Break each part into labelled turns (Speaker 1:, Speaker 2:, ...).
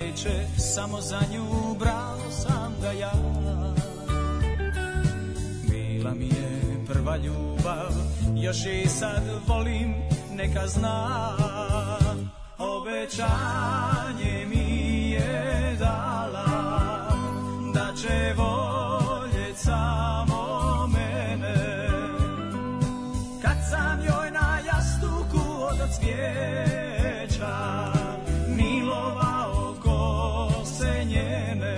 Speaker 1: veče samo za nju brao sam ga ja Bila mi je prva ljubav, još je i sad volim, neka zna Obećanje mi je dala, da će voljet samo mene Kad sam joj na jastuku od cvijeća milovao kose njene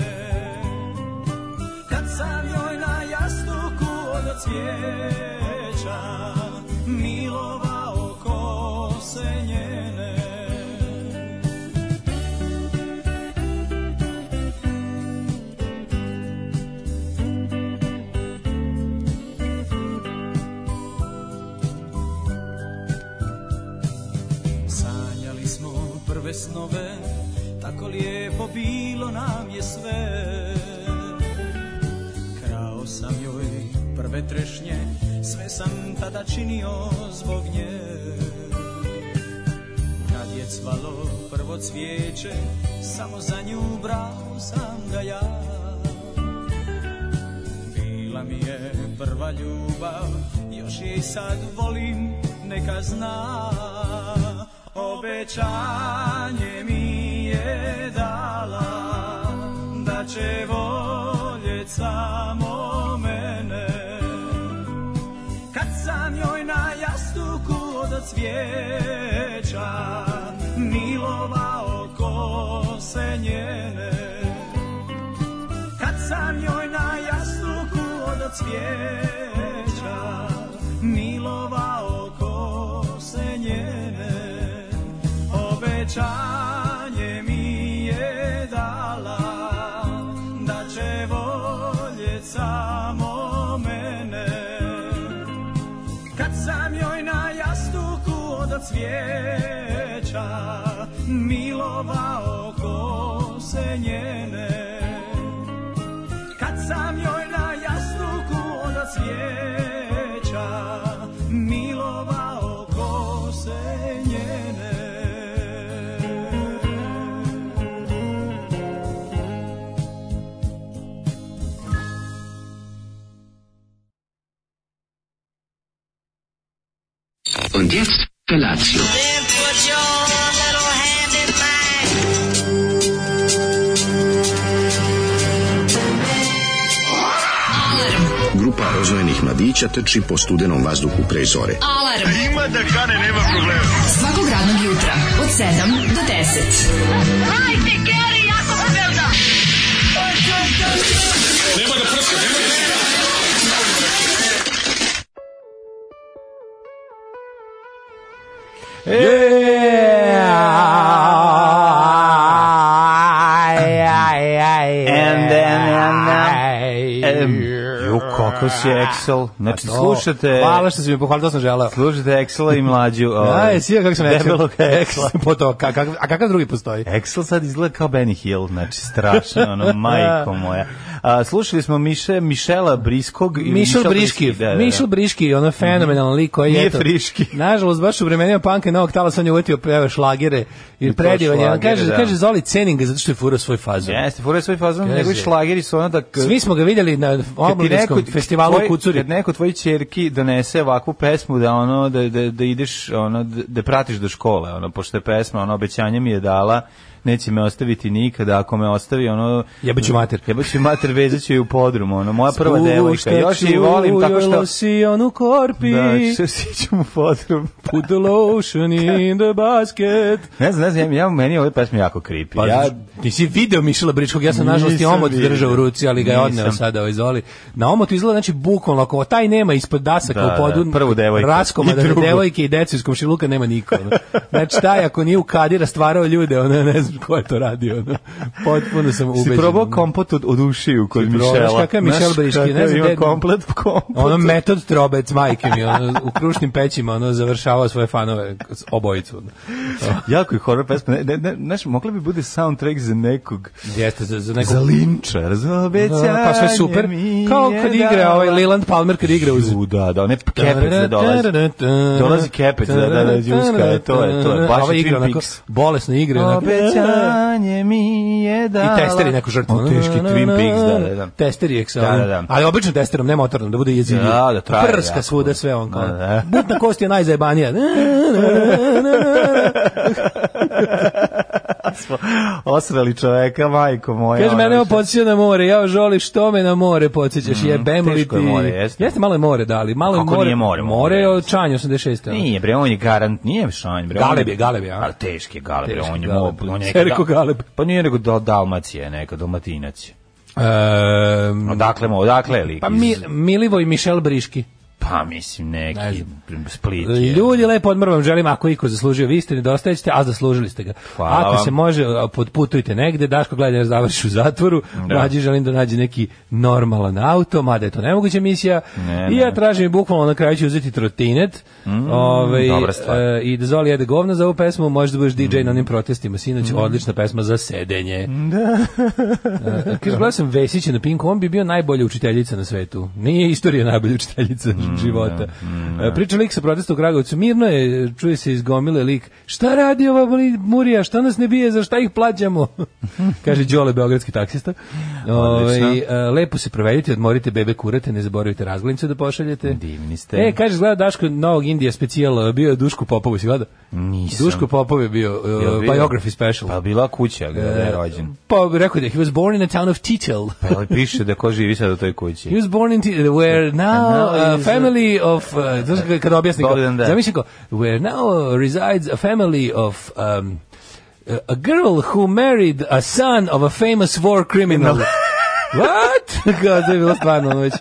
Speaker 1: Kad sam joj na jastuku od cvijeća milovao kose njene Sanjali smo prve snove, tako lijepo bilo nam je sve. Krao sam joj prve trešnje, sve sam tada činio zbog nje. Kad je cvalo prvo cvijeće, samo za nju brao sam ga ja. Bila mi je prva ljubav, još je i sad volim, neka zna. Obećanje mi je dala, da će voljet samo mene. Kad sam joj na jastuku od cvijeća, milovao kose njene. Kad sam joj na jastuku od cvijeća Milovao kose njene Obećanje mi je dala Da će voljet samo mene Kad sam joj na jastuku od cvijeća Milovao kose njene kad sam joj na jastuku od cvijeća milovao kose njene.
Speaker 2: Und jetzt Felatio.
Speaker 3: Then put your little hand in mine.
Speaker 4: Grupa rozvojenih mladića trči po studenom vazduhu pre zore.
Speaker 5: Alarm. Ima da kane, nema problema. Svakog radnog jutra, od 7 do 10. Hajde, Geri, jako se velda.
Speaker 6: And
Speaker 7: Em, ju, kako si Excel. Znači, slušate...
Speaker 6: pa Hvala što si mi pohvalio, to sam želeo.
Speaker 7: Slušate Excela i mlađu. ovaj,
Speaker 6: Aj, si joj kako sam Excel.
Speaker 7: Debelog Excela.
Speaker 6: Po to, ka- kak- a kakav drugi postoji?
Speaker 7: Excel sad izgleda kao Benny Hill, znači strašno, ono, majko moja. A, slušali smo Miše, Mišela Briskog. i
Speaker 6: Mišel
Speaker 7: Mišel
Speaker 6: Briški,
Speaker 7: da, da, da.
Speaker 6: Mišel Briški, ono fenomenalan lik koji je...
Speaker 7: Nije
Speaker 6: eto,
Speaker 7: friški.
Speaker 6: Nažalost, baš u vremenima panka i novog talasa on je uvetio peva šlagere i
Speaker 7: to
Speaker 6: predivan je. On
Speaker 7: šlagere,
Speaker 6: Kaže,
Speaker 7: da.
Speaker 6: kaže Zoli cenim ga zato što je furao svoj fazu.
Speaker 7: Jeste, fura svoj fazon,
Speaker 6: Kaže.
Speaker 7: njegovi šlageri su ono da... k-
Speaker 6: Svi smo ga vidjeli na
Speaker 7: kad ti neko-
Speaker 6: omladinskom festivalu u
Speaker 7: tvoj-
Speaker 6: Kucuri.
Speaker 7: Kad neko tvoj ćerki donese ovakvu pesmu da ono da da, da ideš ono da, da pratiš do škole, ono pošto je pesma ono obećanje mi je dala neće me ostaviti nikada, ako me ostavi ono
Speaker 6: Jebaću mater.
Speaker 7: Jebaću mater vezaću je u podrumu, ono moja prva
Speaker 6: Spušta
Speaker 7: devojka. Još je i volim tako
Speaker 6: čujo
Speaker 7: što
Speaker 6: losion u korpi.
Speaker 7: Da, što sićem ono u podrum.
Speaker 6: Put the lotion in the basket.
Speaker 7: Ne znam, ne znam, ja, ja- meni ove pesme jako kripi.
Speaker 6: Pa,
Speaker 7: ja,
Speaker 6: ja, ti si video Mišela Bričkog, ja sam
Speaker 7: Nisam
Speaker 6: nažalost i omot
Speaker 7: vidio.
Speaker 6: držao u ruci, ali ga je odneo
Speaker 7: Nisam.
Speaker 6: sada ovaj Zoli. Na omotu izgleda, znači, bukvalno, ako taj nema ispod dasaka
Speaker 7: Da,
Speaker 6: u podu,
Speaker 7: da, prvu devojku.
Speaker 6: raskoma
Speaker 7: I
Speaker 6: da
Speaker 7: drugu.
Speaker 6: devojke i decu iz komšiluka nema niko. ono. Znači, taj ako nije u kadira stvarao ljude, ono, ne znam ko je to radio. Ono. Potpuno sam
Speaker 7: si
Speaker 6: ubeđen.
Speaker 7: probao kompot od, od ušiju kod
Speaker 6: probaš
Speaker 7: Mišela.
Speaker 6: kakav je Mišel
Speaker 7: Znaš,
Speaker 6: Briški, ne
Speaker 7: kakav
Speaker 6: znam
Speaker 7: ima
Speaker 6: gde-
Speaker 7: komplet, kompot.
Speaker 6: ono metod trobec majke mi ono u krušnim pećima ono završavao svoje fanove s- obojicu ono.
Speaker 7: Jako je horor pesma. Ne, ne, ne, znaš, mogla bi bude soundtrack za nekog,
Speaker 6: jeste za, za neko
Speaker 7: za linča, razumiješ? Obećanje
Speaker 6: pa sve super
Speaker 7: mi
Speaker 6: kao
Speaker 7: je
Speaker 6: kad igra
Speaker 7: dala.
Speaker 6: ovaj Leland Palmer kad igra uz
Speaker 7: U, Da, da, ne kepec da dolazi. Dolazi kepec da, da, da, džuska, to je, to je, baš
Speaker 6: Ova
Speaker 7: je
Speaker 6: igra
Speaker 7: Twin
Speaker 6: onako
Speaker 7: Peaks.
Speaker 6: bolesno igra onako.
Speaker 7: Obećanje Obećanje mi je dala.
Speaker 6: I testeri neku žrtvu.
Speaker 7: O, teški Twin Peaks, da, da, da.
Speaker 6: Testeri je sa
Speaker 7: Da,
Speaker 6: onim,
Speaker 7: da, da.
Speaker 6: ali obično testerom, ne motornom, da bude jezivio.
Speaker 7: Da, da traje
Speaker 6: Prska
Speaker 7: jako.
Speaker 6: svuda sve on.
Speaker 7: Da, da.
Speaker 6: Da, Butna kost je najzajebanija.
Speaker 7: Osrali čoveka, majko moja.
Speaker 6: Kaže,
Speaker 7: ono,
Speaker 6: mene ovo
Speaker 7: više- Mm,
Speaker 6: podsjeća na more, ja žoli što me na more podsjećaš, jebem li ti.
Speaker 7: teško je more, jeste.
Speaker 6: Jeste malo je more, da, ali malo je
Speaker 7: Kako
Speaker 6: more.
Speaker 7: nije more, more
Speaker 6: More je
Speaker 7: je.
Speaker 6: od Čanja 86. ono.
Speaker 7: Nije bre, on je garant, nije šanj bre.
Speaker 6: Galeb
Speaker 7: on
Speaker 6: je, Galeb je, a?
Speaker 7: Ali teški je Galeb, bre,
Speaker 6: Teški
Speaker 7: on je
Speaker 6: Galeb.
Speaker 7: mo- on je
Speaker 6: Sve je rekao Galeb.
Speaker 7: Pa nije nego dal Dalmacija, neka Dalmatinac. je.
Speaker 6: Ehm,
Speaker 7: Odakle mu, odakle je lik?
Speaker 6: pa
Speaker 7: iz-
Speaker 6: mi, Milivoj Mišel Briški.
Speaker 7: pa mislim neki
Speaker 6: Ne
Speaker 7: Split. je.
Speaker 6: Ljudi, lepo odmor vam želim, ako iko zaslužio, vi ste nedostajećete, a zaslužili ste ga.
Speaker 7: Hvala
Speaker 6: ako
Speaker 7: vam.
Speaker 6: se može, a, podputujte negde, Daško gledaj da završi u zatvoru,
Speaker 7: Da.
Speaker 6: mlađi želim da nađe neki normalan auto, mada je to nemoguća misija,
Speaker 7: Ne,
Speaker 6: i
Speaker 7: ne. Mm,
Speaker 6: ja tražim i bukvalno na kraju ću uzeti trotinet, ovaj,
Speaker 7: dobra stvar. Mm.
Speaker 6: e, i da Zoli jede govno za ovu pesmu, možda budeš DJ na onim protestima, sinoć, odlična pesma za sedenje. Da. Kaže, gledao sam Vesića na Pinku, on bi bio najbolja učiteljica na svetu. Nije istorija najbolja učiteljica
Speaker 7: Mm,
Speaker 6: života. E, Priča lik sa protesta u Kragovicu, mirno je, čuje se iz gomile lik, šta radi ova bli- murija, šta nas ne bije, za šta ih plaćamo? Kaže Đole, beogradski taksista. Ovaj, e, lepo se provedite, odmorite bebe kurate, ne zaboravite razglednice da pošaljete.
Speaker 7: Divni ste.
Speaker 6: E, kaže, gleda Daško Novog Indija specijal, bio je Duško Popovu, si gleda?
Speaker 7: Nisam.
Speaker 6: Duško Popov je bio, e,
Speaker 7: Jel bio?
Speaker 6: biography special.
Speaker 7: Pa bila kuća gde je rođen.
Speaker 6: Pa rekao da he was born in a town of Titel.
Speaker 7: Pa ali piše da ko živi sad u toj kući.
Speaker 6: He was born in Titel, where now
Speaker 7: now
Speaker 6: a
Speaker 7: is-
Speaker 6: family of, uh, znaš kada- kada objasni, kao,
Speaker 7: Bogdan, da.
Speaker 6: zamisli kao, where now uh, resides a family of um, a- a girl who married a son of a famous war criminal. What? Kao, to je bilo stvarno ono već.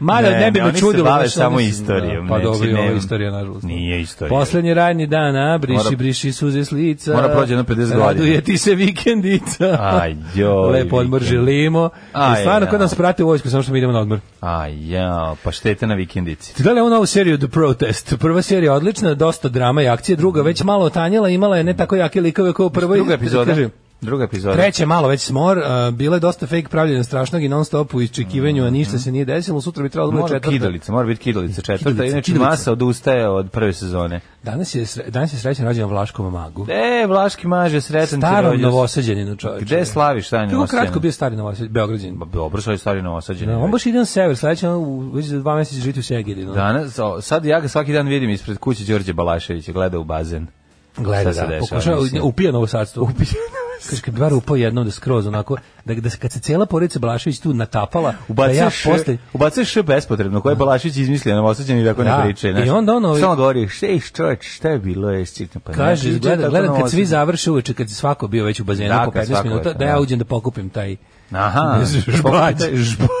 Speaker 6: Mada
Speaker 7: Ne,
Speaker 6: ne, bi
Speaker 7: ne,
Speaker 6: me
Speaker 7: oni se
Speaker 6: čudilo.
Speaker 7: bave
Speaker 6: znaš,
Speaker 7: samo
Speaker 6: oni su-
Speaker 7: istorijom,
Speaker 6: Da, pa
Speaker 7: znači,
Speaker 6: dobro, i ovo
Speaker 7: nema-
Speaker 6: je istorija, nažalost.
Speaker 7: Nije istorija.
Speaker 6: Poslednji radni dan, a, briši,
Speaker 7: Mora-
Speaker 6: briši suze s lica.
Speaker 7: Mora prođe jedno 50 godina.
Speaker 6: Raduje ti se vikendica.
Speaker 7: Aj, joj,
Speaker 6: Lepo odmor
Speaker 7: vikend.
Speaker 6: želimo. I
Speaker 7: Aj,
Speaker 6: stvarno,
Speaker 7: ja.
Speaker 6: kod nas prate u vojsku, samo što mi idemo na odmor.
Speaker 7: A ja, pa štete na vikendici.
Speaker 6: Ti gledali ovu novu seriju The Protest? Prva serija je odlična, dosta drama i akcije. Druga već malo otanjela, imala je ne tako jake likove kao u prvoj.
Speaker 7: Druga epizoda.
Speaker 6: Kaže,
Speaker 7: Druga epizoda.
Speaker 6: Treće malo već smor, uh, bilo je dosta fake pravljenja strašnog i non stop u iščekivanju, a
Speaker 7: Mhm.
Speaker 6: ništa se nije desilo, sutra bi trebalo da bude
Speaker 7: Mora
Speaker 6: četvrta.
Speaker 7: kidalica, mora biti kidalica četvrta,
Speaker 6: Kidalica,
Speaker 7: inače
Speaker 6: kidalica.
Speaker 7: masa odustaje od prve sezone.
Speaker 6: Danas je, sre- danas je srećan rođen Vlaškom magu.
Speaker 7: E, Vlaški maže, sretan ti
Speaker 6: Starom
Speaker 7: rođus.
Speaker 6: novosađaninu čovječe.
Speaker 7: Gde slaviš taj
Speaker 6: Kako
Speaker 7: novosađan?
Speaker 6: kratko bio stari novosađan, Beograđan.
Speaker 7: Ba, Pa Dobro, sad je stari novosađan.
Speaker 6: Da, on E, baš ide na sever, sledeće ono u- već za dva meseca živite u Segedinu.
Speaker 7: Danas, o, sad ja ga svaki dan vidim ispred kuće Đorđe Balaševića, gleda u bazen.
Speaker 6: Gleda,
Speaker 7: Šta se
Speaker 6: da,
Speaker 7: dešava,
Speaker 6: pokušava,
Speaker 7: mislim?
Speaker 6: upija novosadstvo. Upija Kaže, kad bi bar upao jednom da skroz onako, da, da se- kad se cijela porodica Balašević tu natapala, da ja
Speaker 7: Ubacuješ,
Speaker 6: posle...
Speaker 7: ubacuješ š bespotrebno, koje je Balašić izmislio na i tako
Speaker 6: Da,
Speaker 7: ne priče. znaš.
Speaker 6: i onda ono-
Speaker 7: Samo govori, šte iš čoveč, šta je bilo, je sitno, pa ne
Speaker 6: Kaže,
Speaker 7: pričaj
Speaker 6: gleda,
Speaker 7: tako
Speaker 6: gledam kad svi
Speaker 7: Novosađan.
Speaker 6: završe uveče, kad je svako bio već u bazenu
Speaker 7: Da,
Speaker 6: po
Speaker 7: kad
Speaker 6: 15
Speaker 7: svako
Speaker 6: minuta,
Speaker 7: je,
Speaker 6: da ja
Speaker 7: da.
Speaker 6: uđem da pokupim taj...
Speaker 7: Aha,
Speaker 6: Žbać.
Speaker 7: pokupite- žbać.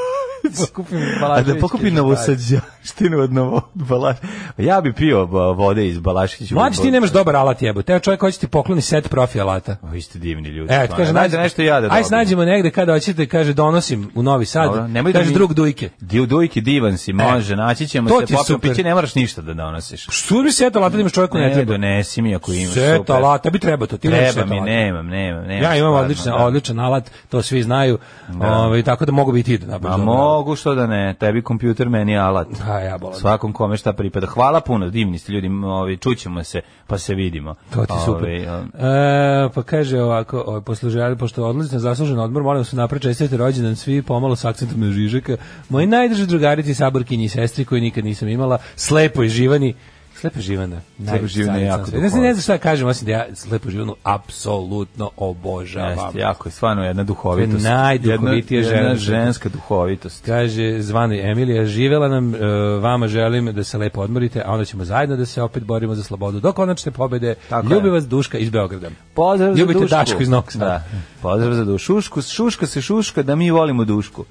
Speaker 6: Pokupim
Speaker 7: A
Speaker 6: Balaševićke
Speaker 7: da pokupi
Speaker 6: žbać.
Speaker 7: novosađaštinu od novo, od Balaš- Ja bi pio ba, vode iz Balašića.
Speaker 6: Mlađi, ti nemaš dobar alat jebote. Teo čovjek hoće ti pokloni set profi alata.
Speaker 7: Vi ste divni ljudi.
Speaker 6: E,
Speaker 7: stvarno.
Speaker 6: kaže,
Speaker 7: Dajte
Speaker 6: nađe
Speaker 7: nešto ja da
Speaker 6: Aj,
Speaker 7: dobijem.
Speaker 6: snađemo negde kada hoćete, kaže, donosim u Novi Sad.
Speaker 7: Dobro, nemoj da
Speaker 6: kaže,
Speaker 7: mi-
Speaker 6: drug dujke. E,
Speaker 7: Di, dujki divan si, može, naći ćemo
Speaker 6: to
Speaker 7: se,
Speaker 6: ti je
Speaker 7: popio
Speaker 6: super.
Speaker 7: piće, ne moraš ništa da donosiš.
Speaker 6: Što bi set alata da imaš čovjeku ne
Speaker 7: Ne,
Speaker 6: treba?
Speaker 7: donesi mi ako imaš.
Speaker 6: Set
Speaker 7: super.
Speaker 6: alata, bi treba to. Ti imaš
Speaker 7: Treba
Speaker 6: set
Speaker 7: mi,
Speaker 6: alata.
Speaker 7: nemam, nemam, nemam.
Speaker 6: Ja imam
Speaker 7: stvarno,
Speaker 6: odličan,
Speaker 7: da.
Speaker 6: odličan alat, to svi znaju, ovaj, tako da mogu biti i da nabaviš
Speaker 7: A
Speaker 6: dobar alat.
Speaker 7: mogu što da ne, tebi kompjuter, meni alat.
Speaker 6: A ja bolam.
Speaker 7: Svakom kome šta pripada. Hvala puno, divni ste ljudi, m, ovi, čućemo se, pa se vidimo.
Speaker 6: To ti je super.
Speaker 7: Ovi, um,
Speaker 6: E, pa kaže ovako, ovaj, posle želje, pošto odlazite na zaslužen odmor, molim vas napred čestite rođendan svi pomalo s akcentom na Žižeka. Moji najdrži drugarici, saborkinji i sestri koji nikad nisam imala, slepo i živani, Slepo živana.
Speaker 7: Slepo Živana je jako
Speaker 6: Ne znam,
Speaker 7: duhovita.
Speaker 6: ne znam šta da kažem, osim da ja slepo živanu apsolutno obožavam.
Speaker 7: Jeste, jako je stvarno jedna duhovitost.
Speaker 6: To je najduhovitija
Speaker 7: Jedna-
Speaker 6: žena.
Speaker 7: Jedna ženska duhovitost.
Speaker 6: Kaže, zvani Emilija, živela nam, e, vama želim da se lepo odmorite, a onda ćemo zajedno da se opet borimo za slobodu do konačne pobede.
Speaker 7: Tako
Speaker 6: Ljubi
Speaker 7: je.
Speaker 6: vas Duška iz Beograda.
Speaker 7: Pozdrav
Speaker 6: Ljubite
Speaker 7: za Dušku.
Speaker 6: Dašku iz Novog Sada.
Speaker 7: Da. Pozdrav za Dušku. Šušku, šuška se šuška da mi volimo Dušku.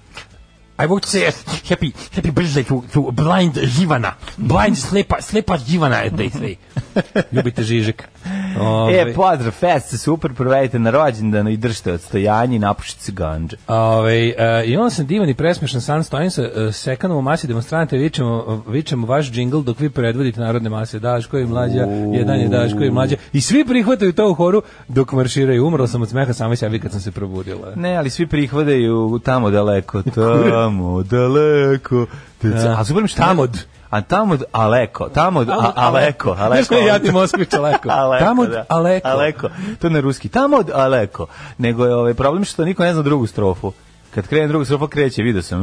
Speaker 8: I would say uh, happy, happy birthday to, to blind Živana. Blind slepa, slepa Živana, as they say.
Speaker 6: Ljubite Žižek. Ovaj,
Speaker 7: E, pozdrav, fest se super, provedite na rođendanu i držite odstojanje i napušite se ganđe.
Speaker 6: Ove, e, I onda sam divan i presmešan sam stojim sa e, sekanom u masi demonstrante vičemo, vičemo vaš džingl dok vi predvodite narodne mase Daško i mlađa, jedan je Daško i mlađa i svi prihvataju to u horu dok marširaju. Umrla sam od smeha sama sebi kad sam se probudila.
Speaker 7: Ne, ali svi prihvataju tamo daleko, tamo daleko. Te-
Speaker 6: Da.
Speaker 7: A super mi što...
Speaker 6: Tamod.
Speaker 7: a tamo od Aleko, tamo od a, Aleko,
Speaker 6: Znaš
Speaker 7: Aleko.
Speaker 6: koji je jadni Moskvić Aleko?
Speaker 7: Aleko,
Speaker 6: Tamo od
Speaker 7: da.
Speaker 6: Aleko.
Speaker 7: Aleko. To na ruski. Tamo od Aleko. Nego je ovaj problem što niko ne zna drugu strofu. Kad krene druga strofa kreće, vidio sam.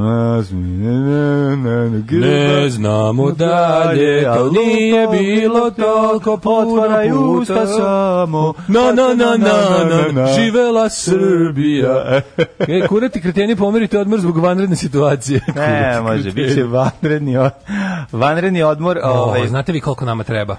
Speaker 6: Ne znamo dalje, kad nije bilo toliko puno
Speaker 7: Otvaraju usta
Speaker 6: puta.
Speaker 7: samo.
Speaker 6: Na, na, na, na, na, na, živela Srbija. E, kurati kreteni pomerite odmor zbog vanredne situacije.
Speaker 7: Ne,
Speaker 6: Kurati
Speaker 7: može, bit će
Speaker 6: kreteni.
Speaker 7: vanredni, o- vanredni odmor.
Speaker 6: O,
Speaker 7: Ovaj,
Speaker 6: znate vi koliko nama treba?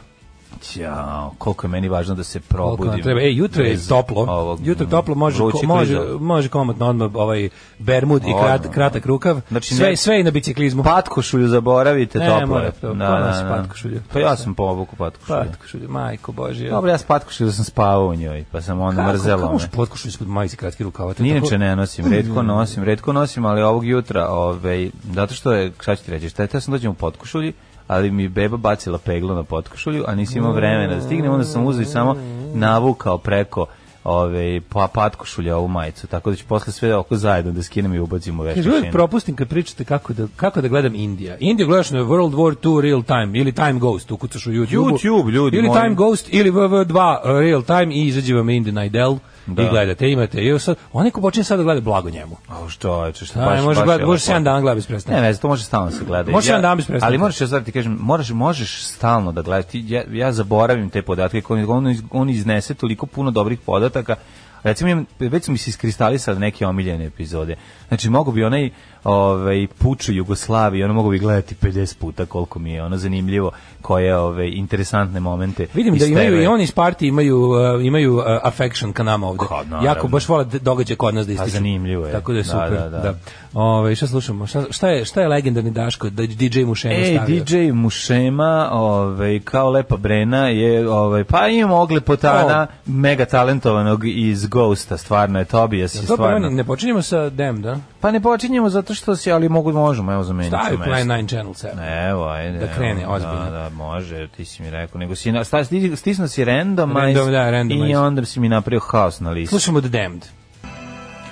Speaker 7: Ćao, znači, koliko je meni važno da se
Speaker 6: Koliko nam
Speaker 7: probudim.
Speaker 6: treba? E, jutro je
Speaker 7: Pa Bez
Speaker 6: toplo.
Speaker 7: ovog,
Speaker 6: jutro je toplo, može,
Speaker 7: vrućeg
Speaker 6: ko- može,
Speaker 7: kliza.
Speaker 6: može komotno odmah ovaj bermud i krat,
Speaker 7: Odmah.
Speaker 6: kratak rukav.
Speaker 7: Znači,
Speaker 6: sve,
Speaker 7: ne- Pa-
Speaker 6: sve i na biciklizmu.
Speaker 7: Patkošulju zaboravite,
Speaker 6: Ne,
Speaker 7: toplo je.
Speaker 6: mora to, ko nosi patkošulju?
Speaker 7: Pa ja sam povukao patkošulju.
Speaker 6: Patkošulju, Pa, majko Božja.
Speaker 7: Dobro, ja sam patkošulju da sam spavao u njoj, pa sam onda
Speaker 6: Kako-
Speaker 7: mrzelo
Speaker 6: Kako
Speaker 7: me.
Speaker 6: možeš potkošulju ispod majice kratki rukava? To je tako-
Speaker 7: Inače ne nosim, redko nosim, redko nosim, ali ovog jutra, ovaj, zato što je, šta ću ti reći, šta je, ja sam dođem u potkošulji, ali mi je beba bacila peglo na potkošulju, a nisi imao vremena da stignem, onda sam uzeo i samo navukao preko ove, pa patkošulja ovu majicu, tako da ću posle sve oko zajedno da skinem i ubacim u
Speaker 6: Kaže, uvijek
Speaker 7: veštačinu.
Speaker 6: propustim kad pričate kako da, kako da gledam Indija. Indiju gledaš na World War II Real Time ili Time Ghost, ukucaš u YouTube.
Speaker 7: YouTube, ljudi
Speaker 6: Ili
Speaker 7: moji.
Speaker 6: Time Ghost ili WW2 uh, Real Time i izađe vam Indija na Idel i gledate, imate. I evo sad, onaj ko počinje sad da gleda blago njemu.
Speaker 7: A što, što, što
Speaker 6: Da,
Speaker 7: baš,
Speaker 6: može
Speaker 7: baš
Speaker 6: gleda,
Speaker 7: je
Speaker 6: može
Speaker 7: lepo.
Speaker 6: 7 dana gleda bez prestanka.
Speaker 7: Ne, ne, znam, to može stalno se gleda.
Speaker 6: Može jedan dan bez prestanka.
Speaker 7: Ali moraš ja sad ti kažem, moraš, možeš stalno da gledaš. Ti, ja, ja zaboravim te podatke, koje on, iz- on iznese toliko puno dobrih podataka. Recimo, imam- već su mi se iskristalisali neke omiljene epizode. Znači, mogu bi onaj ovaj, puč u Jugoslaviji, ono mogu bi gledati 50 puta koliko mi je ono zanimljivo, koje ove, interesantne momente.
Speaker 6: Vidim da
Speaker 7: iz
Speaker 6: imaju
Speaker 7: TV.
Speaker 6: i oni iz partije imaju uh, imaju uh, affection ka nama ovde.
Speaker 7: Ka, naravno.
Speaker 6: jako baš vole d- događaje kod nas da ističu.
Speaker 7: zanimljivo je.
Speaker 6: Tako da je
Speaker 7: Da,
Speaker 6: super.
Speaker 7: da,
Speaker 6: Da,
Speaker 7: da.
Speaker 6: Ovaj šta slušamo? Šta, šta je šta je legendarni Daško da DJ Mušema
Speaker 7: Ej,
Speaker 6: stavio?
Speaker 7: DJ Mušema, ovaj, kao Lepa Brena, je, ovaj, pa imamo oglepotana, mega talentovanog iz Ghosta, stvarno je Tobijas. je
Speaker 6: Dobro,
Speaker 7: stvarno.
Speaker 6: ne, ne počinjemo sa Dem, da?
Speaker 7: Pa ne počinjemo zato što si, ali mogu, možemo, evo zamenit ću
Speaker 6: Stavi
Speaker 7: mesto.
Speaker 6: Plan 9 Channel 7.
Speaker 7: Evo, ajde.
Speaker 6: Da krene,
Speaker 7: evo,
Speaker 6: ozbiljno.
Speaker 7: Da, da, može, ti si mi rekao. Nego si, na, sta, sti- stisnuo si randomize,
Speaker 6: Random, da, randomize.
Speaker 7: i onda si mi napravio haos na listu.
Speaker 6: Slušamo The Damned.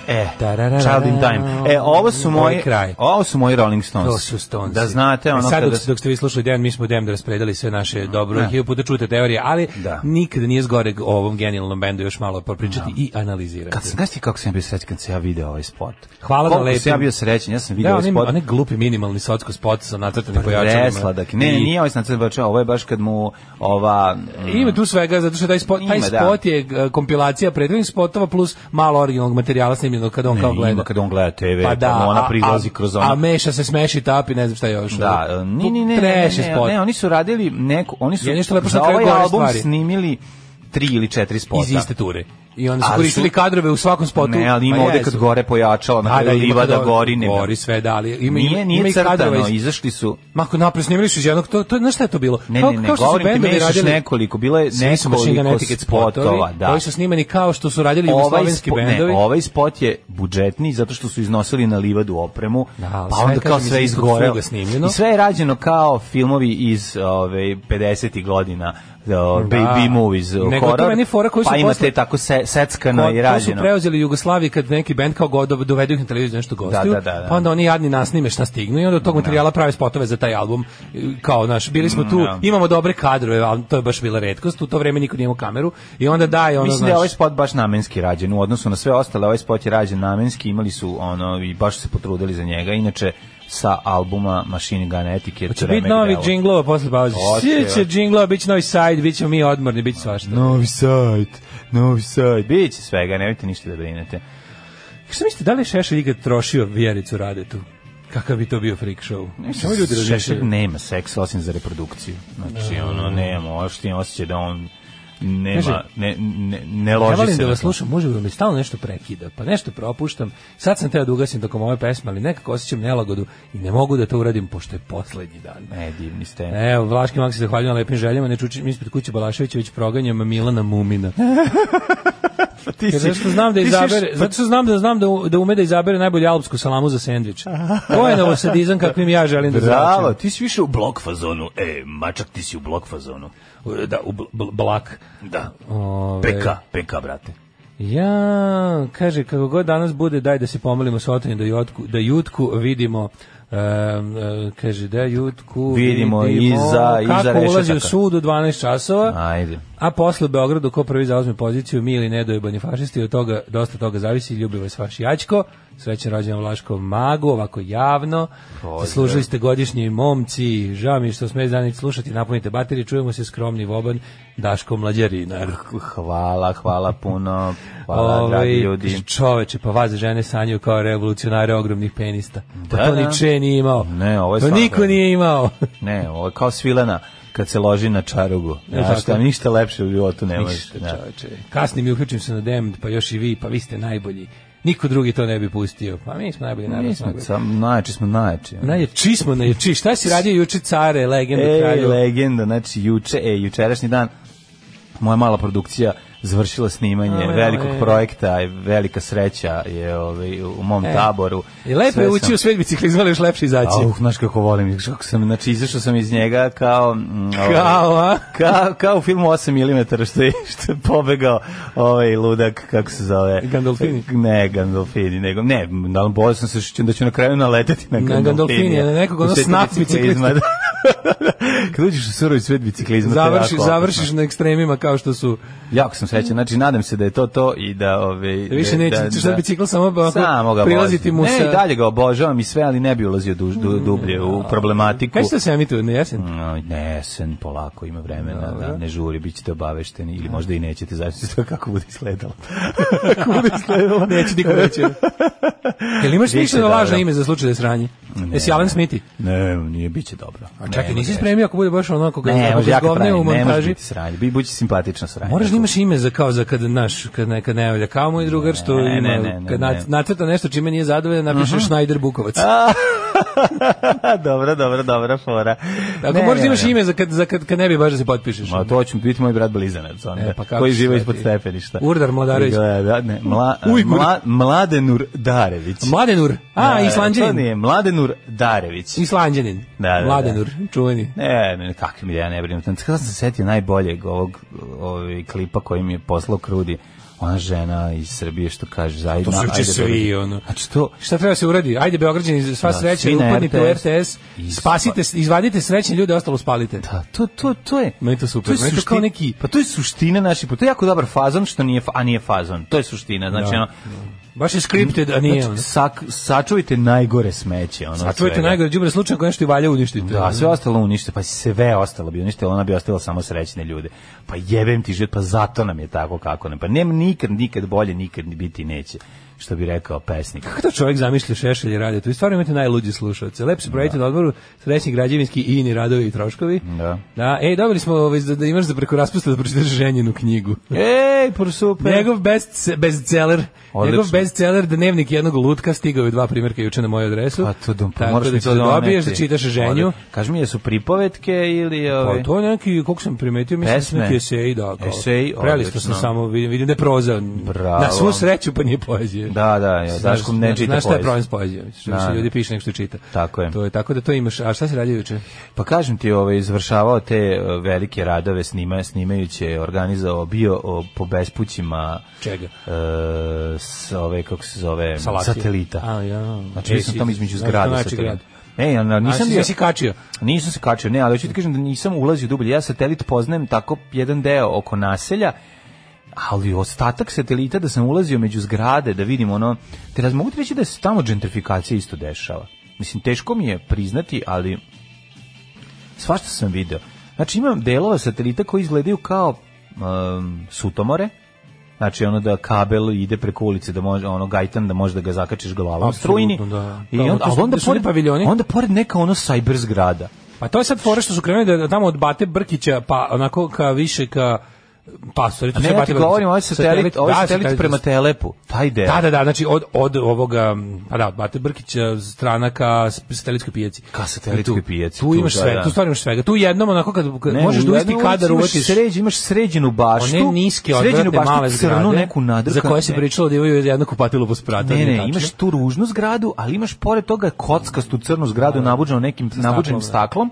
Speaker 7: E,
Speaker 6: Tararara.
Speaker 7: Child in Time. E, ovo su
Speaker 6: Moj
Speaker 7: moji,
Speaker 6: kraj.
Speaker 7: ovo su moji Rolling Stones.
Speaker 6: To su Stonesi.
Speaker 7: Ono Da znate, ono
Speaker 6: E sad,
Speaker 7: kada... Mm.
Speaker 6: dok, dok ste vi slušali Dan, mi smo Dem da raspredali sve naše dobro,
Speaker 7: Da.
Speaker 6: da. puta čute teorije, ali
Speaker 7: Da.
Speaker 6: nikada nije zgoreg o ovom genijalnom bendu još malo popričati i analizirati.
Speaker 7: Kad sam, znaš ti kako sam ja bio srećan kad sam ja video ovaj spot?
Speaker 6: Hvala na
Speaker 7: Koliko
Speaker 6: lepim.
Speaker 7: sam ja bio srećan, ja sam video
Speaker 6: Da,
Speaker 7: ovaj
Speaker 6: onaj,
Speaker 7: spot.
Speaker 6: onaj glupi minimalni socko spot sa nacrtanim pojačalima.
Speaker 7: Presladak. Ne, ne, nije ovaj snad sad bačao, ovo je baš kad mu ova... mm,
Speaker 6: Ima tu svega, zato što taj spot, taj
Speaker 7: Ima, da.
Speaker 6: spot je e, kompilacija prethodnih spotova plus malo originalnog materijala snimljenog kada on
Speaker 7: ne,
Speaker 6: kao
Speaker 7: ima
Speaker 6: gleda.
Speaker 7: Kad on gleda TV,
Speaker 6: Pa da,
Speaker 7: ona
Speaker 6: a-
Speaker 7: prilazi
Speaker 6: a-
Speaker 7: kroz ono.
Speaker 6: A meša se smeši tapi, ne znam šta još.
Speaker 7: Da, e, ni, ni, ne, ne, ne,
Speaker 6: Trash je
Speaker 7: ne,
Speaker 6: spot.
Speaker 7: ne, oni su radili neku, oni su
Speaker 6: Je nešto lepo što
Speaker 7: za
Speaker 6: na kraju
Speaker 7: ovaj
Speaker 6: gore
Speaker 7: album
Speaker 6: stvari.
Speaker 7: snimili tri ili četiri spota.
Speaker 6: iz iste ture. I onda su
Speaker 7: Ali
Speaker 6: koristili
Speaker 7: su-
Speaker 6: kadrove u svakom spotu.
Speaker 7: Ne, ali ima
Speaker 6: Pa
Speaker 7: ovde
Speaker 6: jesu.
Speaker 7: kad gore pojačalo, na
Speaker 6: Da, da,
Speaker 7: kraju
Speaker 6: ima kad
Speaker 7: livada
Speaker 6: ono-
Speaker 7: gori, ne.
Speaker 6: Gori sve, da, ali ima,
Speaker 7: Nije,
Speaker 6: ima
Speaker 7: nije
Speaker 6: i kadrova
Speaker 7: crtano,
Speaker 6: iz-
Speaker 7: izašli su
Speaker 6: Mako napred snimili su iz jednog, to, to, znaš šta je to bilo?
Speaker 7: Ne,
Speaker 6: Kao-
Speaker 7: ne, ne,
Speaker 6: kao što su
Speaker 7: govorim ti,
Speaker 6: bendovi
Speaker 7: mešaš
Speaker 6: radili-
Speaker 7: nekoliko, bilo je
Speaker 6: Svi su Machine Gun
Speaker 7: nekoliko
Speaker 6: Etiquette
Speaker 7: spotova, da. Ovaj
Speaker 6: Koji su snimani kao što su radili jugoslovenski
Speaker 7: spo-
Speaker 6: bendovi.
Speaker 7: Ne, ovaj spot je budžetni zato što su iznosili na livadu opremu,
Speaker 6: Da, ali
Speaker 7: pa
Speaker 6: sve,
Speaker 7: onda kao
Speaker 6: kažem,
Speaker 7: sve
Speaker 6: iz istog
Speaker 7: izgorelo.
Speaker 6: sluga snimljeno.
Speaker 7: I sve je rađeno kao filmovi iz ove 50-ih godina. Da, baby movies,
Speaker 6: Nego
Speaker 7: horror,
Speaker 6: to meni fora koji su
Speaker 7: pa imate
Speaker 6: posle-
Speaker 7: tako se, seckano
Speaker 6: Ko-
Speaker 7: i
Speaker 6: Pa, To su
Speaker 7: rađeno.
Speaker 6: preuzeli Jugoslaviji kad neki bend kao god dovedu ih na televiziju nešto gostuju,
Speaker 7: da, da, da.
Speaker 6: pa onda oni jadni nasnime šta stignu i onda od tog materijala prave spotove za taj album. E, Kao, naš, bili smo tu,
Speaker 7: Mm, da.
Speaker 6: imamo dobre kadrove, ali to je baš bila redkost, u to vreme niko nije imao kameru i onda daje ono,
Speaker 7: Mislim da je
Speaker 6: znaš,
Speaker 7: ovaj spot baš namenski rađen u odnosu na sve ostale, ovaj spot je rađen namenski, imali su ono i baš su se potrudili za njega. Inače sa albuma Machine Gun Etiquette.
Speaker 6: Hoće
Speaker 7: Remek
Speaker 6: biti novi
Speaker 7: Delo.
Speaker 6: džinglova posle pauze.
Speaker 7: Hoće,
Speaker 6: Svi će
Speaker 7: ja.
Speaker 6: džinglova, bit će novi sajt, bit ćemo mi odmorni, bit će svašta.
Speaker 7: Novi sajt, novi sajt. Biće svega, nemojte ništa da brinete.
Speaker 6: Šta mislite, da li je Šešelj ikad trošio vjericu Radetu? Kakav bi to bio freak show? Samo ljudi
Speaker 7: Šešelj
Speaker 6: razmišljaju.
Speaker 7: nema seksa osim za reprodukciju. Znači, ono, nema, oštin osjećaj da on nema,
Speaker 6: Kaže,
Speaker 7: ne, ne, ne
Speaker 6: Ja
Speaker 7: loži
Speaker 6: volim
Speaker 7: se.
Speaker 6: da
Speaker 7: na
Speaker 6: vas
Speaker 7: to.
Speaker 6: slušam, može da mi stalno nešto prekida, pa nešto propuštam. Sad sam teo da ugasim tokom ove pesme, ali nekako osjećam nelagodu i ne mogu da to uradim pošto je poslednji dan.
Speaker 7: E, divni ste.
Speaker 6: Evo, Vlaški Mak se zahvaljujem na lepim željama, ne čučim ispred kuće Balaševića, već proganjam Milana Mumina.
Speaker 7: ti
Speaker 6: Jer Zato što znam da
Speaker 7: ti si-
Speaker 6: izabere, zato što znam da znam da u- da ume da izabere najbolju alpsku salamu za sendvič. To je novosadizam kakvim ja želim da
Speaker 7: Bravo,
Speaker 6: zračim.
Speaker 7: ti si više u blok fazonu. E, mačak, ti si u blok fazonu. E,
Speaker 6: Da, u bl- bl- blak.
Speaker 7: Da.
Speaker 6: Ove,
Speaker 7: Peka, peka, brate.
Speaker 6: Ja, kaže, kako god danas bude, daj da se pomolimo s otanjem da, jotku, da jutku vidimo Um, e, kaže da jutku
Speaker 7: Vidimo iza- iza
Speaker 6: kako ulazi u
Speaker 7: rešetaka.
Speaker 6: sud u 12 časova
Speaker 7: Ajde.
Speaker 6: a posle u Beogradu ko prvi zauzme poziciju mi ili nedojebani fašisti od toga dosta toga zavisi ljubi vas vaš Jačko srećan rođendan Vlaškom magu ovako javno služili ste godišnji momci žao mi je što sme zanić slušati napunite baterije čujemo se skromni voban Daško Mlađarinar
Speaker 7: Hvala, hvala puno. Hvala,
Speaker 6: Ovaj,
Speaker 7: Pa, dragi ljudi.
Speaker 6: kaže, Čoveče, pa vas žene sanjaju kao revolucionare ogromnih penista. Pa
Speaker 7: Da,
Speaker 6: to
Speaker 7: da.
Speaker 6: niče nije imao.
Speaker 7: Ne, ovo je
Speaker 6: To
Speaker 7: stvarno
Speaker 6: niko
Speaker 7: dobro.
Speaker 6: nije imao.
Speaker 7: Ne, ovo je kao svilena kad se loži na čarugu. Znaš,
Speaker 6: E, tako.
Speaker 7: šta, ništa lepše u životu ne možeš.
Speaker 6: Ništa,
Speaker 7: da.
Speaker 6: čoveče. Kasnije mi uključim se na DEM, pa još i vi, pa vi ste najbolji. Niko drugi to ne bi pustio. Pa mi smo najbolji narod.
Speaker 7: Mi smo sam, najjači smo najjači.
Speaker 6: Najjači smo, najjači. Šta si radio juče care, legende,
Speaker 7: Ej,
Speaker 6: kralju?
Speaker 7: legenda, znači juče, e, jučerašnji dan, moja mala produkcija završila snimanje
Speaker 6: Ale,
Speaker 7: velikog
Speaker 6: ale.
Speaker 7: projekta, i velika sreća je ovaj, u mom taboru.
Speaker 6: E, I lepo je
Speaker 7: Sve
Speaker 6: ući
Speaker 7: sam-
Speaker 6: u svet biciklizma, ali još lepše izaći.
Speaker 7: Au, znaš kako volim, kako sam, znači izašao sam iz njega kao... mm, ovaj,
Speaker 6: Kao, a?
Speaker 7: Kao, kao u filmu 8 mm što je, što je pobegao ovaj ludak, kako se zove?
Speaker 6: Gandolfini?
Speaker 7: Ne, Gandolfini, nego, ne, da, bolio sam se što ću- da ću na kraju naleteti na
Speaker 6: Na
Speaker 7: Gandolfini.
Speaker 6: Gandolfinija, na nekog ono snap biciklista.
Speaker 7: Kad uđeš u surovi svet biciklizma, to je
Speaker 6: Završiš,
Speaker 7: jako opasno.
Speaker 6: završiš na ekstremima kao što su
Speaker 7: Jako sam srećan, znači nadam se da je to to i da... Ove,
Speaker 6: Da više neće, ćeš sad bicikl samo ovako
Speaker 7: Samo ga
Speaker 6: prilaziti
Speaker 7: vozim.
Speaker 6: mu sa- Mm.
Speaker 7: Ne, i dalje ga obožavam i sve, ali ne bi ulazio duž, du, dublje u problematiku.
Speaker 6: Kaj ste se emituje na jesen?
Speaker 7: No, ne, jesen, polako, ima vremena, da, ne žuri, bit ćete obavešteni ili možda i nećete, zavisno od toga kako bude izgledalo. kako bude izgledalo.
Speaker 6: Neće niko reći. Jel imaš
Speaker 7: Biće
Speaker 6: mišljeno
Speaker 7: dobro.
Speaker 6: lažno ime za slučaj da je sranje? Jesi Alan Smithi?
Speaker 7: Ne, nije, bit će dobro.
Speaker 6: A čekaj,
Speaker 7: Nema
Speaker 6: nisi
Speaker 7: greške.
Speaker 6: spremio ako bude baš onako kako
Speaker 7: Ne,
Speaker 6: kako
Speaker 7: može jako
Speaker 6: zgovne
Speaker 7: trajno,
Speaker 6: u
Speaker 7: ne može
Speaker 6: montaži.
Speaker 7: biti sranje, bi, bući simpatično sranje.
Speaker 6: Moraš da imaš ime za kao za kad naš kad neka ne valja kao moj drugar što
Speaker 7: Ne, ne,
Speaker 6: ima
Speaker 7: ne, ne,
Speaker 6: kad
Speaker 7: ne. Mhm.
Speaker 6: nat- nacrta nešto čime nije zadovoljan napiše Schneider Bukovac.
Speaker 7: dobro, dobro, dobro, fora.
Speaker 6: Tako
Speaker 7: Ne,
Speaker 6: moraš da
Speaker 7: ne,
Speaker 6: imaš
Speaker 7: ne.
Speaker 6: ime za kad za kad, kad ne bi baš da se potpišeš.
Speaker 7: Ma to će biti moj brat blizanac, onda,
Speaker 6: E, pa kako
Speaker 7: koji
Speaker 6: ćeš
Speaker 7: živa
Speaker 6: to
Speaker 7: ispod
Speaker 6: ti?
Speaker 7: stepeništa.
Speaker 6: Urdar Mladarević.
Speaker 7: Da, da, ne, mla,
Speaker 6: Ujgur.
Speaker 7: mla, Mladenur Darević.
Speaker 6: Mladenur. A,
Speaker 7: Da, To
Speaker 6: Islanđanin.
Speaker 7: nije, Mladenur Darević.
Speaker 6: Islanđanin.
Speaker 7: Da, da, da.
Speaker 6: Mladenur, čuveni.
Speaker 7: Ne, ne, kakvim ja ne brinem. Kada sam se setio najboljeg ovog ovaj, klipa koji mi je poslao Krudi, ona žena iz Srbije što kaže,
Speaker 6: To
Speaker 7: zajedno...
Speaker 6: su
Speaker 7: ajde,
Speaker 6: juče svi,
Speaker 7: Beograd.
Speaker 6: ono.
Speaker 7: Znači to,
Speaker 6: Šta treba se uradi? Ajde Beograđani, sva
Speaker 7: Da,
Speaker 6: sreća,
Speaker 7: svi na
Speaker 6: upadnite u
Speaker 7: RTS.
Speaker 6: RTS,
Speaker 7: I
Speaker 6: spasite, izvadite srećne ljude, ostalo spalite.
Speaker 7: Da, to, to, to je...
Speaker 6: Meni je to super.
Speaker 7: To je
Speaker 6: Meni je to
Speaker 7: suština,
Speaker 6: kao neki-
Speaker 7: Pa to je suština naših... To je jako dobar fazon, što nije, fa- a nije fazon. To je suština. Znači,
Speaker 6: Da.
Speaker 7: ono,
Speaker 6: Baš je scripted, a nije.
Speaker 7: znači,
Speaker 6: ono.
Speaker 7: sak, sačuvajte najgore smeće. Ono, od
Speaker 6: Sačuvajte
Speaker 7: svega.
Speaker 6: najgore đubre slučaj ako nešto i valja uništite.
Speaker 7: Da, sve ostalo unište, pa sve ostalo bi uništilo, ona bi ostavila samo srećne ljude. Pa jebem ti život, pa zato nam je tako kako nam. Pa nema nikad, nikad bolje, nikad ni biti neće, što bi rekao pesnik.
Speaker 6: Kako to čovjek zamišlja Šešelj i radio? Tu i stvarno imate najluđi slušalce. Lep se projekti na odboru, srećni građevinski i ini radovi i troškovi.
Speaker 7: Da.
Speaker 6: Da, ej, dobili smo ovaj, da, da imaš za preko raspusta da pročitaš ženjenu knjigu.
Speaker 7: Ej, por super!
Speaker 6: Njegov best, bestseller,
Speaker 7: Pa- Odlično.
Speaker 6: njegov bestseller Dnevnik jednog lutka stigao je u dva primjerka juče na moju adresu.
Speaker 7: Pa to dom,
Speaker 6: Tako
Speaker 7: moraš
Speaker 6: da
Speaker 7: mi
Speaker 6: to
Speaker 7: doneti.
Speaker 6: dobiješ, da čitaš ženju.
Speaker 7: Ode- Kaži mi, jesu pripovetke ili... ovaj-
Speaker 6: Pa
Speaker 7: Ove...
Speaker 6: to je neki, koliko sam primetio, mislim da su
Speaker 7: Pesme.
Speaker 6: neki eseji, da. Kao,
Speaker 7: Eseji,
Speaker 6: Prelisto sam
Speaker 7: odlično.
Speaker 6: samo, vidim, vidim da je proza.
Speaker 7: Bravo.
Speaker 6: Na svu sreću, pa nije poezije.
Speaker 7: Da, da, ja,
Speaker 6: Znaš,
Speaker 7: Daškom ne
Speaker 6: znaš-
Speaker 7: čita
Speaker 6: Znaš šta je
Speaker 7: poeziju.
Speaker 6: problem s poezijom? Što više
Speaker 7: Da.
Speaker 6: ljudi piše nego što čita.
Speaker 7: Tako je.
Speaker 6: To je tako da to imaš. A šta si radio juče?
Speaker 7: Pa kažem ti, ovaj izvršavao te e, velike radove, snima, snimajuće, organizovao bio o, po bespućima
Speaker 6: Čega?
Speaker 7: e, s ove kako se zove
Speaker 6: Salacije.
Speaker 7: satelita.
Speaker 6: A, ja.
Speaker 7: Znači, ja
Speaker 6: E, si-
Speaker 7: sam tamo između
Speaker 6: znaš to
Speaker 7: zgrada
Speaker 6: najveći
Speaker 7: satelita.
Speaker 6: grad?
Speaker 7: Ne, ja na- nisam
Speaker 6: Nisam
Speaker 7: bio.
Speaker 6: si kačio.
Speaker 7: Nisam se kačio, ne, ali hoću ti kažem da nisam ulazio dublje. Ja satelit poznajem tako jedan deo oko naselja, ali ostatak satelita da sam ulazio među zgrade, da vidim ono... Te raz, mogu ti reći da se tamo gentrifikacija isto dešava. Mislim, teško mi je priznati, ali svašta sam video. Znači, imam delova satelita koji izgledaju kao um, sutomore, Znači ono da kabel ide preko ulice da može ono gajtan da može da ga zakačiš glavom
Speaker 6: Apsolutno,
Speaker 7: strujni.
Speaker 6: da.
Speaker 7: I
Speaker 6: Da,
Speaker 7: onda,
Speaker 6: to su-
Speaker 7: ali onda
Speaker 6: da su oni
Speaker 7: pored
Speaker 6: paviljoni?
Speaker 7: onda pored neka ono cyber zgrada.
Speaker 6: Pa to je sad fora što su krenuli da da tamo od Bate Brkića, pa onako ka više ka pa sorry, to
Speaker 7: Ne,
Speaker 6: sve
Speaker 7: ja
Speaker 6: Bate
Speaker 7: ti
Speaker 6: Brkić.
Speaker 7: govorim, ovaj satelit, ovaj
Speaker 6: da,
Speaker 7: satelit prema telepu, taj deo.
Speaker 6: Da, da, da, znači od, od ovoga, m, pa da, od Bate Brkića, stranaka, s- satelitskoj pijaci.
Speaker 7: Ka satelitskoj
Speaker 6: I
Speaker 7: pijaci,
Speaker 6: Tu,
Speaker 7: tu,
Speaker 6: imaš
Speaker 7: da,
Speaker 6: sve,
Speaker 7: da.
Speaker 6: tu stvarno imaš svega. Tu jednom onako kad, kad
Speaker 7: Ne,
Speaker 6: možeš
Speaker 7: u
Speaker 6: da
Speaker 7: jednoj
Speaker 6: isti
Speaker 7: ulici
Speaker 6: kadar
Speaker 7: imaš
Speaker 6: uvatiš.
Speaker 7: Sređ, imaš sređenu baštu.
Speaker 6: One niske,
Speaker 7: sređenu
Speaker 6: odvratne
Speaker 7: baštu,
Speaker 6: male zgrade,
Speaker 7: crnu neku nadrkanu.
Speaker 6: za koje se
Speaker 7: ne.
Speaker 6: pričalo da imaju jedno kupatilo po spratu.
Speaker 7: Ne,
Speaker 6: nije
Speaker 7: ne,
Speaker 6: tačno.
Speaker 7: imaš tu ružnu zgradu, ali imaš pored toga kockastu crnu zgradu nabuđenu nekim nabuđenim staklom.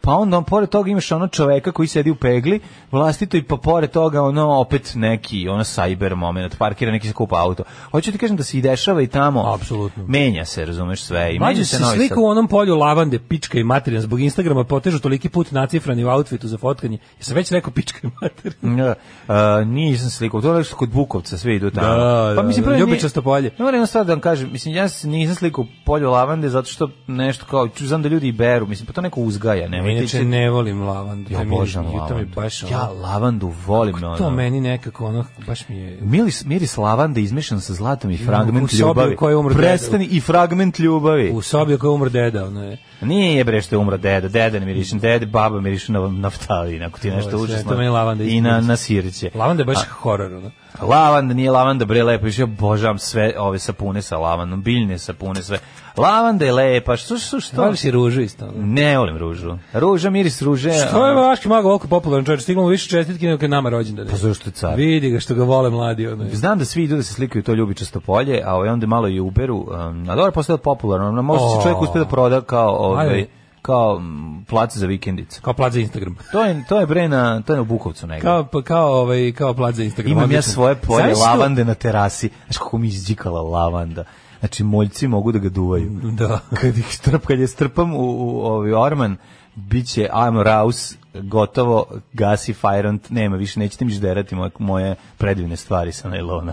Speaker 7: pa onda on, pored toga imaš ono čoveka koji sedi u pegli, vlastito i pa pored toga ono opet neki ono cyber moment, parkira neki se kupa auto. Hoću ti kažem da se i dešava i tamo.
Speaker 6: Apsolutno.
Speaker 7: Menja se, razumeš sve. I menja
Speaker 6: Mađu
Speaker 7: se
Speaker 6: se
Speaker 7: novi
Speaker 6: slika u onom polju lavande, pička i materina, zbog Instagrama potežu toliki put nacifrani u outfitu za fotkanje. Jesam već rekao pička i materina.
Speaker 7: Da, a, nisam slikao, to je nešto kod Bukovca, sve idu tamo. Pa
Speaker 6: Da, da, da,
Speaker 7: prvo nije-
Speaker 6: ljubičasto polje.
Speaker 7: Ne moram jednu stvar da vam kažem, mislim, ja se nisam slikao u polju lavande zato što nešto kao, ču- znam da ljudi i beru, mislim, pa to neko uzgaja, ne?
Speaker 6: Inače ne volim lavandu.
Speaker 7: ja
Speaker 6: to mi je-
Speaker 7: obožavam
Speaker 6: i To mi je
Speaker 7: lavandu.
Speaker 6: baš ono-
Speaker 7: ja lavandu volim, ono.
Speaker 6: Pa To meni nekako ono, baš mi je...
Speaker 7: Miris, miris lavande izmešan sa zlatom i fragment
Speaker 6: u sobi u
Speaker 7: ljubavi.
Speaker 6: kojoj je umro deda.
Speaker 7: Prestani i fragment ljubavi.
Speaker 6: U sobi u kojoj je umro deda, ono je.
Speaker 7: Nije bre što je umro deda, deda ne miriše, deda, baba miriše na naftalin, ako ti je
Speaker 6: To
Speaker 7: nešto
Speaker 6: je sve,
Speaker 7: užasno.
Speaker 6: to meni lavanda
Speaker 7: I na,
Speaker 6: izmiris.
Speaker 7: na sirće.
Speaker 6: Lavanda je baš horor, ono.
Speaker 7: Lavanda nije lavanda, bre, lepo, još ja obožavam sve ove sapune sa lavandom, biljne sapune, sve. Lavanda je lepa, što, što, što?
Speaker 6: Voliš i ružu isto. ono.
Speaker 7: Ne volim ružu. Ruža, miris ruže. ono,
Speaker 6: Što je Vaški mago ovako popularan čovječ? Stiglo mu više čestitke nego kad je nama rođendan.
Speaker 7: Pa zašto je car?
Speaker 6: Vidi ga što ga vole mladi, ono je.
Speaker 7: Znam da svi idu da se slikaju to ljubičasto polje, a ovaj onda malo i uberu. Um, a dobro, postoje popularno. ono, Možda se
Speaker 6: O.
Speaker 7: čovjek uspe da proda kao, ovaj,
Speaker 6: Ajde.
Speaker 7: kao mm, plac za vikendice.
Speaker 6: Kao plat za Instagram.
Speaker 7: To je, to je bre na, to je na Bukovcu negdje.
Speaker 6: Kao, pa, kao, ovaj, kao plat za Instagram.
Speaker 7: Imam ja
Speaker 6: odlično.
Speaker 7: svoje polje
Speaker 6: Znaš što-
Speaker 7: lavande na terasi. Znaš kako mi izđikala lavanda. Znači, moljci mogu da ga duvaju.
Speaker 6: Da.
Speaker 7: Kad ih strp, kad je strpam u, u ovaj orman, bit će I'm Raus, gotovo, gasi fajrant, nema više, nećete mi žderati moje, moje predivne stvari sa najlona.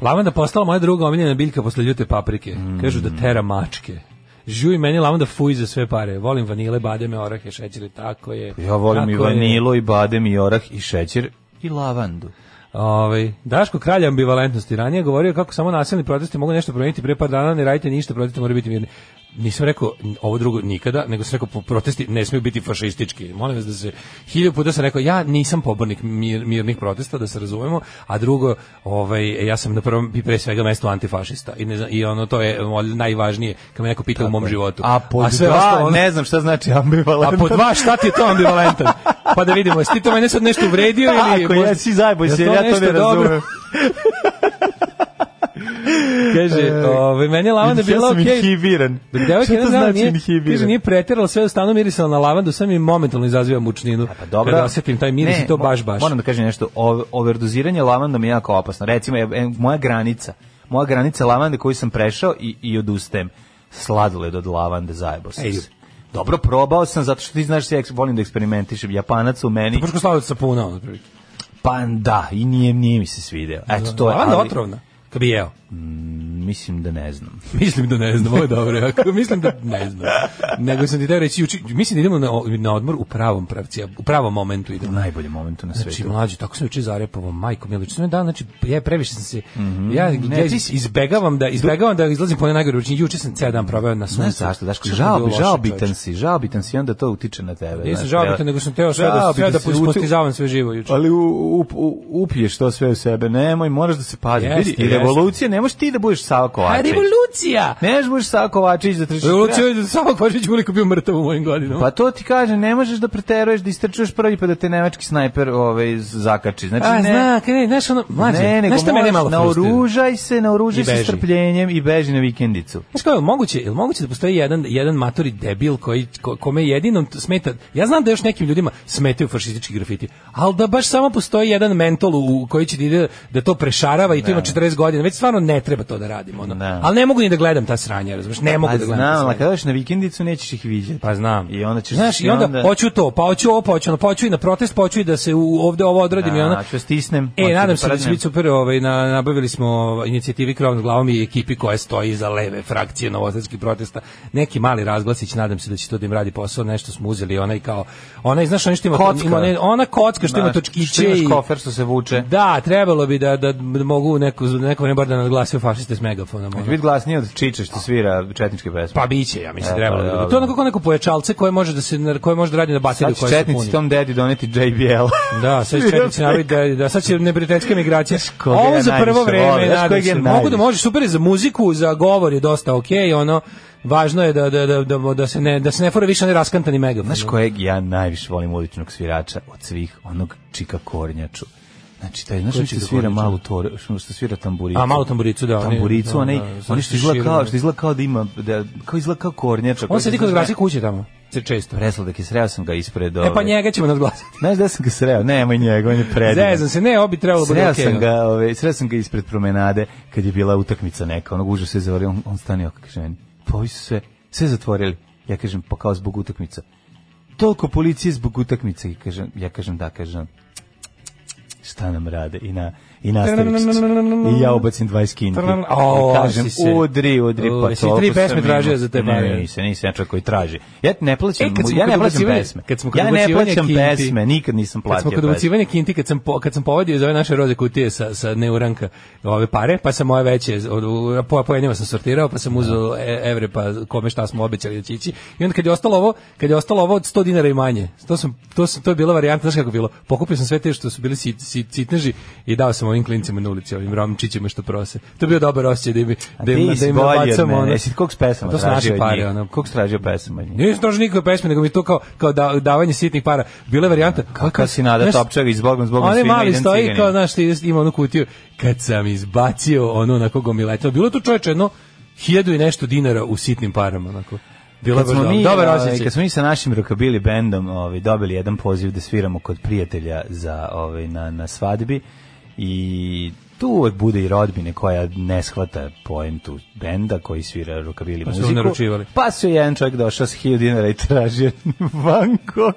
Speaker 6: Lavanda postala moja druga omiljena biljka posle ljute paprike.
Speaker 7: Mm.
Speaker 6: Kažu da tera mačke. Žuj meni lavanda fuj za sve pare. Volim vanile, bademe, orahe, šećer i tako je.
Speaker 7: Ja volim i
Speaker 6: Tako je.
Speaker 7: vanilo, i badem, i orah, i šećer, i lavandu.
Speaker 6: Ovaj Daško kralj ambivalentnosti ranije je govorio kako samo nasilni protesti mogu nešto promeniti pre par dana ne radite ništa protesti moraju biti mirni. Nisam rekao n- ovo drugo nikada, nego sam rekao po- protesti ne smiju biti fašistički. Molim vas da se hiljadu puta sam rekao ja nisam pobornik mir- mirnih protesta da se razumemo, a drugo ovaj ja sam na prvom i pre svega mestu antifašista i ne znam, i ono to je ono, najvažnije kad me neko pita u mom životu.
Speaker 7: A po
Speaker 6: sve
Speaker 7: dva,
Speaker 6: ostalo, ono-
Speaker 7: ne znam šta znači
Speaker 6: a
Speaker 7: ambivalentan.
Speaker 6: po dva, šta ti je to ambivalentan? Pa da vidimo, jesi ti to mene sad nešto uvredio ili...
Speaker 7: Ako
Speaker 6: možda-
Speaker 7: jesi zajeboj
Speaker 6: Jel
Speaker 7: se, jer ja to
Speaker 6: nešto
Speaker 7: ne
Speaker 6: dobro?
Speaker 7: razumem.
Speaker 6: Kaže, ovaj meni je lavanda bila
Speaker 7: E, Ja sam
Speaker 6: okej.
Speaker 7: inhibiran.
Speaker 6: Dok devojka
Speaker 7: Šta
Speaker 6: ne
Speaker 7: to
Speaker 6: znam,
Speaker 7: znači
Speaker 6: nije,
Speaker 7: inhibiran?
Speaker 6: kaže, nije preterala sve u stanu mirisala na lavandu, sam mi momentalno izaziva mučninu.
Speaker 7: Pa dobro.
Speaker 6: Kada osetim taj miris
Speaker 7: Ne,
Speaker 6: i to
Speaker 7: mo-
Speaker 6: baš, baš.
Speaker 7: Moram da kažem nešto, o- overdoziranje lavandom je jako opasno. Recimo, ja- em, moja granica, moja granica lavande koju sam prešao i, i odustajem. Sladoled od lavande zajebo sam
Speaker 6: Ej.
Speaker 7: se. Dobro, probao sam, zato što ti znaš, ja eks- volim da eksperimentišem. Japanac u meni,
Speaker 6: Prško slavod sapuna, ono, otprilike.
Speaker 7: pa da, i nije, nije mi se svideo. Eto, to je,
Speaker 6: Lavanda
Speaker 7: ali-
Speaker 6: otrovna. Kad bi jeo.
Speaker 7: Mislim da ne znam.
Speaker 6: Mislim da ne znam, ovo je dobro. Ako mislim da ne znam. Nego sam ti teo reći, juče- mislim da idemo na, o- na odmor u pravom pravci, a u pravom momentu idemo.
Speaker 7: U najboljem momentu na svetu.
Speaker 6: Znači, mlađi, tako sam juče zarepovao, majko Milić, sam dan, znači, ja previše sam se, ja, ja
Speaker 7: Mhm. Ne, ti si-
Speaker 6: izbegavam da, izbegavam da izlazim po najgore ručnje, juče sam ceo dan proveo na suncu.
Speaker 7: Znaš zašto, Daško,
Speaker 6: Što je
Speaker 7: žao,
Speaker 6: bilo loše,
Speaker 7: žao
Speaker 6: čoveče.
Speaker 7: bitan si, žao bitan si, onda to utiče na tebe.
Speaker 6: Nisam
Speaker 7: znaš,
Speaker 6: žao
Speaker 7: treba-
Speaker 6: bitan, nego sam teo sve da, sve
Speaker 7: Žao
Speaker 6: da
Speaker 7: bitan si, Pa uti-
Speaker 6: ispostizavam sve živo juče.
Speaker 7: Ali u, up, u, upiješ to sve u sebe, nemoj, moraš da se paziš.
Speaker 6: Jeste,
Speaker 7: Vidi, i
Speaker 6: jeste.
Speaker 7: revolucija, ne možeš ti da budeš Sava
Speaker 6: A
Speaker 7: Kovačić.
Speaker 6: revolucija!
Speaker 7: Ne možeš da budeš Sava Kovačić da trčiš.
Speaker 6: Revolucija je da samo Kožić uliko bio mrtav u mojim godinama.
Speaker 7: Pa to ti kažem, ne možeš da preteruješ, da istrčuješ prvi pa da te nemački snajper ovaj, zakači. Znači,
Speaker 6: A,
Speaker 7: ne,
Speaker 6: E, zna, kaj ne, znaš ono, mlađe,
Speaker 7: ne, nego
Speaker 6: znaš šta mene
Speaker 7: moraš,
Speaker 6: malo frustrira?
Speaker 7: naoružaj se, naoružaj
Speaker 6: I
Speaker 7: se
Speaker 6: beži.
Speaker 7: strpljenjem i beži na vikendicu.
Speaker 6: Znaš kao, je li moguće, je li moguće da postoji jedan, jedan matori debil koji, ko, kome jedinom t- smeta, ja znam da još nekim ljudima smetaju fašistički grafiti, ali da baš samo postoji jedan mentol u, u koji će da, ide, da to prešarava i to ima 40 godina, već stvarno ne treba to da radimo. Ono.
Speaker 7: Ne.
Speaker 6: Ali ne mogu ni da gledam ta sranja, razumiješ, ne mogu
Speaker 7: A
Speaker 6: da gledam
Speaker 7: Pa znam,
Speaker 6: ta
Speaker 7: ali
Speaker 6: sranja.
Speaker 7: kada još na vikendicu nećeš ih vidjeti.
Speaker 6: Pa znam.
Speaker 7: I onda ćeš
Speaker 6: Znaš, i onda, hoću to, pa hoću ovo, pa hoću ono, pa hoću i na protest, pa hoću i da se u, ovde ovo odradim i
Speaker 7: Da,
Speaker 6: ono.
Speaker 7: ću stisnem, hoću
Speaker 6: E,
Speaker 7: da
Speaker 6: nadam se da će
Speaker 7: prdnem.
Speaker 6: biti super, ovaj, na, nabavili smo ovaj, inicijativi Krov nad glavom i ekipi koja stoji iza leve frakcije novosadskih protesta. Neki mali razglasić, nadam se da će to da im radi posao, nešto smo uzeli, onaj kao, onaj, znaš, onaj što ima,
Speaker 7: Kocka.
Speaker 6: ima onaj- ona kocka što ima
Speaker 7: Znaš, što
Speaker 6: točkiće
Speaker 7: imaš
Speaker 6: i...
Speaker 7: kofer što se vuče.
Speaker 6: Da, trebalo bi da, da mogu neko, neko vreme bar da nadglasio fašiste s megafonom. ono.
Speaker 7: Biti glasnije od Čiče što svira četničke pesme.
Speaker 6: Pa biće, ja mislim,
Speaker 7: E,
Speaker 6: trebalo
Speaker 7: pa
Speaker 6: bi. da
Speaker 7: dobro.
Speaker 6: bude. To je onako kao neko pojačalce koje može da se koje može da radi na bateriju
Speaker 7: Sad će
Speaker 6: koja se puni.
Speaker 7: Znači, četnici tom dedi doneti JBL.
Speaker 6: Da, sad će četnici napraviti da, da sad će neprijateljska migracija.
Speaker 7: koga ja
Speaker 6: Ovo za
Speaker 7: najviše
Speaker 6: prvo
Speaker 7: volim?
Speaker 6: vreme,
Speaker 7: Znaš
Speaker 6: nadam
Speaker 7: kojeg ja
Speaker 6: se. Mogu
Speaker 7: najviše?
Speaker 6: da može super je za muziku, za govor je dosta okej, ono važno je da da da da, da se ne da se ne fora više ne raskantani megafon.
Speaker 7: Znaš kojeg ja najviše volim uličnog svirača od svih, onog Čika Kornjaču. Znači, taj, znaš
Speaker 6: Ko
Speaker 7: što
Speaker 6: će ga
Speaker 7: svira
Speaker 6: konačno?
Speaker 7: malu tore, što što svira tamburicu.
Speaker 6: A, malu tamburicu, da, oni-
Speaker 7: Tamburicu,
Speaker 6: da,
Speaker 7: onaj,
Speaker 6: da, da,
Speaker 7: oni
Speaker 6: sa
Speaker 7: što izgleda kao,
Speaker 6: širima.
Speaker 7: što izgleda kao da ima, da, kao izgleda kao kornjača.
Speaker 6: On sedi kod gradske kuće tamo. Se često.
Speaker 7: Presladak je sreo sam ga ispred ove.
Speaker 6: E pa njega ćemo nadglasiti.
Speaker 7: Znaš da sam ga sreo? Nemoj njega, on je predivan.
Speaker 6: Zezam se, ne, obi trebalo bude
Speaker 7: Sreo
Speaker 6: okej. ono.
Speaker 7: sam ga, ove, sreo sam ga ispred promenade kad je bila utakmica neka, onog užas se zavorio, on, on stani ovako, kaže meni. Pa ovi su sve, sve zatvorili. Ja kažem, pa kao zbog utakmica. Toliko policije zbog utakmice. I kažem, ja kažem, da, kažem, šta nam rade i na i nastavi i ja ubacim 20 kinti
Speaker 6: Trn- O,
Speaker 7: i kažem
Speaker 6: si se-
Speaker 7: udri udri
Speaker 6: O,
Speaker 7: pa
Speaker 6: jesi
Speaker 7: toliko
Speaker 6: tri pesme
Speaker 7: sam imao.
Speaker 6: tražio za te pare?
Speaker 7: ne nisam nisam ja čovjek koji traži ja ne plaćam
Speaker 6: E, kad smo
Speaker 7: ja ne
Speaker 6: kod
Speaker 7: plaćam
Speaker 6: ubacivanja-
Speaker 7: pesme
Speaker 6: kad smo kod
Speaker 7: ja ne
Speaker 6: ubacivanja
Speaker 7: plaćam
Speaker 6: kinti-
Speaker 7: pesme nikad nisam
Speaker 6: Kad
Speaker 7: platio
Speaker 6: smo kod
Speaker 7: pesme.
Speaker 6: ubacivanja kinti, kad sam, po, kad sam povadio iz ove naše roze kutije sa, sa neuranka ove pare, pa sam moje veće, od, u- po, po jednima sam sortirao, pa sam uzeo e, evre, pa kome šta smo obećali da će ići. I onda kad je ostalo ovo, kad je ostalo ovo od 100 dinara i manje, to, sam, to, sam, to je bila varijanta, znaš kako je bilo, pokupio sam sve te što su bili sit, sit, sitneži i dao sam ovim klincima na ulici, ovim romčićima što prose. To je bio dobar osjećaj da im,
Speaker 7: A
Speaker 6: da im,
Speaker 7: ti
Speaker 6: da
Speaker 7: si
Speaker 6: im
Speaker 7: bolji od
Speaker 6: nabacamo,
Speaker 7: mene.
Speaker 6: ono-
Speaker 7: Jesi kog pesama
Speaker 6: To su
Speaker 7: tražio
Speaker 6: naše
Speaker 7: od
Speaker 6: pare,
Speaker 7: njih?
Speaker 6: ono.
Speaker 7: Kog si tražio pesama od njih?
Speaker 6: Nisam tražio nikakve pesme, nego mi to kao, kao da, davanje sitnih para. Bila je varijanta...
Speaker 7: Kako si Nada Topčagić, Bogom s Bogom
Speaker 6: One
Speaker 7: svima,
Speaker 6: mali
Speaker 7: idem
Speaker 6: stoji
Speaker 7: ciganima.
Speaker 6: kao, znaš, ti ima onu kutiju. Kad sam izbacio ono onako gomiletno, bilo je to čoveče jedno hiljadu i nešto dinara u sitnim parama, onako. Bilo je baš
Speaker 7: Kad smo,
Speaker 6: dobro.
Speaker 7: mi,
Speaker 6: Dobar
Speaker 7: ovaj,
Speaker 6: osjećaj.
Speaker 7: kad smo mi sa našim rockabilly bendom ovaj, dobili jedan poziv da sviramo kod prijatelja za, ovaj, na, na svadbi i tu uvek bude i rodbine koja ne shvata poentu benda koji svira rockabilly
Speaker 6: Pa su
Speaker 7: muziku.
Speaker 6: naručivali.
Speaker 7: Pa su jedan čovjek došao s 1000 dinara i tražio Bangkok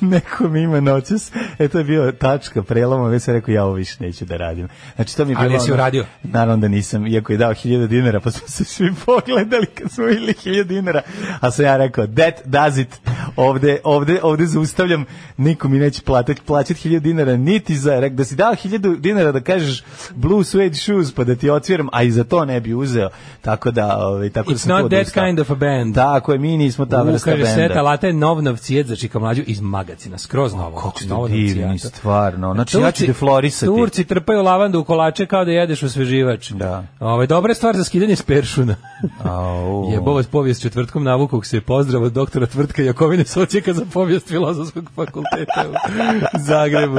Speaker 7: nekom ima noćas. E to je bio tačka preloma, već sam rekao ja ovo više neću da radim. Znači to mi je
Speaker 6: Ali
Speaker 7: bilo
Speaker 6: jesi
Speaker 7: ono-
Speaker 6: uradio?
Speaker 7: Naravno da nisam, iako je dao 1000 dinara, pa smo se svi pogledali kad smo vidjeli 1000 dinara, a sam ja rekao, that does it, ovde, ovde, ovde zaustavljam, niko mi neće platiti, plaćati 1000 dinara, niti za, rek, da si dao 1000 dinara da kažeš blue suede shoes, pa da ti otviram, a i za to ne bi uzeo, tako da, ovaj, tako da
Speaker 6: It's
Speaker 7: sam
Speaker 6: not
Speaker 7: tu
Speaker 6: that
Speaker 7: odustao.
Speaker 6: kind of a band.
Speaker 7: Tako je, mi nismo ta
Speaker 6: U,
Speaker 7: vrsta
Speaker 6: kaže,
Speaker 7: benda.
Speaker 6: seta lata je nov novcijed za čika mlađu iz magacina, skroz novo.
Speaker 7: Kako
Speaker 6: znači,
Speaker 7: ste
Speaker 6: novo
Speaker 7: divni,
Speaker 6: novcijata.
Speaker 7: stvarno. Znači, ja ću
Speaker 6: Turci-
Speaker 7: deflorisati.
Speaker 6: Turci trpaju lavandu u kolače kao da jedeš osveživač.
Speaker 7: Da.
Speaker 6: Ovaj dobra je stvar za skidanje s peršuna.
Speaker 7: Au.
Speaker 6: Jebo vas povijest četvrtkom navukog se pozdrav od doktora Tvrtka Jakovine s odsjeka za povijest filozofskog fakulteta u Zagrebu.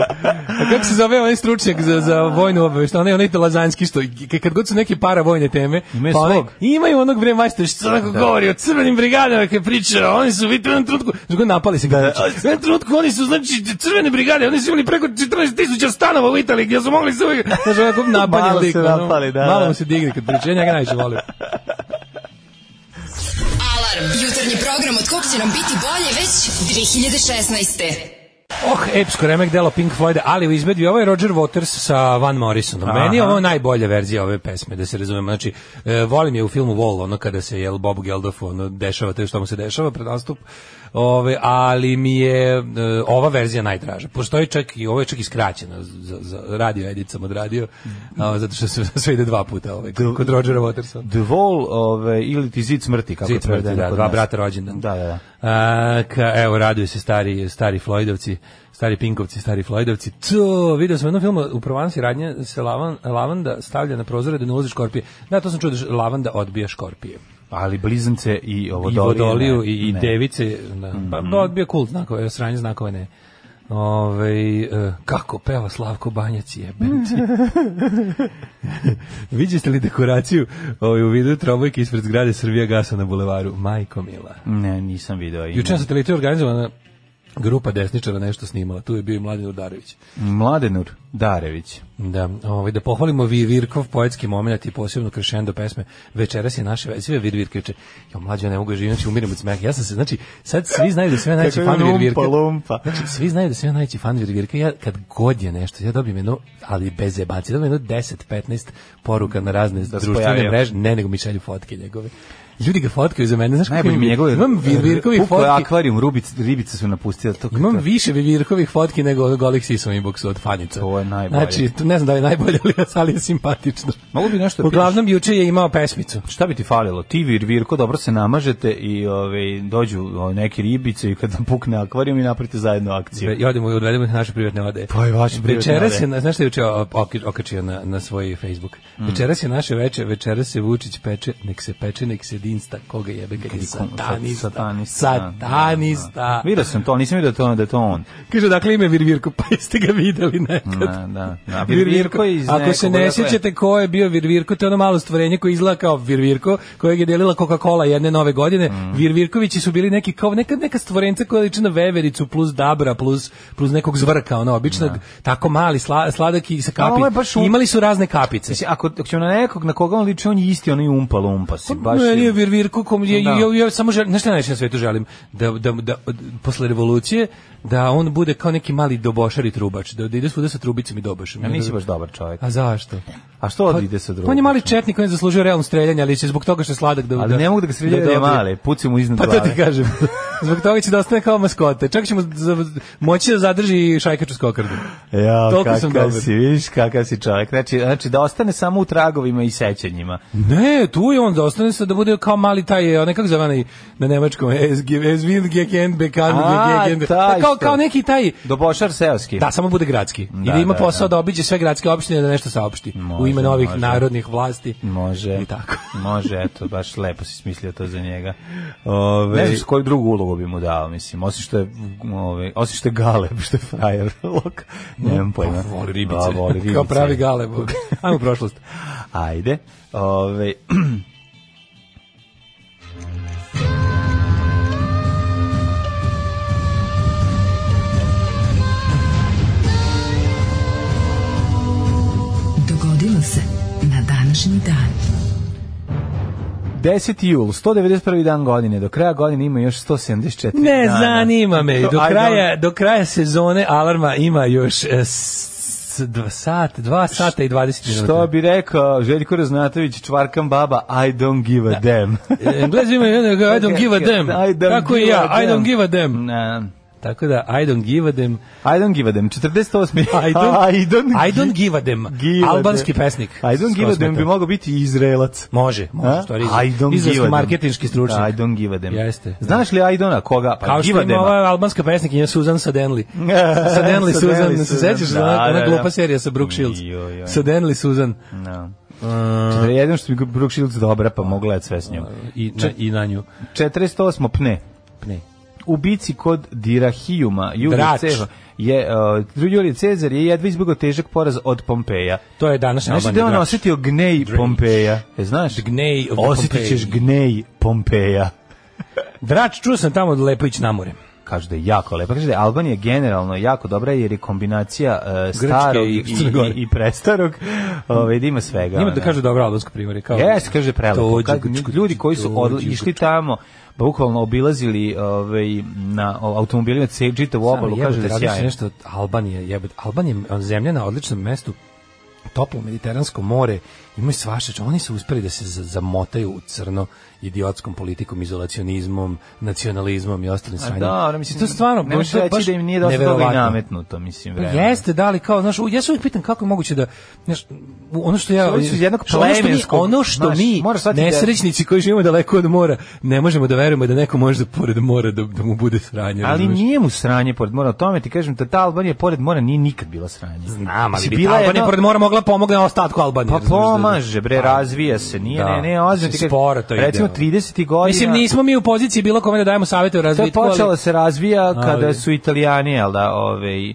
Speaker 6: A kako se zove onaj stručnjak za, za vojnu obavešta? Onaj, onaj Lazanski što, k- kad god su neke paravojne teme, pa
Speaker 7: Imaju
Speaker 6: onaj-
Speaker 7: svog.
Speaker 6: imaju onog bre majstora što tako govori o crvenim brigadama kad priča, oni su vidite u jednom trenutku, znači god napali se da, u jednom trenutku oni su znači crvene brigade, oni su imali preko 14.000 stanova u Italiji gdje su mogli se uvijek, znači onako napali
Speaker 7: Malo se
Speaker 6: lik, ono,
Speaker 7: napali, da,
Speaker 6: malo
Speaker 7: da.
Speaker 6: mu se digne kad priča, ja njega najviše volim.
Speaker 5: Alarm. Jutarnji program od kog će nam biti bolje već 2016.
Speaker 6: Oh, epsko remek delo Pink Floyd, ali u izvedbi ovo je Roger Waters sa Van Morrisonom. Meni je ovo najbolja verzija ove pesme, da se razumemo. Znači, e, volim je u filmu Wall, ono kada se jel Bob Geldof ono, dešava te što mu se dešava pred nastup, Ove, ali mi je e, ova verzija najdraža. Postoji čak i ovo je čak i skraćeno za, za radio edit sam odradio, a, zato što se sve ide dva puta ovaj, kod Rogera Watersa.
Speaker 7: The Wall ove, ili ti zid smrti, kako je
Speaker 6: Zid smrti,
Speaker 7: prevedeno
Speaker 6: da,
Speaker 7: kod
Speaker 6: dva
Speaker 7: nas.
Speaker 6: brata rođendan.
Speaker 7: Da, da, da.
Speaker 6: A, ka, evo, raduju se stari, stari Floydovci, stari Pinkovci, stari Floydovci. To, video sam u jednom filmu u Provansi radnje se lavan, lavanda stavlja na prozore da ne ulazi škorpije. Da, to sam čuo da ž- lavanda odbija škorpije.
Speaker 7: Ali blizance i
Speaker 6: I
Speaker 7: ovodoliju.
Speaker 6: vodoliju i, i device. Da.
Speaker 7: Mm.
Speaker 6: Pa, da, odbija kult znakove, sranje znakove ne. Ove, e, kako peva Slavko Banjac jebem ti. Viđeste li dekoraciju ovaj, u vidu trobojke ispred zgrade Srbija gasa na bulevaru? Majko mila.
Speaker 7: Ne, nisam video. Ima.
Speaker 6: Juče na satelitu je organizovana grupa desničara nešto snimala. Tu je bio i Mladen Udarević.
Speaker 7: Mladenur Darević.
Speaker 6: Da, ovaj, da pohvalimo vi Virkov poetski moment i posebno krešendo pesme. Večeras je naše sve Virvirkeviče. Jo, mlađe, ja ne mogu da živim, znači umirem od smeha. Ja sam se, znači, sad svi znaju da sam ja najveći
Speaker 7: Kako je
Speaker 6: fan
Speaker 7: lumpa,
Speaker 6: Virvirka.
Speaker 7: lumpa.
Speaker 6: Znači, svi znaju da sam ja najveći fan Virvirka. Ja kad god je nešto, ja dobijem jedno, ali bez jebaci, ja dobijem jedno 10-15 poruka na razne društvene
Speaker 7: pojavio.
Speaker 6: mreže. Ne, nego mi šalju fotke njegove. Ljudi ga fotkaju za mene, znaš kako
Speaker 7: Najbolji
Speaker 6: imam,
Speaker 7: mi je njegove...
Speaker 6: imam Virvirkovih
Speaker 7: Puko je
Speaker 6: fotki.
Speaker 7: akvarijum, rubic, ribice su napustile. To,
Speaker 6: Imam više Vivirkovih fotki nego golih sisa u inboxu od fanica.
Speaker 7: To je najbolje.
Speaker 6: Znači, to ne znam da li je najbolje, ali, ali je simpatično.
Speaker 7: Mogu bi nešto da
Speaker 6: Uglavnom, juče je imao pesmicu.
Speaker 7: pitaš? Šta bi ti falilo? Ti vir, virko, dobro se namažete i ove, dođu ove, neke ribice i kad vam pukne akvarijum i napravite zajedno akciju.
Speaker 6: I odemo i odvedemo ih na naše privatne ode.
Speaker 7: To je Pa vaše privatne
Speaker 6: Večeras
Speaker 7: ode.
Speaker 6: je, na- znaš što je juče o- oki-
Speaker 7: Mm.
Speaker 6: okačio na, na svoj Facebook? Večeras je naše veče, večeras se Vučić peče, nek se peče, nek se dine, Insta, koga jebe kad je
Speaker 7: Kom-
Speaker 6: satanista.
Speaker 7: da, da,
Speaker 6: Satanista.
Speaker 7: da. Video sam to, nisam video to, da je to on.
Speaker 6: Kaže, dakle ime Virvirko, pa jeste ga videli nekad.
Speaker 7: Da, da. A Virvirko je iz
Speaker 6: Ako se
Speaker 7: nekog,
Speaker 6: ne
Speaker 7: dakle-
Speaker 6: sjećate ko je bio Virvirko, to je ono malo stvorenje koje izgleda kao Virvirko, kojeg je delila Coca-Cola jedne nove godine.
Speaker 7: Mm.
Speaker 6: Virvirkovići su bili neki kao neka, neka stvorenca koja liči na vevericu plus dabra plus, plus nekog zvrka, ono običnog, tako mali, sla, sladak i sa kapi.
Speaker 7: ovo je baš u-
Speaker 6: Imali su razne kapice.
Speaker 7: Mislim, ako, ako ćemo na nekog na koga on liči, on je isti, on je umpa lumpa. Si, baš
Speaker 6: Baš Pa meni je
Speaker 7: je,
Speaker 6: Virvirko, kom je,
Speaker 7: Da.
Speaker 6: ja, ja, samo želim, znaš šta najviše na svetu želim? Da, da, da, posle revolucije, da on bude kao neki mali dobošar i trubač, da, da ide svuda sa trubicom i dobošem.
Speaker 7: Ja nisi baš dobar čovjek.
Speaker 6: A zašto?
Speaker 7: A što od ide sa drugom?
Speaker 6: On je mali četnik, on je zaslužio realno streljanje, ali će zbog toga što je sladak da...
Speaker 7: Ali ne mogu da ga sređaju da, je
Speaker 6: dobije-
Speaker 7: male, puci mu iznad
Speaker 6: Pa to
Speaker 7: glave.
Speaker 6: ti kažem. Zbog toga će da ostane kao maskote. Čak ćemo za- moći da zadrži šajkaču skokardu.
Speaker 7: Ja,
Speaker 6: Toliko
Speaker 7: kakav
Speaker 6: sam dobar.
Speaker 7: si, vidiš kakav si čovjek. Znači, znači, da ostane samo u tragovima i sećanjima.
Speaker 6: Ne, tu je on da ostane se da bude kao mali taj, onaj kako zove onaj na nemačkom, SG, SVIL GKN, BKN,
Speaker 7: A,
Speaker 6: GKN,
Speaker 7: taj
Speaker 6: kao,
Speaker 7: što-
Speaker 6: kao neki taj,
Speaker 7: Dobošar seoski.
Speaker 6: da samo bude gradski. I da ima
Speaker 7: da,
Speaker 6: posao da, obiđe sve gradske opštine da nešto saopšti u ime
Speaker 7: Može,
Speaker 6: novih
Speaker 7: može.
Speaker 6: narodnih vlasti.
Speaker 7: Može.
Speaker 6: I tako.
Speaker 7: Može, eto, baš lepo si smislio to za njega.
Speaker 6: Ove,
Speaker 7: Ne znam s koju drugu ulogu bi mu dao, mislim, osim što je, ovaj, osim što je galeb, što je frajer, lok, nemam pojma.
Speaker 6: Pa voli ribice.
Speaker 7: Da, voli ribice.
Speaker 6: Kao pravi galeb. Ajmo u prošlost.
Speaker 7: Ajde. Ove,
Speaker 5: Dogodilo se na današnji dan.
Speaker 7: 10. jul, 191. dan godine, do kraja godine ima još 174
Speaker 6: Ne
Speaker 7: dana.
Speaker 6: zanima me.
Speaker 7: To-
Speaker 6: Do
Speaker 7: ajde,
Speaker 6: kraja, do kraja sezone alarma ima još e, s, dva sat, dva sata i 20 minuta.
Speaker 7: Što bi rekao Željko Raznatović, čvarkam baba, I don't give a damn.
Speaker 6: E, Englezi imaju jednog, I don't give a damn.
Speaker 7: I don't
Speaker 6: Tako i
Speaker 7: give
Speaker 6: ja,
Speaker 7: a
Speaker 6: I
Speaker 7: damn.
Speaker 6: don't give a damn.
Speaker 7: Na,
Speaker 6: Tako da, I don't give a damn.
Speaker 7: I don't give a damn. 48.
Speaker 6: I don't,
Speaker 7: I don't,
Speaker 6: I don't give a damn.
Speaker 7: give a
Speaker 6: Albanski
Speaker 7: damn.
Speaker 6: pesnik.
Speaker 7: I don't give a damn bi
Speaker 6: Skosmeta.
Speaker 7: mogao biti Izraelac.
Speaker 6: Može, može,
Speaker 7: A?
Speaker 6: što je
Speaker 7: I don't
Speaker 6: izrazki
Speaker 7: give a damn.
Speaker 6: marketinški stručnjak.
Speaker 7: I don't give a damn.
Speaker 6: Jeste.
Speaker 7: Znaš li Aidona koga? Pa
Speaker 6: Kao što
Speaker 7: give a
Speaker 6: ima
Speaker 7: damn.
Speaker 6: ova albanska pesnikinja Susan Sadenli. Sadenli Susan, ne se
Speaker 7: Susan,
Speaker 6: sećaš?
Speaker 7: da,
Speaker 6: Ona,
Speaker 7: da,
Speaker 6: ona
Speaker 7: da.
Speaker 6: glupa serija sa Brooke Shields. Uh,
Speaker 7: Joj, joj.
Speaker 6: Sadenli Susan.
Speaker 7: No. Jedno što mi Brooke Shields dobra, pa mogu gledati sve s njom.
Speaker 6: I na, i na nju.
Speaker 7: 48. Pne.
Speaker 6: Pne.
Speaker 7: U bici kod Dirahijuma, Julije
Speaker 6: Drač.
Speaker 7: Cezar je, uh, Julije Cezar je jedva izbjegao težak poraz od Pompeja.
Speaker 6: To je današnja
Speaker 7: Znaš da
Speaker 6: Albanija.
Speaker 7: je on
Speaker 6: Drač.
Speaker 7: osjetio gnej
Speaker 6: Drač.
Speaker 7: Pompeja? E, znaš?
Speaker 6: The gnej of the
Speaker 7: Osjetit ćeš
Speaker 6: Pompeji.
Speaker 7: gnej Pompeja.
Speaker 6: Drač, čuo sam tamo od Lepović namore.
Speaker 7: Kaže da je jako lepa. Kaže da je Albanija generalno jako dobra jer je kombinacija uh, starog
Speaker 6: i
Speaker 7: i,
Speaker 6: Crne Gore.
Speaker 7: i, i prestarog. Ovaj, da ima svega.
Speaker 6: Ima da
Speaker 7: ono.
Speaker 6: kažu dobro albansko primjer. Kao,
Speaker 7: Jes, kaže prelepo.
Speaker 6: Tođi,
Speaker 7: Kad
Speaker 6: gučku,
Speaker 7: ljudi koji su odla-
Speaker 6: tođi,
Speaker 7: išli tamo, pa bukvalno obilazili ovaj, na o- automobilima ce- čitavu
Speaker 6: Samo
Speaker 7: obalu, kaže
Speaker 6: jebote,
Speaker 7: da
Speaker 6: radi se
Speaker 7: sjajno.
Speaker 6: nešto od Albanije, jebote. Albanija je zemlja na odličnom mestu, toplo mediteransko more, imaju svašta, čo- oni su uspeli da se za- zamotaju u crno idiotskom politikom, izolacionizmom, nacionalizmom i ostalim
Speaker 7: A
Speaker 6: sranjem.
Speaker 7: Da, ono, mislim,
Speaker 6: to stvarno,
Speaker 7: ne možeš
Speaker 6: to je
Speaker 7: reći
Speaker 6: baš
Speaker 7: da im nije dosta toga i
Speaker 6: neverovatno.
Speaker 7: nametnuto, mislim,
Speaker 6: Pa
Speaker 7: vremena.
Speaker 6: Jeste, da li kao, znaš, u- ja se uvijek pitam kako je moguće da, znaš, u- ono što ja...
Speaker 7: Oni su iz jednog
Speaker 6: što- ono što mi-
Speaker 7: plemenskog,
Speaker 6: Ono što
Speaker 7: znaš,
Speaker 6: mi,
Speaker 7: moraš shvatiti da-
Speaker 6: nesrećnici koji živimo daleko od mora, ne možemo da verujemo da neko može da pored mora da, da mu bude sranje.
Speaker 7: Ali
Speaker 6: razumeš?
Speaker 7: nije mu sranje pored mora, o tome ti kažem da ta Albanija pored mora nije nikad bila sranje.
Speaker 6: Znam, ali
Speaker 7: Mislim,
Speaker 6: bi
Speaker 7: bila
Speaker 6: ta
Speaker 7: je
Speaker 6: Albanija
Speaker 7: jedno-
Speaker 6: pored mora mogla pomogne ostatku Albanije.
Speaker 7: Pa
Speaker 6: razumeš, da-
Speaker 7: pomaže, bre, razvija se, nije,
Speaker 6: Da.
Speaker 7: ne, ne, ozbiljno
Speaker 6: Mislim,
Speaker 7: ti kažem,
Speaker 6: sporo to ide,
Speaker 7: recimo
Speaker 6: ono.
Speaker 7: 30. godina,
Speaker 6: Mislim, nismo mi u poziciji bilo kome da dajemo savete o
Speaker 7: to je
Speaker 6: razvitku,
Speaker 7: počelo
Speaker 6: ali
Speaker 7: se razvija kada
Speaker 6: Ali-
Speaker 7: su italijani, jel da, ovaj, e,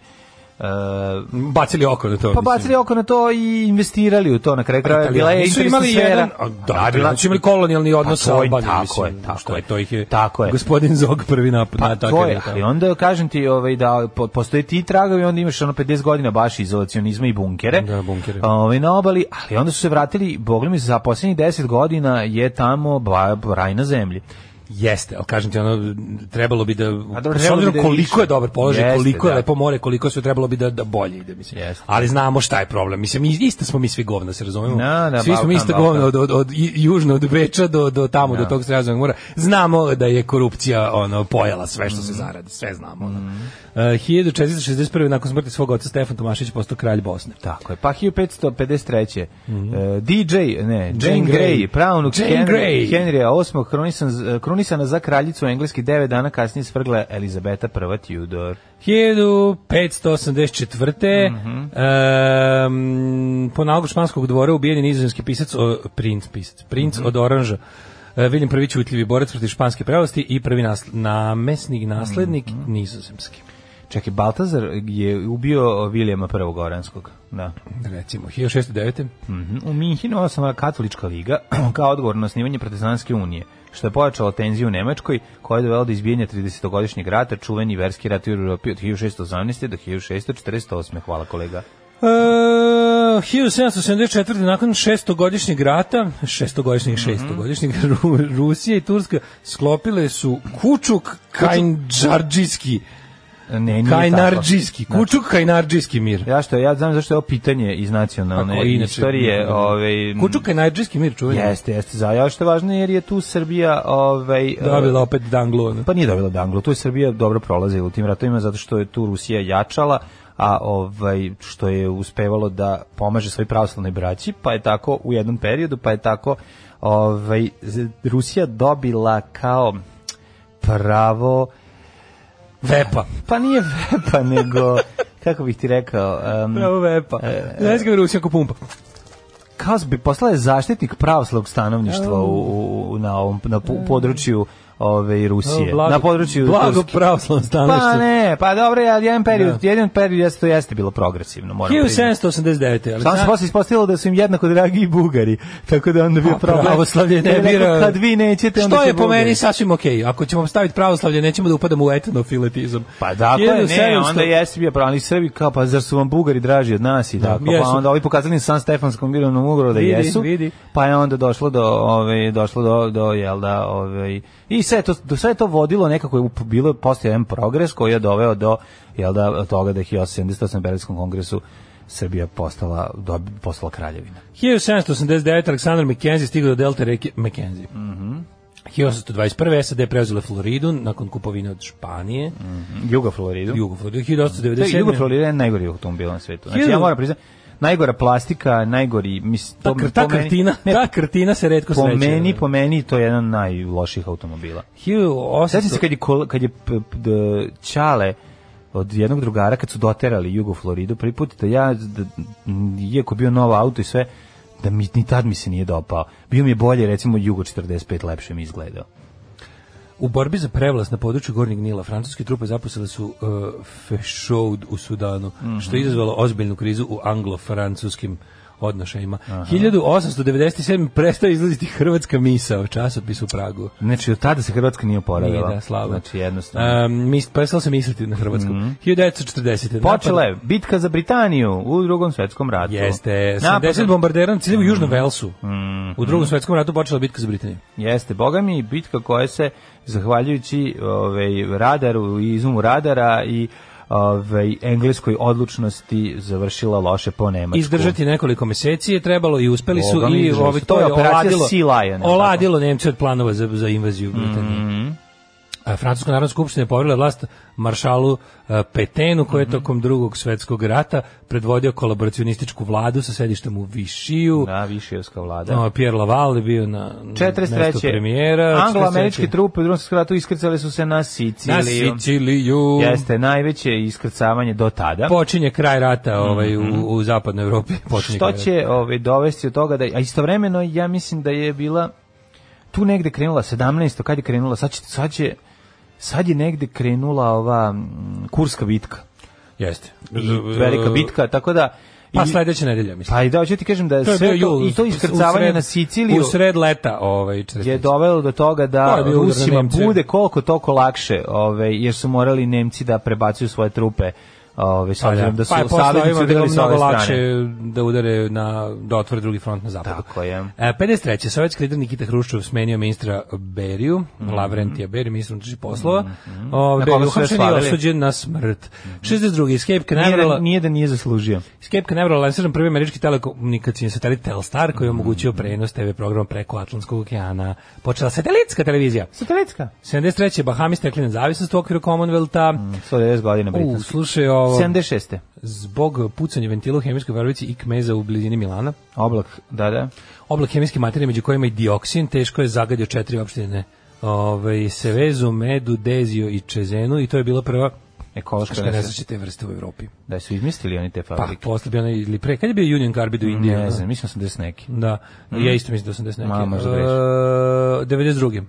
Speaker 6: bacili oko na to.
Speaker 7: pa
Speaker 6: mislim. Pa,
Speaker 7: bacili oko na to i investirali u to na kraju krajeva, bila je
Speaker 6: Italijani su
Speaker 7: interesna
Speaker 6: imali
Speaker 7: sfera.
Speaker 6: jedan, a, da,
Speaker 7: bila-
Speaker 6: da, su imali kolonijalni odnos
Speaker 7: Pa
Speaker 6: sa
Speaker 7: to je-
Speaker 6: Albanijom,
Speaker 7: tako
Speaker 6: mislim,
Speaker 7: je, tako
Speaker 6: što
Speaker 7: je.
Speaker 6: je, to ih je,
Speaker 7: Tako je.
Speaker 6: gospodin Zog prvi napad,
Speaker 7: Pa
Speaker 6: na
Speaker 7: to je, ali onda kažem ti ovaj, da po- postoje ti tragovi, onda imaš ono 50 godina baš izolacionizma i bunkere.
Speaker 6: Da, bunkere.
Speaker 7: Ovaj, na obali, ali onda su se vratili, bogli mi se, za posljednjih 10 godina je tamo ba, raj na zemlji.
Speaker 6: Jeste, ali kažem ti, ono, trebalo bi da,
Speaker 7: A dobro,
Speaker 6: s
Speaker 7: trebalo bi
Speaker 6: obzirom
Speaker 7: da je
Speaker 6: koliko
Speaker 7: više.
Speaker 6: je dobar položaj,
Speaker 7: Jeste,
Speaker 6: koliko je
Speaker 7: da.
Speaker 6: lepo more, koliko sve trebalo bi da, da bolje ide, mislim.
Speaker 7: Jeste.
Speaker 6: Ali znamo šta je problem, mislim, mi, isto smo mi svi govna, se razumemo?
Speaker 7: Da, da,
Speaker 6: svi smo
Speaker 7: Balkan,
Speaker 6: mi isto
Speaker 7: Balkan.
Speaker 6: govna od, od, od i- južno, od Beča do, do tamo, do tog sredozemnog mora. Znamo da je korupcija, ono, pojela sve
Speaker 7: Mm.
Speaker 6: što se zaradi, sve znamo, ono. Uh, 1461. nakon smrti svog oca Stefan Tomašić postao kralj Bosne.
Speaker 7: Tako je, pa 1553. E, DJ, ne, Jane,
Speaker 6: Jane
Speaker 7: Grey,
Speaker 6: Grey.
Speaker 7: pravnuk
Speaker 6: Jane
Speaker 7: Henry,
Speaker 6: Grey.
Speaker 7: Henrya VIII, krunisan, krunisana za kraljicu Engleski 9 dana kasnije svrgla Elizabeta I Tudor.
Speaker 6: 1584. em, po nalogu španskog dvora ubijen je nizozemski pisac, o, princ, pisac, princ od Oranža. E, Viljem prvi ćutljivi borac protiv španske pravosti i prvi nasl namesnik, naslednik nizozemski.
Speaker 7: Čekaj, Baltazar je ubio Vilijama prvog Goranskog. Da.
Speaker 6: Recimo, 1609.
Speaker 7: Mhm. U Minhinu osnovana katolička liga kao odgovor na osnivanje protestantske unije, što je pojačalo tenziju u Nemačkoj, koja je dovela do izbijenja 30-godišnjeg rata, čuveni verski rat u Europi od 1618. do 1648. Hvala kolega.
Speaker 6: E, 1774. nakon šestogodišnjeg rata, šestogodišnjeg, šestogodišnjeg, Ru- Rusija i Turska sklopile su Kučuk Kajnđarđijski,
Speaker 7: Ne, nije tako.
Speaker 6: Kajnarđijski, Kučuk Kajnarđijski mir.
Speaker 7: Ja što ja znam zašto je ovo pitanje iz nacionalne
Speaker 6: Ako inače-
Speaker 7: istorije, ovaj
Speaker 6: Kučuk Kajnarđijski mir, čuveni.
Speaker 7: Jeste, jeste, za ja što je važno jer je tu Srbija, ovaj
Speaker 6: Dobila opet Danglu. ono.
Speaker 7: Pa nije dobila od Anglo, tu je Srbija dobro prolazila u tim ratovima zato što je tu Rusija jačala, a ovaj što je uspevalo da pomaže svoj pravoslavnoj braći, pa je tako u jednom periodu, pa je tako ovaj z- Rusija dobila kao pravo
Speaker 6: Vepa.
Speaker 7: pa nije vepa nego kako bih ti rekao em,
Speaker 6: Pravo Vepa. Znaš ga Rusija ko pumpa.
Speaker 7: kao bi poslala je zaštitnik pravoslavnog stanovništva u, u, u- na ovom na pu- području ove Rusije.
Speaker 6: O, E. blago-
Speaker 7: na području
Speaker 6: blago
Speaker 7: Turske.
Speaker 6: pravoslavno stanovništvo.
Speaker 7: Pa ne, pa dobro, ja jedan period, jedan period jeste to jeste bilo progresivno, moram priznati.
Speaker 6: 1789.
Speaker 7: Samo se
Speaker 6: Aleksandar-
Speaker 7: posle ispostavilo da su im jednako dragi i Bugari, tako da onda bio
Speaker 6: A
Speaker 7: problem.
Speaker 6: pravoslavlje ne
Speaker 7: Kad je rekao,
Speaker 6: bira.
Speaker 7: Kad vi nećete, onda
Speaker 6: Što
Speaker 7: će
Speaker 6: je po
Speaker 7: Bugari.
Speaker 6: meni sasvim okej. Ako ćemo staviti pravoslavlje, nećemo da upadamo u etnofiletizam.
Speaker 7: Pa dakle, ne,
Speaker 6: 1700
Speaker 7: onda jeste bio pravni Srbi, kao, pa zar su vam Bugari draži od nas i tako,
Speaker 6: jesu.
Speaker 7: pa onda ovi pokazali na San Stefanskom mirovnom ugovoru da
Speaker 6: Vidi,
Speaker 7: jesu,
Speaker 6: vidi.
Speaker 7: pa je onda došlo do, ove, došlo do, do jel da, ove, i sve to, do, sve je to vodilo nekako, je up- bilo je postoje jedan progres koji je doveo do, jel da, toga da je 1878. Berlinskom kongresu Srbija postala, dob, postala kraljevina.
Speaker 6: 1789. Aleksandar Mackenzie stigao do delta reke Mackenzie. Mm 1821. SAD je preuzela Floridu nakon kupovine od Španije.
Speaker 7: Juga Floridu.
Speaker 6: Jugo Floridu.
Speaker 7: To je
Speaker 6: 1897.
Speaker 7: Juga Florida je najgori automobil na svetu. Znači,
Speaker 6: Hiljadu-
Speaker 7: ja moram priznati, najgora plastika, najgori, mislim,
Speaker 6: Ta,
Speaker 7: to-
Speaker 6: Pa kr- ta
Speaker 7: po meni-
Speaker 6: kartina,
Speaker 7: ne,
Speaker 6: ta kartina se redko
Speaker 7: po
Speaker 6: sreće. ovaj.
Speaker 7: meni, po meni to je jedan od najloših automobila.
Speaker 6: 1800
Speaker 7: Sećam se kad je kol- kad je p- p- d- Ćale od jednog drugara kad su doterali Jugo Floridu prvi put da ja da, m, iako je bio novo auto i sve da mi ni tad mi se nije dopao. Bio mi je bolje recimo Jugo 45 lepše mi je izgledao.
Speaker 6: U borbi za prevlast na području Gornjeg Nila francuske trupe zaposlile su uh, Fešoud u Sudanu, što je izazvalo ozbiljnu krizu u anglo-francuskim odnošajima. 1897. prestaje izlaziti hrvatska misa o časopisu u Pragu.
Speaker 7: Znači od tada se Hrvatska nije oporavila.
Speaker 6: Nije da, slabo.
Speaker 7: Znači jednostavno.
Speaker 6: Um, mis, prestalo se misliti na hrvatskom. 1940.
Speaker 7: Počela je bitka za Britaniju u drugom svetskom ratu.
Speaker 6: Jeste,
Speaker 7: Napad-
Speaker 6: 70 bombardera na cilju u Južnom Velsu. U drugom svetskom ratu počela bitka za Britaniju.
Speaker 7: Jeste, boga mi, bitka koja se, zahvaljujući ovaj, radaru i izumu radara i ovaj, engleskoj odlučnosti završila loše po Nemačku.
Speaker 6: Izdržati nekoliko meseci je trebalo i uspeli su
Speaker 7: Pa Boga mi,
Speaker 6: i
Speaker 7: izdržali
Speaker 6: ovaj,
Speaker 7: su.
Speaker 6: to
Speaker 7: To
Speaker 6: je
Speaker 7: je operacija
Speaker 6: oladilo,
Speaker 7: Sea Lion, je li Mhm.
Speaker 6: oladilo Nemce od planova za, za invaziju Britanije. A Francuska narodna skupština je poverila vlast maršalu e, Petenu koji
Speaker 7: Mhm.
Speaker 6: je tokom drugog svetskog rata predvodio kolaboracionističku vladu sa sedištem u Višiju.
Speaker 7: Da, višijevska vlada.
Speaker 6: Da. Pierre Laval je bio na mestu
Speaker 7: 43.
Speaker 6: premijera.
Speaker 7: Anglo-američke
Speaker 6: 43..
Speaker 7: trupe u drugom svjetskom ratu iskrcale su se na Siciliju.
Speaker 6: na Siciliju.
Speaker 7: Jeste, najveće iskrcavanje do tada.
Speaker 6: Počinje kraj rata ovaj, u, u zapadnoj Evropi. Počinje
Speaker 7: Mhm. što
Speaker 6: kraj rata.
Speaker 7: će ovaj, dovesti od toga da a istovremeno ja mislim da je bila tu negde krenula 17. kad je krenula sad će, sad će sad je negde krenula ova mm, kurska bitka
Speaker 6: Jeste.
Speaker 7: i velika bitka tako da
Speaker 6: Pa
Speaker 7: i,
Speaker 6: sledeća nedelja, mislim.
Speaker 7: pa i da hoću ti kažem da
Speaker 6: To je
Speaker 7: sve
Speaker 6: bio
Speaker 7: to,
Speaker 6: jul.
Speaker 7: i to
Speaker 6: u
Speaker 7: iskrcavanje
Speaker 6: sred-
Speaker 7: na Siciliju
Speaker 6: U sred leta, ovaj, 43.
Speaker 7: je dovelo do toga
Speaker 6: To
Speaker 7: da
Speaker 6: je bio udar na
Speaker 7: Rusima
Speaker 6: Nemce.
Speaker 7: bude koliko toliko lakše, ovaj jer su morali Nemci da prebacuju svoje trupe, ovaj s
Speaker 6: Pa
Speaker 7: obzirom da su
Speaker 6: je posle
Speaker 7: saveznici
Speaker 6: ovima
Speaker 7: udarili
Speaker 6: bilo
Speaker 7: sa ove
Speaker 6: mnogo
Speaker 7: strane.
Speaker 6: lakše da udare na da otvore drugi front na zapadu.
Speaker 7: Tako je.
Speaker 6: E, 53. Sovjetski lider Nikita Hruščov smenio ministra Beriju, Lavrentija Beriju, ministra unutrašnjih poslova. Mm
Speaker 7: Mhm. Na
Speaker 6: Beriju
Speaker 7: koga su sve
Speaker 6: uhapšen i
Speaker 7: svalili.
Speaker 6: osuđen na smrt. 62. Escape
Speaker 7: Nije da,
Speaker 6: Canaveral
Speaker 7: nije da nije zaslužio.
Speaker 6: Escape Canaveral lansiran prvi američki telekomunikacijni satelit Telstar koji je omogućio
Speaker 7: Mhm.
Speaker 6: prenos TV programa preko Atlantskog okeana. Počela satelitska televizija.
Speaker 7: Satelitska.
Speaker 6: 73. Bahami stekli nezavisnost u okviru Commonwealtha.
Speaker 7: 190 godina
Speaker 6: U,
Speaker 7: Mm, britanski.
Speaker 6: slušaj ovo,
Speaker 7: 76.
Speaker 6: zbog pucanja ventila u hemijskoj varovici i kmeza u blizini Milana,
Speaker 7: Oblak, da, da.
Speaker 6: oblak hemijske materije među kojima i dioksin, teško je zagadio četiri opštine, ovaj, Sevezu, Medu, Dezio i Čezenu i to je bila prva
Speaker 7: ekološka
Speaker 6: Što ne
Speaker 7: nesreća.
Speaker 6: znači te vrste u Evropi.
Speaker 7: Da su izmislili oni te
Speaker 6: Pa,
Speaker 7: fabrike.
Speaker 6: posle bi ona ili pre, kad je bio Union Carbide u Indiji?
Speaker 7: ne
Speaker 6: ono?
Speaker 7: znam, mislim sam da su neki.
Speaker 6: Da, ja isto mislim da sam desne
Speaker 7: Mhm. Ma,
Speaker 6: neke.
Speaker 7: možda
Speaker 6: E,
Speaker 7: grešim. Mhm.
Speaker 6: 92.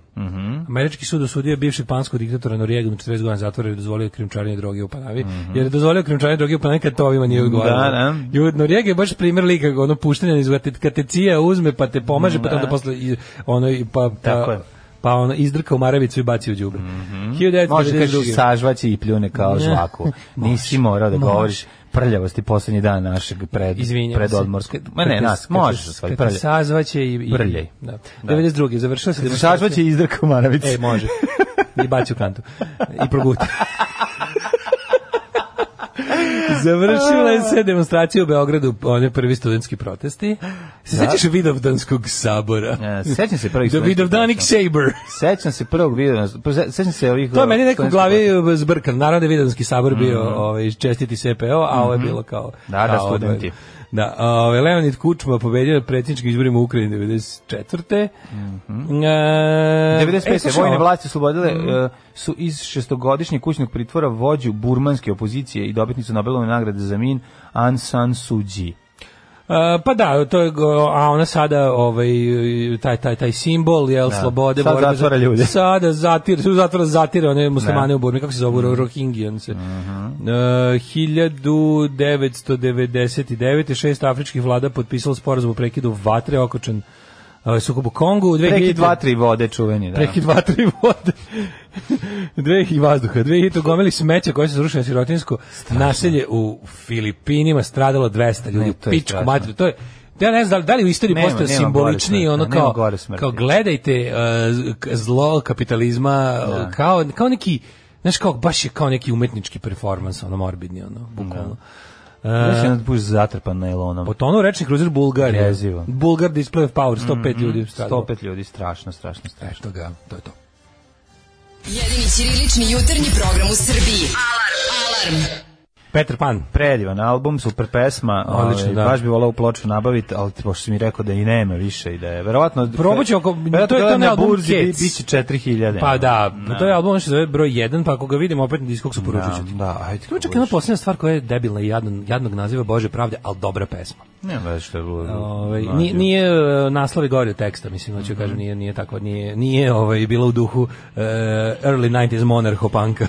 Speaker 6: Američki sud osudio je bivšeg panskog diktatora Noriega na 40 godina zatvora jer je dozvolio krimčarenje droge u Panavi. Jer je dozvolio krimčarenje droge u Panavi kad to ovima nije odgovaralo.
Speaker 7: Mhm. Da, da.
Speaker 6: Ju, Noriega je baš primjer lika, ono puštenja iz vate- kad te cija uzme pa te pomaže, pa te onda posle i- ono, i pa,
Speaker 7: Tako
Speaker 6: pa,
Speaker 7: je. Mhm.
Speaker 6: pa ono, izdrka u maravicu i baci u đubre.
Speaker 7: Može da kažeš
Speaker 6: 1992.
Speaker 7: sažvaće i pljune kao žvaku. Nisi morao da
Speaker 6: Može.
Speaker 7: govoriš prljavosti poslednji dan našeg pred,
Speaker 6: Izvinjam se.
Speaker 7: predodmorskog. Ma
Speaker 6: Kad
Speaker 7: ne,
Speaker 6: te-
Speaker 7: nas,
Speaker 6: kad te-
Speaker 7: možeš da svoj
Speaker 6: kad te
Speaker 7: prljaj.
Speaker 6: Sazvaće i... i-
Speaker 7: Prljaj.
Speaker 6: Da. 92. Završila se...
Speaker 7: Sažvaće i izdrka u maravicu.
Speaker 6: E, može. I baci u kantu. I proguta. Završila se demonstracija u Beogradu, one prvi studentski protesti. Se sećaš Vidovdanskog sabora?
Speaker 7: E, sećam se prvih
Speaker 6: The
Speaker 7: studentskih
Speaker 6: Vidovdanik
Speaker 7: protesta.
Speaker 6: Saber.
Speaker 7: Sećam se prvog videa, se- sećam se ovih... e,
Speaker 6: To je meni neko u
Speaker 7: studentskih
Speaker 6: glavi zbrkan. Naravno da je Vidovdanski sabor bio ovaj, čestiti SPO, a ovo je bilo kao...
Speaker 7: Mhm. Da, da,
Speaker 6: kao ovaj-
Speaker 7: studenti.
Speaker 6: Da, ovaj Leonid Kučma pobedio na predsjedničkim izborima u Ukrajini 94. Mm e,
Speaker 7: 95.
Speaker 6: e, slušaj,
Speaker 7: Mhm. vojne
Speaker 6: ovo-
Speaker 7: vlasti oslobodile e, su iz šestogodišnjeg kućnog pritvora vođu burmanske opozicije i dobitnicu Nobelove nagrade za min Aung San Suu Kyi.
Speaker 6: E, pa da, to je go- a ona sada ovaj taj taj taj simbol je slobode
Speaker 7: sad
Speaker 6: borbe za-
Speaker 7: zatvara ljude.
Speaker 6: Sada zatir, su zatvora zatira one muslimane u Burmi, kako se zovu
Speaker 7: Mhm.
Speaker 6: Rohingyan se. E, 1999. šest afričkih vlada potpisalo sporazum o prekidu vatre okočen e, sukobu u Kongu.
Speaker 7: Preki
Speaker 6: 2000
Speaker 7: dva, tri vode čuveni. Da.
Speaker 6: Preki dva, tri vode. Dve i vazduha. Dve i to gomili smeća koje se zrušile na sirotinsko naselje u Filipinima stradalo 200 ljudi.
Speaker 7: Ne,
Speaker 6: u
Speaker 7: to je
Speaker 6: pičku
Speaker 7: strašno.
Speaker 6: mater. To je Ja ne znam da li- da li u istoriji
Speaker 7: Nema-
Speaker 6: postoje
Speaker 7: nema gore
Speaker 6: simbolični
Speaker 7: smrti,
Speaker 6: ono
Speaker 7: da, nema
Speaker 6: kao
Speaker 7: gore smrti.
Speaker 6: kao gledajte uh, z- k- zlo kapitalizma uh, kao kao neki znaš kao baš je kao neki umetnički performans ono morbidni ono bukvalno.
Speaker 7: Znaš, jedan buš zatrpan najlonom.
Speaker 6: Potonuo rečni kruzer Bulgarije.
Speaker 7: Jezivo. Mhm,
Speaker 6: Bulgar display of power 105 ljudi stradalo.
Speaker 7: 105 ljudi, strašno, strašno, strašno.
Speaker 6: Eto ga, to je to.
Speaker 5: Jedini ćirilični jutarnji program u Srbiji. Alarm. Alarm.
Speaker 6: Peter Pan.
Speaker 7: Predivan album, super pesma,
Speaker 6: Odlično,
Speaker 7: ovaj,
Speaker 6: da.
Speaker 7: baš bi volao ploču nabaviti, ali pošto si mi rekao da i nema više i da je verovatno...
Speaker 6: Probat ću oko-
Speaker 7: verovatno
Speaker 6: to je- to je
Speaker 7: na
Speaker 6: onaj album
Speaker 7: burzi bi-
Speaker 6: Cats.
Speaker 7: Biće 4000.
Speaker 6: Pa da, to je album što se zove broj 1, pa ako ga vidimo opet na diskoksu poručit
Speaker 7: Da,
Speaker 6: ću ti.
Speaker 7: da, ajde.
Speaker 6: Ima čak jedna posljedna stvar koja je debilna i jadna, jadnog naziva Bože pravde, ali dobra pesma.
Speaker 7: Nema već što je bilo.
Speaker 6: Ovaj,
Speaker 7: Mlađe.
Speaker 6: nije, nije e, naslov je gori od teksta, mislim, hoću kažem, nije, nije tako, nije, nije ovaj, bila u duhu e, early 90s monarchopanka.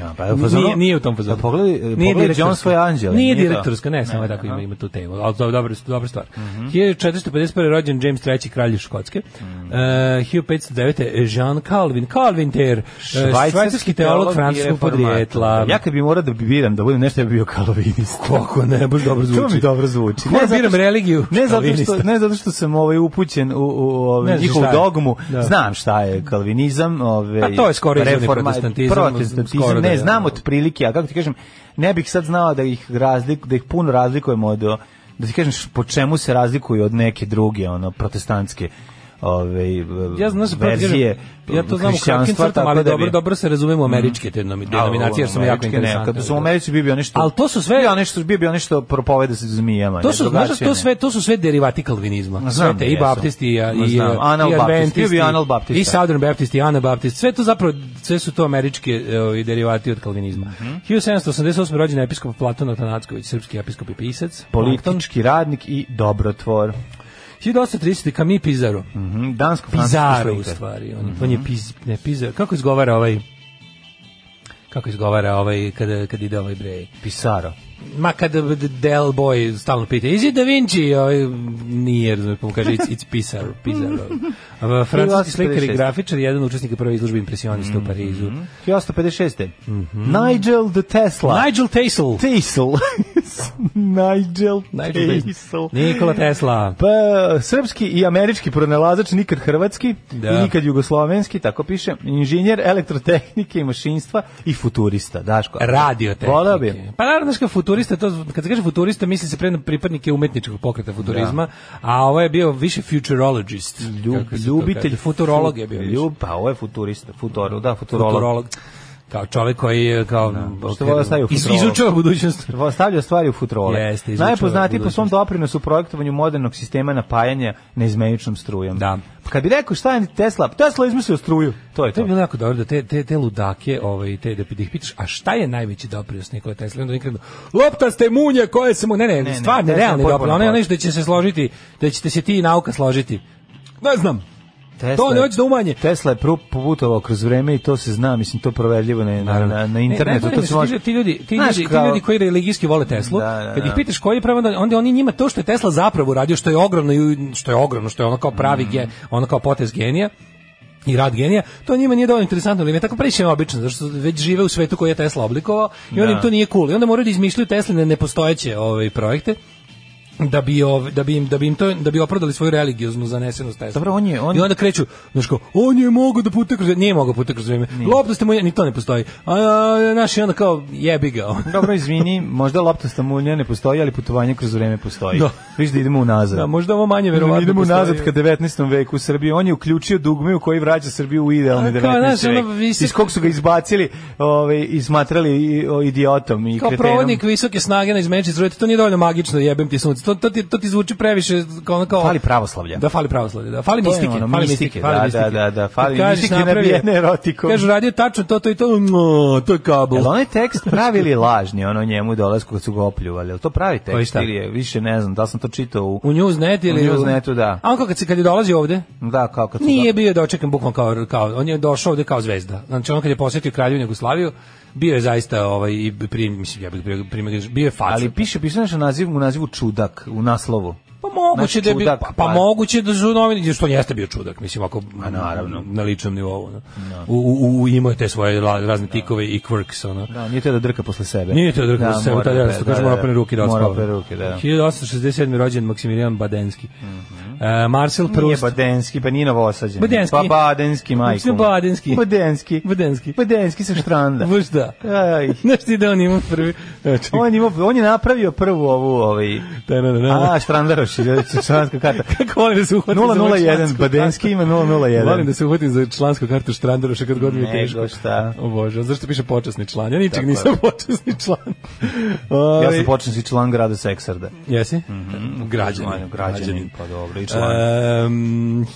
Speaker 7: Ja, pa je u fazonu-
Speaker 6: nije, nije u tom fazonu.
Speaker 7: Pa pogledaj, e, pogledaj
Speaker 6: direktorska.
Speaker 7: John svoje anđele,
Speaker 6: Nije,
Speaker 7: nije to?
Speaker 6: direktorska, ne, samo je tako ima, ima tu temu. Ali to je dobra, dobra stvar.
Speaker 7: Mhm.
Speaker 6: 1451. rođen James III. kralj Škotske.
Speaker 7: Mhm.
Speaker 6: E, 1509. Jean Calvin, Calvin Ter, e, švajcarski teolog
Speaker 7: i
Speaker 6: francuskog
Speaker 7: reformator.
Speaker 6: podrijetla.
Speaker 7: Ja kad bi morao da biram da budem nešto, ja bi bio kalvinist.
Speaker 6: Kako ne, baš dobro zvuči.
Speaker 7: To mi dobro zvuči.
Speaker 6: Moram
Speaker 7: zato
Speaker 6: biram
Speaker 7: što-
Speaker 6: religiju,
Speaker 7: Ne zato što
Speaker 6: kalvinista.
Speaker 7: ne zato što sam ovaj upućen u, u ovaj
Speaker 6: Ne znaš
Speaker 7: njihovu
Speaker 6: šta je.
Speaker 7: dogmu.
Speaker 6: Da.
Speaker 7: Znam šta je kalvinizam, ovaj
Speaker 6: Pa to je skoro izvorni protestantizam,
Speaker 7: protestantizam,
Speaker 6: skoro da
Speaker 7: ne
Speaker 6: je,
Speaker 7: znam
Speaker 6: ono.
Speaker 7: otprilike, a kako ti kažem, ne bih sad znao da ih razlik da ih puno razlikujemo od da ti kažem š- po čemu se razlikuju od neke druge ono protestantske ovaj, ove
Speaker 6: Ja znam da se protiv-
Speaker 7: verzije
Speaker 6: ja to znam u kratkim
Speaker 7: hrišćanstva,
Speaker 6: crtama,
Speaker 7: tako
Speaker 6: ali
Speaker 7: da
Speaker 6: dobro,
Speaker 7: bi-
Speaker 6: dobro se razumemo u američke te nomi- denominacije, jer su mi jako
Speaker 7: Američke ne,
Speaker 6: interesantne.
Speaker 7: Kad su u Americi bio bio nešto.
Speaker 6: Ali to su sve-
Speaker 7: bio nešto bio bio nešto propoveda se zmijama.
Speaker 6: To
Speaker 7: ne,
Speaker 6: su, znaš,
Speaker 7: drugačije
Speaker 6: to
Speaker 7: ne.
Speaker 6: sve, to su sve derivati kalvinizma. Sve
Speaker 7: Znam
Speaker 6: te
Speaker 7: da
Speaker 6: i
Speaker 7: jesu.
Speaker 6: baptisti, i,
Speaker 7: Ma
Speaker 6: i,
Speaker 7: znam,
Speaker 6: i
Speaker 7: Anabaptisti, bio
Speaker 6: adventisti,
Speaker 7: bi Anabaptista.
Speaker 6: i southern baptisti, i anabaptisti. Sve to zapravo, sve su to američke e, ovi, derivati od kalvinizma.
Speaker 7: Mhm.
Speaker 6: 1788. rođen je episkop Platon Atanacković, srpski episkop i pisac. Plankton.
Speaker 7: politički radnik i dobrotvor.
Speaker 6: 1830. Camille Pizarro.
Speaker 7: Mhm, Dansko
Speaker 6: Pizarro
Speaker 7: francuski
Speaker 6: u
Speaker 7: slikar.
Speaker 6: stvari. On, je- on je piz, ne, Pizarro. Kako izgovara ovaj kako izgovara ovaj kada kad ide ovaj bre
Speaker 7: Pisaro.
Speaker 6: ma kada Del Boy stalno pita is it Da Vinci ovaj nije razumem pa mu kaže it's, it's Pizarro Pizarro A, francuski slikar i
Speaker 7: 1856.
Speaker 6: grafičar jedan učesnik prve izložbe impresionista u Parizu
Speaker 7: 1856. Nigel the Tesla.
Speaker 6: Mhm. Nigel Tesla
Speaker 7: Tesla. Nigel,
Speaker 6: Nigel
Speaker 7: Tesla.
Speaker 6: Nikola Tesla
Speaker 7: Pa, srpski i američki pronalazač, nikad hrvatski
Speaker 6: Da.
Speaker 7: i nikad jugoslovenski, tako piše, inženjer elektrotehnike i mašinstva i futurista, Daško.
Speaker 6: radio tehnike.
Speaker 7: Pa, Voleo bi.
Speaker 6: Pa naravno, znaš kao futurista, to, kad se kaže futurista, misli se pre na pripadnike umetničkog pokreta futurizma, a ovo je bio više futurologist.
Speaker 7: Ljub,
Speaker 6: kako se to
Speaker 7: ljubitelj
Speaker 6: kaže. Futurolog je bio više.
Speaker 7: Ljub, pa ovo je futurista, futuro, da, futurolog.
Speaker 6: Futurolog. kao čovjek koji je kao
Speaker 7: što vole stavio
Speaker 6: iz,
Speaker 7: futrolu.
Speaker 6: izučava budućnost.
Speaker 7: Stavlja stvari u futrole.
Speaker 6: Jeste, izučava
Speaker 7: Najpoznatiji po svom
Speaker 6: budućnost.
Speaker 7: doprinosu u projektovanju modernog sistema napajanja neizmeničnom strujom.
Speaker 6: Da.
Speaker 7: Pa kad bi rekao šta je Tesla, Tesla je izmislio struju. To je
Speaker 6: To
Speaker 7: to.
Speaker 6: je bilo jako dobro da te, te, te ludake, ovaj, te, da ih pitaš, a šta je najveći doprinos Nikola Tesla? I Onda oni krenu, loptaste munje koje se mu... Ne, ne,
Speaker 7: ne,
Speaker 6: stvarno,
Speaker 7: Tesla je
Speaker 6: realni
Speaker 7: potpuno
Speaker 6: doprinos. Ono je
Speaker 7: protiv.
Speaker 6: nešto da će se složiti, da ćete se ti i nauka složiti. Ne znam,
Speaker 7: Tesla
Speaker 6: to ne
Speaker 7: je-
Speaker 6: hoće da umanje.
Speaker 7: Tesla je pru- putovao kroz vreme i to se zna, mislim, to je proverljivo na, na, na, na internetu.
Speaker 6: Ne, najgore
Speaker 7: to
Speaker 6: mi
Speaker 7: se
Speaker 6: su
Speaker 7: može...
Speaker 6: ti, ti ljudi, ti,
Speaker 7: Znaš,
Speaker 6: ljudi, ti
Speaker 7: kao-
Speaker 6: ljudi koji religijski vole Teslu,
Speaker 7: Da, da,
Speaker 6: kad ih
Speaker 7: da.
Speaker 6: pitaš koji je pravi, onda, onda oni njima to što je Tesla zapravo uradio, što je ogromno, i- što je ogromno, što je ono kao pravi,
Speaker 7: Mm.
Speaker 6: ge, ono kao potez genija, i rad genija, to njima nije dovoljno interesantno, ali im je tako previše obično, zato što već žive u svetu koji je Tesla oblikovao i onda im
Speaker 7: Da.
Speaker 6: to nije cool. I onda moraju da izmišljaju Tesline nepostojeće ove projekte da bi ov- da bi im da bi im to da bi opravdali svoju religioznu zanesenost Tesla.
Speaker 7: Dobro, on je- on-
Speaker 6: I onda kreću, znaš kao, on je mogao da putuje kroz, nije mogao putuje kroz vreme. Loptaste mu je, ni to ne postoji. A, a, naš i onda kao jebi ga.
Speaker 7: Dobro, izvini, možda loptasta mulja ne postoji, ali putovanje kroz vreme postoji.
Speaker 6: Da.
Speaker 7: Viš da idemo unazad.
Speaker 6: Da, možda ovo manje verovatno.
Speaker 7: idemo
Speaker 6: postoji.
Speaker 7: nazad ka 19. veku u Srbiji. On je uključio dugme u koji vraća Srbiju u idealni
Speaker 6: A, kao, znaš,
Speaker 7: 19.
Speaker 6: ono, vi
Speaker 7: vek.
Speaker 6: ste-
Speaker 7: Iz kog su ga izbacili ovaj, i smatrali i- o, idiotom i
Speaker 6: kao
Speaker 7: kretenom.
Speaker 6: provodnik visoke snage na izmenični struje, to nije dovoljno magično, jebem ti sunce. To, to, ti, to ti zvuči previše kao ono kao...
Speaker 7: Fali pravoslavlja.
Speaker 6: Da, fali pravoslavlje, da. Fali
Speaker 7: To je
Speaker 6: mistike,
Speaker 7: ono,
Speaker 6: fali
Speaker 7: mistike,
Speaker 6: mistike, fali
Speaker 7: da,
Speaker 6: mistike.
Speaker 7: da, da, da, fali
Speaker 6: Kad kažeš
Speaker 7: mistike
Speaker 6: napravio je-
Speaker 7: nabijene erotikom.
Speaker 6: Kažu, radio je tačno to, to i to, mm, to je kabel.
Speaker 7: Jel onaj tekst pravi ili lažni, ono njemu dolasku kad su ga opljuvali? Jel to pravi
Speaker 6: Koji
Speaker 7: tekst
Speaker 6: šta?
Speaker 7: ili je, više ne znam, da li sam to čitao u...
Speaker 6: U Newsnet ili...
Speaker 7: U Newsnetu, da.
Speaker 6: A on kao kad, se, kad je dolazio ovde,
Speaker 7: Da, kao kad su
Speaker 6: Nije
Speaker 7: ga-
Speaker 6: bio dočekan bukvalno kao, kao on je došao ovde kao zvezda. Znači on kad je posjetio Kraljevinu Jugoslaviju, bio je zaista ovaj i prim, mislim ja bih primio, bio je faca.
Speaker 7: Ali piše, piše nešto naziv, u nazivu čudak, u naslovu.
Speaker 6: pa moguće
Speaker 7: znači,
Speaker 6: da je bio,
Speaker 7: čudak,
Speaker 6: pa,
Speaker 7: pa-
Speaker 6: pa moguće da su novini, što on jeste bio čudak, mislim ako
Speaker 7: A, naravno.
Speaker 6: na ličnom nivou, no. U, u, u imao je te svoje la- razne tikove i quirks, ono.
Speaker 7: Da, nije teo da drka posle sebe.
Speaker 6: Nije to drugo da,
Speaker 7: Da,
Speaker 6: sebe,
Speaker 7: mora
Speaker 6: tada
Speaker 7: da,
Speaker 6: ja što
Speaker 7: da,
Speaker 6: kažem
Speaker 7: da,
Speaker 6: mora
Speaker 7: da.
Speaker 6: opere ruke da Znači,
Speaker 7: Mora
Speaker 6: odspava.
Speaker 7: opere ruke, da.
Speaker 6: 1867. rođen Maksimilijan Badenski. E, Marcel
Speaker 7: Mhm. Nije
Speaker 6: Proust.
Speaker 7: Badenski, pa nije novosađen.
Speaker 6: Badenski.
Speaker 7: Pa Badenski, majko.
Speaker 6: Mislim, Badenski.
Speaker 7: Badenski.
Speaker 6: Badenski.
Speaker 7: Badenski sa štranda.
Speaker 6: Baš da.
Speaker 7: Aj.
Speaker 6: Znaš ti da on ima prvi... Znači,
Speaker 7: On, ima, on je napravio prvu ovu, ovaj...
Speaker 6: Da, da, da, da.
Speaker 7: A, Štrandaroš, je članska karta.
Speaker 6: Kako volim da se uhvatim za ovu
Speaker 7: 001,
Speaker 6: člansku
Speaker 7: Badenski ima 001.
Speaker 6: Volim da se uhvatim za člansku kartu Štrandaroša kad god mi je
Speaker 7: Nego
Speaker 6: teško.
Speaker 7: šta.
Speaker 6: O Bože, a zašto piše počasni član? Ja ničeg
Speaker 7: Tako je.
Speaker 6: nisam počasni član.
Speaker 7: Ja
Speaker 6: Ovaj, Mm.
Speaker 7: sam počinci član grada Seksarda.
Speaker 6: Jesi? Građanin. E,
Speaker 7: Građanin, pa dobro, i član.
Speaker 6: Um,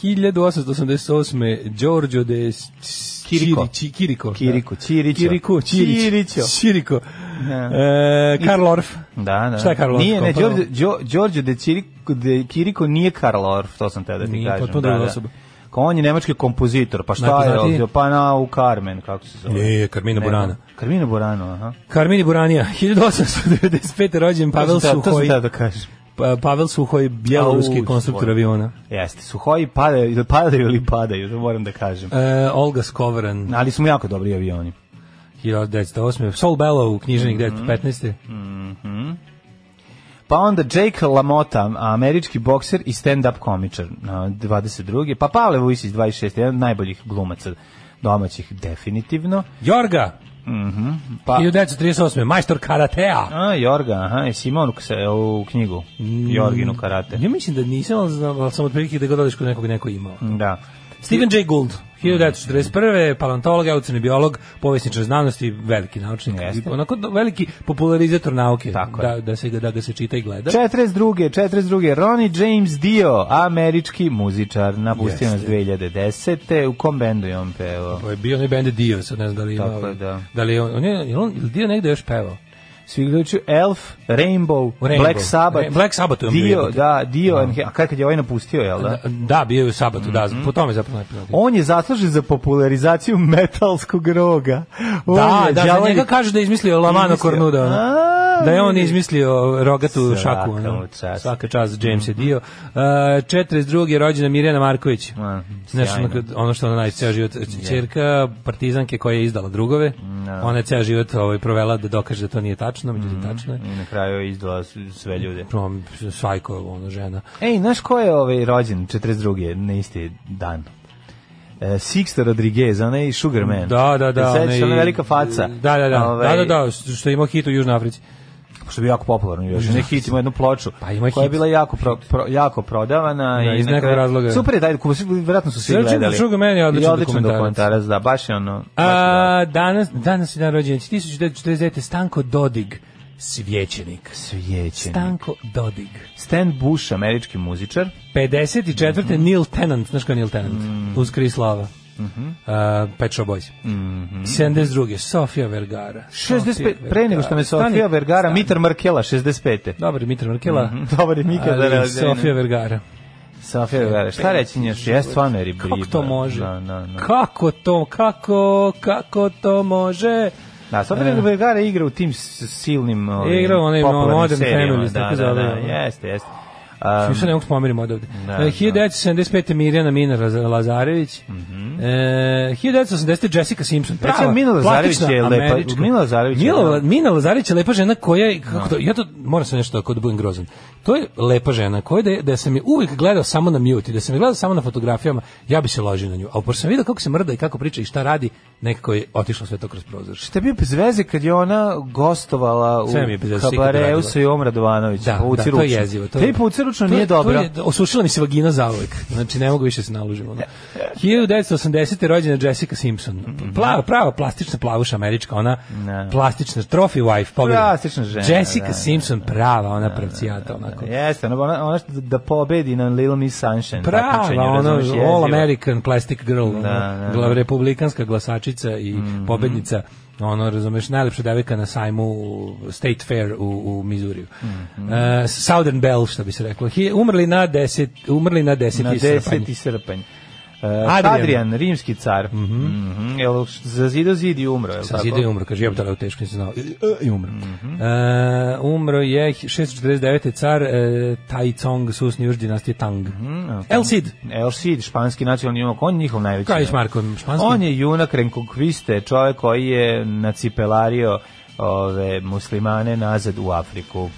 Speaker 6: 1888. Giorgio de S- S-
Speaker 7: Kiriko.
Speaker 6: Čirići- Kiriko.
Speaker 7: Kiriko,
Speaker 6: da.
Speaker 7: Ćirićo.
Speaker 6: Kiriko, Čirić.
Speaker 7: Ćirićo.
Speaker 6: Čiriko.
Speaker 7: Da.
Speaker 6: E, Karl Orff.
Speaker 7: Da, da.
Speaker 6: Šta je Karl Orff?
Speaker 7: Nije, ne,
Speaker 6: Kao prvo?
Speaker 7: Đorđe, Đo, Đorđe de, Ciriko, de Kiriko nije Karl Orff, to sam teo da ti
Speaker 6: Nije,
Speaker 7: kažem.
Speaker 6: potpuno
Speaker 7: da,
Speaker 6: druga
Speaker 7: da.
Speaker 6: osoba.
Speaker 7: Kao on je nemački kompozitor, pa šta je
Speaker 6: Najpoznatiji?
Speaker 7: ovdje? Pa na u Carmen, kako se zove?
Speaker 6: Nije, Carmina
Speaker 7: Nema.
Speaker 6: Burana.
Speaker 7: Carmina Burana, aha.
Speaker 6: Carmini Buranija, 1895. rođen Pavel
Speaker 7: To sam teo- To sam
Speaker 6: Suhoj.
Speaker 7: teo da kažem.
Speaker 6: Pa- Pavel Suhoj, bjeloruski
Speaker 7: Au,
Speaker 6: konstruktor
Speaker 7: svoj.
Speaker 6: aviona.
Speaker 7: Jeste, suhoji padaju, ili padaju ili padaju, to moram da kažem.
Speaker 6: E, Olga Skovaran,
Speaker 7: Ali su mu jako dobri avioni.
Speaker 6: 1908. Sol Bellow, knjiženik 1915.
Speaker 7: Pa onda Jake LaMotta, američki bokser i stand-up komičar, na 22. Pa Pavle Vujsić, 26. Jedan od najboljih glumaca domaćih, definitivno.
Speaker 6: Jorga,
Speaker 7: Pa,
Speaker 6: 1938. Majstor karatea.
Speaker 7: a, Jorga, aha, i Simon u knjigu,
Speaker 6: Mm.
Speaker 7: Jorginu karate.
Speaker 6: Ja mislim da nisam, ali znam, ali sam otprilike da ga dodaš kod nekog neko imao.
Speaker 7: Da.
Speaker 6: Stephen Jay Gould, 1941. paleontolog, evolucionarni biolog, povjesničar znanosti, veliki naučnik.
Speaker 7: Jeste.
Speaker 6: Onako do- veliki popularizator nauke,
Speaker 7: Tako je.
Speaker 6: da, da, se, ga- da ga se čita i gleda.
Speaker 7: 42. 42. Ronnie James Dio, američki muzičar, napustio nas
Speaker 6: Jeste.
Speaker 7: 2010. U kom bendu je on pevao?
Speaker 6: Ovo je bio onaj band Dio, sad ne znam da li ima.
Speaker 7: Tako je, da.
Speaker 6: Da li je on, on je, je li on, je li Dio negde još pevao?
Speaker 7: Svi gledajući Elf, Rainbow,
Speaker 6: Rainbow.
Speaker 7: Black Sabbath.
Speaker 6: Ra- Black Sabbath je on bio
Speaker 7: Dio,
Speaker 6: jebote.
Speaker 7: da, Dio, and he- a kad kad je ovaj napustio, jel da?
Speaker 6: Da, Mhm. da, bio je u sabatu, da, po tome je zapravo najprije.
Speaker 7: On je zaslužen za popularizaciju metalskog roga. Pa On
Speaker 6: Da,
Speaker 7: je
Speaker 6: da, za
Speaker 7: đavolji-
Speaker 6: njega kaže da je izmislio Lamano
Speaker 7: Izmislio.
Speaker 6: Kornuda. ono.
Speaker 7: A,
Speaker 6: Da je on
Speaker 7: vidi.
Speaker 6: izmislio rogatu
Speaker 7: Svaka Mhm.
Speaker 6: šaku.
Speaker 7: mu
Speaker 6: Ono.
Speaker 7: čast.
Speaker 6: Svaka čast, James je dio. Uh, 42. je rođena Mirjana Marković.
Speaker 7: Ma,
Speaker 6: Znaš, ono,
Speaker 7: sjajno.
Speaker 6: kad- ono što ona najče ceo život, čerka partizanke koja je izdala drugove. Ona je ceo život ovaj, provela da dokaže da to nije tačno, međutim
Speaker 7: Mhm.
Speaker 6: tačno je.
Speaker 7: I na kraju je izdala s- sve ljude.
Speaker 6: Prom, Svajko, ono, žena.
Speaker 7: Ej, znaš ko je ovaj rođen 42. na isti dan? E, Sixto Rodriguez, onaj Sugarman.
Speaker 6: Da, da, da.
Speaker 7: Sećaš,
Speaker 6: onaj-
Speaker 7: ona velika faca.
Speaker 6: Da, da, da.
Speaker 7: Ovaj,
Speaker 6: Da, da, da, što je imao hit u Južnoj Africi.
Speaker 7: što je bio jako popularno još.
Speaker 6: Užasno.
Speaker 7: Neki hit ima jednu ploču
Speaker 6: Pa ima
Speaker 7: koja je
Speaker 6: hit.
Speaker 7: bila jako, pro, pro- jako prodavana.
Speaker 6: Da,
Speaker 7: i
Speaker 6: iz
Speaker 7: na
Speaker 6: nekog
Speaker 7: kraju-
Speaker 6: razloga.
Speaker 7: Super je taj dokument, vjerojatno su svi
Speaker 6: Srđan
Speaker 7: gledali.
Speaker 6: Šuga meni je odličan
Speaker 7: I odličan
Speaker 6: dokumentarac.
Speaker 7: dokumentarac, da, baš je ono... baš je dobro.
Speaker 6: A, danas, danas je dan rođenja. 1949. Stanko Dodig, svjećenik.
Speaker 7: Svijećeni.
Speaker 6: Stanko Dodig.
Speaker 7: Stan Bush, američki muzičar.
Speaker 6: 54.
Speaker 7: Mhm.
Speaker 6: Neil Tennant, znaš ko je Neil Tennant? Uz Krislava.
Speaker 7: Mhm.
Speaker 6: Mm -hmm. Uh, Pet Shop Boys. Mm 72. Sofia Vergara.
Speaker 7: 65, Mhm. pre nego što me Sofia Vergara, Mitar Markela, 65.
Speaker 6: Dobar je Mitra Markela.
Speaker 7: Dobar je Mika
Speaker 6: ali
Speaker 7: da rađe-
Speaker 6: Sofia Vergara.
Speaker 7: Sofia Vergara. Šta reći nješ? Je stvarno je ribriba.
Speaker 6: Kako to može?
Speaker 7: Da, da, da.
Speaker 6: Kako to, kako, kako to može?
Speaker 7: Da, Sofia Vergara igra u tim s- silnim ovim,
Speaker 6: Igra u onim ono,
Speaker 7: popularnim
Speaker 6: Modern
Speaker 7: serijama.
Speaker 6: Families,
Speaker 7: da,
Speaker 6: tako
Speaker 7: da,
Speaker 6: zove,
Speaker 7: da,
Speaker 6: ono.
Speaker 7: jeste, jeste.
Speaker 6: Um,
Speaker 7: Um,
Speaker 6: Više ne mogu spomerim odavde. E,
Speaker 7: Da,
Speaker 6: Da, 1975. Mirjana Mina Raz- Lazarević. Mm -hmm. e, 1980. Jessica Simpson. Prava,
Speaker 7: Mhm. Recimo, Mina Lazarević
Speaker 6: plastična
Speaker 7: je lepa-
Speaker 6: američka.
Speaker 7: Mina Lazarević je-
Speaker 6: Mila, Mina Lazarević je lepa žena koja je, kako to, ja to moram sam nešto tako da budem grozan. To je lepa žena koja da, je- da sam je uvijek gledao samo na mute i da sam je gledao samo na fotografijama, ja bi se ložio na nju. Ali pošto sam vidio kako se mrda i kako priča i šta radi, nekako je otišlo sve to kroz prozor.
Speaker 7: Šta je bio bez veze kad je ona gostovala u
Speaker 6: Sve mi je bez veze, sve kad
Speaker 7: kabareu
Speaker 6: radila.
Speaker 7: sa Jom Radovanović,
Speaker 6: Da,
Speaker 7: Pavuci
Speaker 6: da, to
Speaker 7: ručno.
Speaker 6: je jezivo. To,
Speaker 7: Te i Pavuci ručno
Speaker 6: to-
Speaker 7: nije
Speaker 6: to
Speaker 7: dobra.
Speaker 6: je- osušila mi se vagina zauvek. Znači, ne mogu više se nalužim. Ono. 1980. rođena Jessica Simpson.
Speaker 7: Mhm.
Speaker 6: Plava, prava plastična plavuša američka, ona
Speaker 7: Ne.
Speaker 6: plastična, trophy wife. Pogledaj.
Speaker 7: Plastična žena,
Speaker 6: Jessica
Speaker 7: da,
Speaker 6: Simpson, prava, ona pravcijata, onako.
Speaker 7: Jeste, ona, ona, ona što da pobedi na Little Miss Sunshine.
Speaker 6: Prava,
Speaker 7: takmičenju,
Speaker 6: ono,
Speaker 7: razumeš, jezivo.
Speaker 6: all American plastic girl, ono,
Speaker 7: da, Mhm. da.
Speaker 6: gla- republikanska glasačica i pobednica, ono, razumeš, najlepša devika na sajmu u State Fair u, u Mizuriju.
Speaker 7: Mhm.
Speaker 6: E, Southern Belle, što bi se reklo. Hi- umrli na 10 umrli na 10.
Speaker 7: na 10. srpanj. Uh, Adrian.
Speaker 6: Adrian. Mhm.
Speaker 7: rimski car. Mm -hmm. Jel, za zido zid i umro, jel
Speaker 6: Sa
Speaker 7: tako? Mhm.
Speaker 6: zida je umro, kaže, jebate, ali teško nisam znao. I- I umro. E, umro je 649. car e, Tai Cong, susni juž dinastije Tang.
Speaker 7: Mhm,
Speaker 6: El Cid,
Speaker 7: El Cid, E, španski nacionalni junak, on je njihov najveći.
Speaker 6: Kraljić
Speaker 7: junak.
Speaker 6: Marko, španski.
Speaker 7: On je junak Renkonkviste, čovjek koji je nacipelario ove muslimane nazad u Afriku.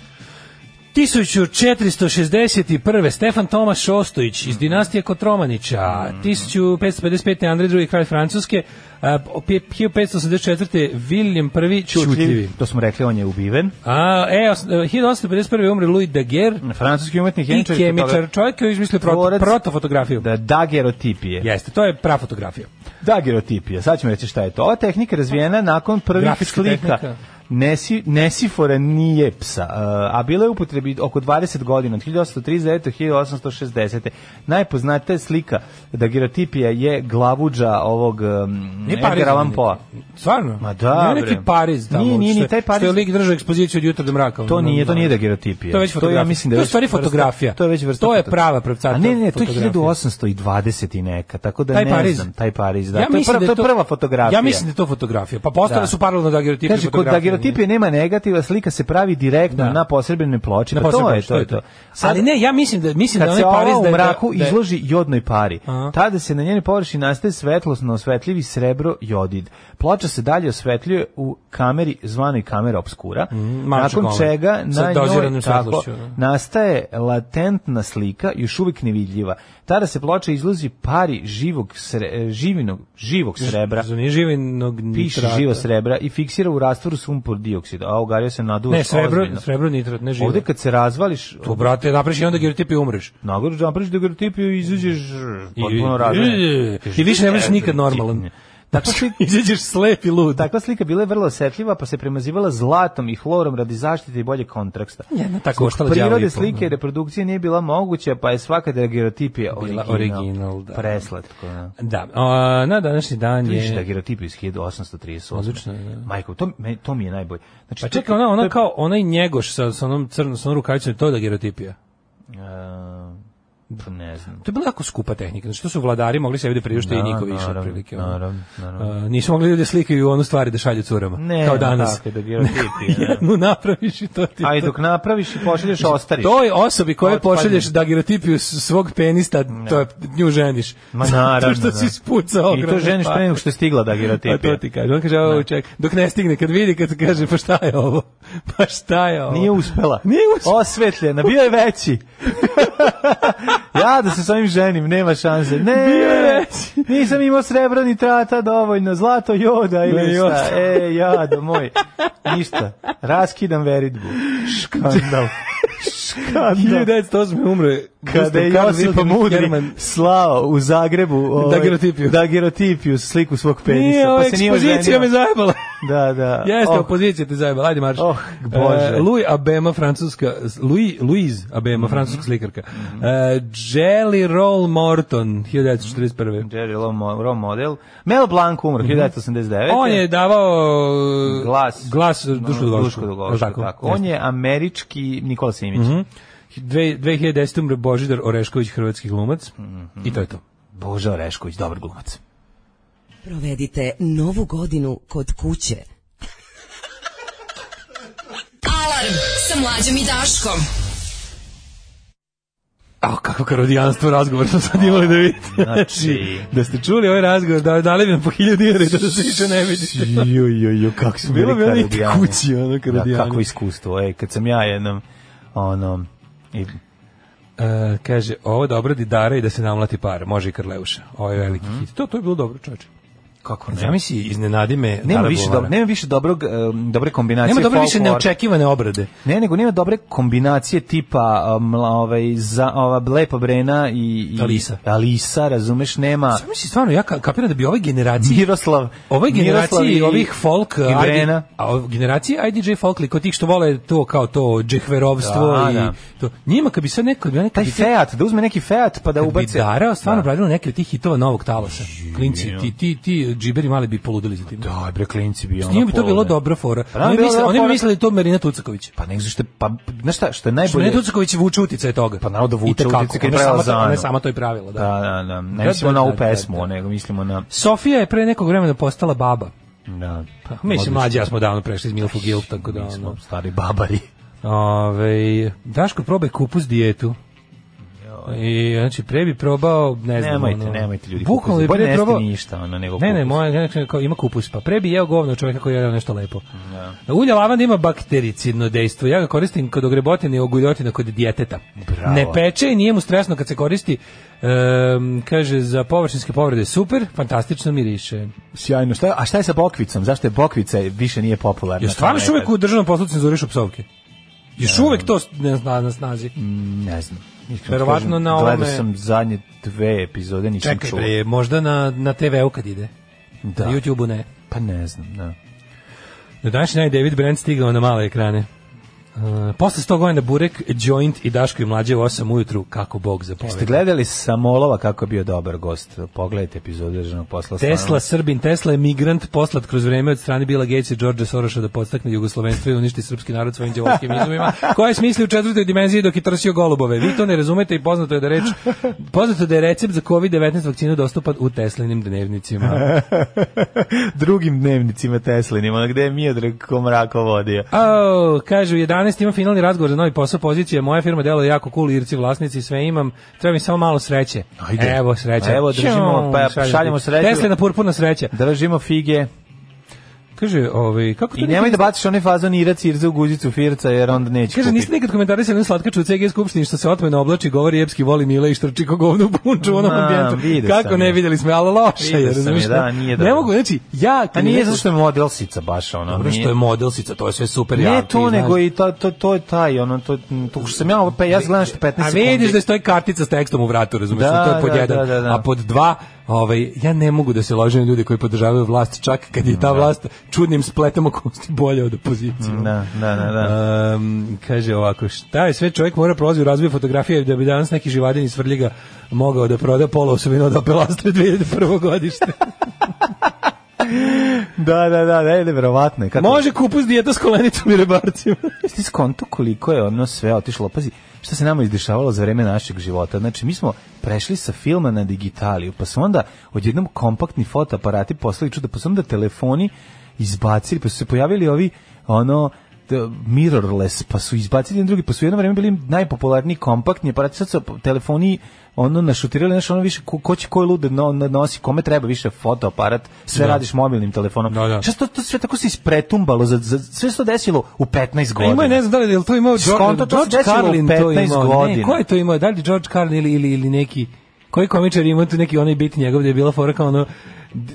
Speaker 6: 1461. Stefan Tomaš Ostojić
Speaker 7: Mhm.
Speaker 6: iz dinastije Kotromanića, 1555. Andrej II. kralj Francuske, a, p- 1584. Viljem I. Ćutljivi.
Speaker 7: To smo rekli, on je ubiven.
Speaker 6: A, e, os- e, 1851. umre Louis Daguerre
Speaker 7: Mhm. Francuski umetnik
Speaker 6: i
Speaker 7: Jenčević.
Speaker 6: kemičar, čovjek koji je izmislio proto,
Speaker 7: Tvorac-
Speaker 6: protofotografiju.
Speaker 7: Da, dagerotipije.
Speaker 6: Jeste, to je prafotografija.
Speaker 7: Dagerotipija, sad ćemo reći šta je to. Ova tehnika je razvijena nakon prvih
Speaker 6: Grafička
Speaker 7: slika
Speaker 6: tehnika.
Speaker 7: Nesi, Nesifora nije psa, a bila je u upotrebi oko 20 godina, od 1839. do 1860. Najpoznatija slika dagerotipija je glavuđa ovog um,
Speaker 6: Nije pa Pariz.
Speaker 7: Edgar Allan
Speaker 6: neki.
Speaker 7: Poe.
Speaker 6: Stvarno?
Speaker 7: Ma da,
Speaker 6: Nije neki
Speaker 7: bre.
Speaker 6: Pariz tamo.
Speaker 7: Nije, nije ni
Speaker 6: što je-
Speaker 7: taj Pariz.
Speaker 6: Što je lik držao ekspoziciju od jutra do mraka.
Speaker 7: To
Speaker 6: ono,
Speaker 7: nije, to
Speaker 6: ono.
Speaker 7: nije dagerotipija.
Speaker 6: To je već fotografija.
Speaker 7: ja mislim da
Speaker 6: To je
Speaker 7: već
Speaker 6: u stvari
Speaker 7: vrsta-
Speaker 6: fotografija.
Speaker 7: To je već vrsta
Speaker 6: To je
Speaker 7: foto-
Speaker 6: prava pravcata
Speaker 7: A ne, ne, to je
Speaker 6: fotografija.
Speaker 7: 1820 i neka, tako da
Speaker 6: Taj
Speaker 7: ne
Speaker 6: Pariz.
Speaker 7: znam, taj Pariz, da. to, je prva,
Speaker 6: da
Speaker 7: to je prva fotografija.
Speaker 6: Ja mislim da je to fotografija. Pa postale
Speaker 7: Da.
Speaker 6: su paralelno dagerotipije
Speaker 7: Kaže, kod dagerotipije nema negativa, slika se pravi direktno
Speaker 6: Da.
Speaker 7: na posredbenoj ploči.
Speaker 6: Na
Speaker 7: pa to
Speaker 6: posebno,
Speaker 7: je, to je to. Sad,
Speaker 6: Ali ne, ja mislim da mislim da
Speaker 7: kad
Speaker 6: onaj
Speaker 7: se
Speaker 6: Pariz
Speaker 7: ova
Speaker 6: da je-
Speaker 7: u mraku
Speaker 6: da je-
Speaker 7: izloži jodnoj pari,
Speaker 6: Aha.
Speaker 7: tada se na njenoj površini nastaje svetlosno osvetljivi srebro jodid. Ploča se dalje osvetljuje u kameri zvanoj kamera obskura,
Speaker 6: Manča
Speaker 7: nakon
Speaker 6: kamera.
Speaker 7: čega
Speaker 6: Mm, Sa
Speaker 7: na njoj
Speaker 6: doziranom
Speaker 7: tako,
Speaker 6: svetlošću, da.
Speaker 7: nastaje latentna slika, još uvijek nevidljiva. Tada se ploča izlozi pari živog, sre, e, živinog, živog srebra
Speaker 6: Za nije živinog
Speaker 7: piše
Speaker 6: nitrata.
Speaker 7: živo srebra i fiksira u rastvoru sumpor dioksida. A ugario se na duš.
Speaker 6: Ne, srebro, srebro nitrat, ne živo.
Speaker 7: Ovde kad se razvališ,
Speaker 6: To, brate, napraviš i onda dagerotip i umreš.
Speaker 7: nagoru napraviš da garotipiju i izađeš
Speaker 6: I,
Speaker 7: potpuno Pa razvaljen.
Speaker 6: i- I više ne budeš nikad normalan.
Speaker 7: Takva slika,
Speaker 6: Izađeš slep i lud.
Speaker 7: takva slika bila je vrlo osjetljiva, pa se premazivala zlatom i hlorom radi zaštite i bolje kontraksta.
Speaker 6: Jedna tako
Speaker 7: Zbog
Speaker 6: koštala đavo i
Speaker 7: prirode
Speaker 6: pol,
Speaker 7: slike i
Speaker 6: da.
Speaker 7: reprodukcije nije bila moguća, pa je svaka dagerotipija
Speaker 6: Bila
Speaker 7: original.
Speaker 6: original, da.
Speaker 7: Preslatko, da.
Speaker 6: Da, a, na današnji dan
Speaker 7: Viš
Speaker 6: je...
Speaker 7: dagerotip iz 1838.
Speaker 6: Odlično je, da.
Speaker 7: Majko, to, me- to mi je najbolje. Znači,
Speaker 6: Pa
Speaker 7: to ti-
Speaker 6: čekaj, ona,
Speaker 7: to
Speaker 6: ona
Speaker 7: je-
Speaker 6: kao, onaj njegoš sa, sa onom crnom, sa onom rukavicom, to je da gerotipija.
Speaker 7: E, pa ne znam.
Speaker 6: To je bila jako skupa tehnika. Znači, to su vladari mogli se ovdje priušte i
Speaker 7: Da,
Speaker 6: niko više,
Speaker 7: naravno,
Speaker 6: otprilike. ono.
Speaker 7: Naravno, naravno.
Speaker 6: A, nisu mogli ljudi da slikaju onu stvari da šalju curama.
Speaker 7: Ne,
Speaker 6: kao danas.
Speaker 7: tako je, da girotipija, da.
Speaker 6: Jednu napraviš i to ti je
Speaker 7: A i
Speaker 6: to.
Speaker 7: dok napraviš i pošalješ, ostariš.
Speaker 6: Toj osobi koje
Speaker 7: Otpadne.
Speaker 6: pošalješ da girotipiju s- svog penista, to je, nju ženiš.
Speaker 7: Ma
Speaker 6: Zato
Speaker 7: naravno,
Speaker 6: što si
Speaker 7: da.
Speaker 6: ispucao
Speaker 7: I to
Speaker 6: ogromne
Speaker 7: ženiš
Speaker 6: pare.
Speaker 7: pre nego što je stigla dagerotipija.
Speaker 6: A to ti kaže. On kaže, ovo ček, dok ne stigne, kad vidi, kad kaže, pa šta je ovo? Pa šta je ovo?
Speaker 7: Nije uspela.
Speaker 6: Nije uspela.
Speaker 7: Osvetljena, bio je veći. ja da se s ovim ženim, nema šanse. Ne, nisam imao srebro ni trata dovoljno, zlato joda ili
Speaker 6: još.
Speaker 7: šta. E, jado moj, ništa. Raskidam veridbu. Škandal. Škandal.
Speaker 6: 1908. umre
Speaker 7: Kada je Josip Mudri slao u Zagrebu ovaj,
Speaker 6: Dagerotipiju.
Speaker 7: dagerotipiju sliku svog penisa.
Speaker 6: Nije, ova
Speaker 7: pa se nije
Speaker 6: ekspozicija
Speaker 7: oženio.
Speaker 6: me zajebala.
Speaker 7: Da, da.
Speaker 6: Jeste,
Speaker 7: Oh,
Speaker 6: opozicija te zajebala. Ajde, marš.
Speaker 7: Oh, Bože. Mhm.
Speaker 6: E, Louis Abema, francuska... Louis, Louise Abema, francuska slikarka. E, Jelly Roll Morton, 1941.
Speaker 7: Jerry Low mo- Row model. Mel Blanc umro, 1989.
Speaker 6: On je davao e,
Speaker 7: glas
Speaker 6: glas Dušku Dugošku.
Speaker 7: Duško Dugoško, tako. Mhm. On
Speaker 6: On je
Speaker 7: je američki Nikola Simić.
Speaker 6: 2010. umre Božidar Orešković, hrvatski glumac.
Speaker 7: Mhm.
Speaker 6: I to je to.
Speaker 7: Bože Orešković, dobar glumac.
Speaker 9: Provedite novu godinu kod kuće.
Speaker 5: Alarm sa mlađom i Daškom.
Speaker 6: A kako karodijanstvo razgovor smo sad imali da vidite.
Speaker 7: Znači,
Speaker 6: Da ste čuli ovaj razgovor, da dali bi nam po hiljadu dinara i da se više ne vidite.
Speaker 7: jo, jo, jo, kako smo
Speaker 6: Bilo bi ono i
Speaker 7: karadijani.
Speaker 6: kući, ono, karadijani.
Speaker 7: Da, kako iskustvo, ej, kad sam ja jednom, ono, i,
Speaker 6: E, kaže, ovo da obradi dara i da se namlati par, može i Karleuša. Ovo je veliki hit. To, to je bilo dobro, čoče.
Speaker 7: kako
Speaker 6: Ja
Speaker 7: ne,
Speaker 6: misli, iznenadi me
Speaker 7: nema
Speaker 6: Dara Znači,
Speaker 7: više,
Speaker 6: Buvara.
Speaker 7: dobro, nema više dobrog, em, dobre kombinacije
Speaker 6: Nema dobro više
Speaker 7: folklora.
Speaker 6: neočekivane obrade.
Speaker 7: Ne, nego nema dobre kombinacije tipa um, ovaj, za, ova Lepa Brena i, i
Speaker 6: Alisa.
Speaker 7: Alisa, razumeš, nema
Speaker 6: Sam misli, Znači, stvarno, ja ka- kapiram da bi ove generacije
Speaker 7: Miroslav.
Speaker 6: Ove
Speaker 7: Miroslav
Speaker 6: generacije
Speaker 7: i-
Speaker 6: ovih folk
Speaker 7: i
Speaker 6: ID
Speaker 7: Brena.
Speaker 6: a ove generacije IDJ folk kod tih što vole to kao to džehverovstvo
Speaker 7: Da,
Speaker 6: i
Speaker 7: da.
Speaker 6: to njima kad bi sad neko bi
Speaker 7: Taj Fiat, da uzme neki Fiat pa da
Speaker 6: kad bi
Speaker 7: ubace.
Speaker 6: Dara stvarno pravilo neke od tih hitova novog talasa. Klinci, ti, ti, ti džiberi mali bi poludili za tim.
Speaker 7: Da, bre, klinci bi ono.
Speaker 6: Njima bi to bilo
Speaker 7: polne.
Speaker 6: dobra fora.
Speaker 7: Pa da,
Speaker 6: oni,
Speaker 7: bila
Speaker 6: misle,
Speaker 7: dobra
Speaker 6: oni bi
Speaker 7: fora.
Speaker 6: mislili da je to Marina Tucaković.
Speaker 7: Pa nek zašto, pa, znaš šta, što je
Speaker 6: Što
Speaker 7: najbolje...
Speaker 6: Marina Tucaković vuče uticaj toga.
Speaker 7: Pa naravno da vuče
Speaker 6: Itekako.
Speaker 7: uticaj kad
Speaker 6: Ona
Speaker 7: je pravila
Speaker 6: sama to-
Speaker 7: Zanu.
Speaker 6: Ona sama to i pravila,
Speaker 7: Da,
Speaker 6: da.
Speaker 7: da, da, ne
Speaker 6: Da,
Speaker 7: mislimo
Speaker 6: da,
Speaker 7: na
Speaker 6: da,
Speaker 7: ovu
Speaker 6: da,
Speaker 7: pesmu,
Speaker 6: da.
Speaker 7: nego mislimo na...
Speaker 6: Sofija je pre nekog vremena postala baba.
Speaker 7: Da,
Speaker 6: Pa, mi se
Speaker 7: Odlično.
Speaker 6: mlađi, ja smo davno prešli iz Milfu Guild, tako da...
Speaker 7: Mi smo
Speaker 6: ono.
Speaker 7: stari babari.
Speaker 6: Ove, Daško probaj kupus dijetu. I znači pre bi probao, ne znam,
Speaker 7: Nemojte,
Speaker 6: ono,
Speaker 7: nemojte ljudi.
Speaker 6: Bukvalno bi
Speaker 7: kupiti.
Speaker 6: pre
Speaker 7: Bolje ne jeste
Speaker 6: probao.
Speaker 7: ništa, ono, nego
Speaker 6: Ne, ne,
Speaker 7: kupiti.
Speaker 6: moja znači, kao, ima kupus, pa pre bi jeo govno od čovjeka koji je jeo nešto lepo. Ulje lavanda ima baktericidno dejstvo. Ja ga koristim kod ogrebotine i oguljotina kod djeteta.
Speaker 7: Bravo.
Speaker 6: Ne peče i nije mu stresno kad se koristi. Em, kaže, za površinske povrede super, fantastično miriše.
Speaker 7: Sjajno. Šta, a šta je sa bokvicom? Zašto je bokvica više nije popularna?
Speaker 6: Još stvarno
Speaker 7: To
Speaker 6: još
Speaker 7: ne
Speaker 6: uvek u državnom poslu cenzurišu psovke. Još uvek to ne zna na snazi.
Speaker 7: znam. Ne znam. Iskreno
Speaker 6: Verovatno
Speaker 7: kažem,
Speaker 6: na
Speaker 7: Gledao
Speaker 6: ovome-
Speaker 7: sam zadnje dve epizode, nisam
Speaker 6: Čekaj,
Speaker 7: čuo.
Speaker 6: bre, možda na, na TV-u kad ide.
Speaker 7: Da.
Speaker 6: Na YouTube-u ne.
Speaker 7: Pa ne znam, da.
Speaker 6: Na današnji dan je David Brent stigao na male ekrane. Uh, posle 100 godina Burek, Joint i Daško i mlađe u 8 ujutru, kako Bog
Speaker 7: Ste
Speaker 6: zapoveda.
Speaker 7: gledali Samolova kako je bio dobar gost? Pogledajte epizodu državnog posla.
Speaker 6: Tesla,
Speaker 7: stvarno.
Speaker 6: Srbin, Tesla je migrant poslat kroz vreme od strane Bila Gatesa i Đorđa Soroša da podstakne jugoslovenstvo i uništi srpski narod svojim djelovskim izumima, koje je smislio u četvrtoj dimenziji dok je trsio golubove. Vi to ne razumete i poznato je da reč, poznato je da je recept za COVID-19 vakcinu dostupan u Teslinim dnevnicima.
Speaker 7: Drugim dnevnicima Teslinima, ono gde je Miodrag Komrako vodio.
Speaker 6: Oh, kaže, u 11 ima finalni razgovor za novi posao pozicije, moja firma deluje jako cool, irci vlasnici, sve imam, treba mi samo malo sreće.
Speaker 7: Ajde.
Speaker 6: Evo sreće.
Speaker 7: Evo, držimo, pa šaljemo sreću.
Speaker 6: Tesla na purpurna sreća.
Speaker 7: Držimo fige
Speaker 6: Kaže, ovaj, kako to
Speaker 7: i
Speaker 6: neki-
Speaker 7: nemoj da baciš onaj fazon irac irza u guzicu firca jer onda neće
Speaker 6: Kaže, niste
Speaker 7: kupiti.
Speaker 6: nikad komentarisali jednu slatkaču u CG skupštini što se otmena oblači, govori jepski, voli Mila i štrči ko govno u punču u onom
Speaker 7: Ma,
Speaker 6: ambijentu.
Speaker 7: vidio
Speaker 6: Kako
Speaker 7: sam
Speaker 6: ne,
Speaker 7: je.
Speaker 6: videli smo, ali loše je,
Speaker 7: Vidio sam
Speaker 6: razumiješ?
Speaker 7: je, da, nije
Speaker 6: Ne
Speaker 7: dobro.
Speaker 6: mogu, znači, ja...
Speaker 7: A nije zato što je modelsica baš ono.
Speaker 6: Dobro što
Speaker 7: nije-
Speaker 6: je modelsica, to je sve super. ja,
Speaker 7: Ne
Speaker 6: ti
Speaker 7: to,
Speaker 6: znaš.
Speaker 7: nego i to, to, to je taj, ono, to, to što sam ja, pa ja gledam što 15
Speaker 6: A
Speaker 7: sekundi.
Speaker 6: vidiš da stoji kartica s tekstom u vratu, razumiješ,
Speaker 7: Da,
Speaker 6: to je pod
Speaker 7: da,
Speaker 6: jedan.
Speaker 7: da, da, da.
Speaker 6: A pod dva, ovaj, ja ne mogu da se ložim na ljude koji podržavaju vlast, čak kad je ta vlast čudnim spletom okolnosti bolja od opozicije.
Speaker 7: Da, da, da, da.
Speaker 6: Ehm, kaže ovako, šta je sve čovjek mora prolazi u razvoju fotografije da bi danas neki živadin iz Vrljiga mogao da proda pola osobina od Opel Astra 2001. godište.
Speaker 7: Da, da, da, da, nevjerovatno je. Kako...
Speaker 6: Može kupus dijeta s kolenicom i rebarcima.
Speaker 7: Jeste ti skonto koliko je ono sve otišlo? Pazi, šta se nama izdešavalo za vreme našeg života? Znači, mi smo prešli sa filma na digitaliju, pa su onda odjednom kompaktni fotoaparati poslali čuda, pa su onda telefoni izbacili, pa su se pojavili ovi, ono, t- mirrorless, pa su izbacili jedan drugi, pa su jedno vreme bili najpopularniji kompaktni aparati, sad su telefoni ono našutirali, znaš, ono više, ko, ko će koji lud no, no- nosi, kome treba više fotoaparat, sve radiš mobilnim telefonom.
Speaker 6: Da, da.
Speaker 7: Šta se to, to sve tako se ispretumbalo, za, za, sve se to desilo u 15
Speaker 6: A
Speaker 7: godina.
Speaker 6: Ima je, ne znam da li je to imao George,
Speaker 7: Skonto, to se
Speaker 6: George
Speaker 7: desilo u
Speaker 6: Carlin to
Speaker 7: 15
Speaker 6: imao. Ne,
Speaker 7: godina.
Speaker 6: ko je to imao? Da li George Carlin ili, ili, ili neki... Koji komičar ima tu neki onaj bit njegov da je bila fora kao ono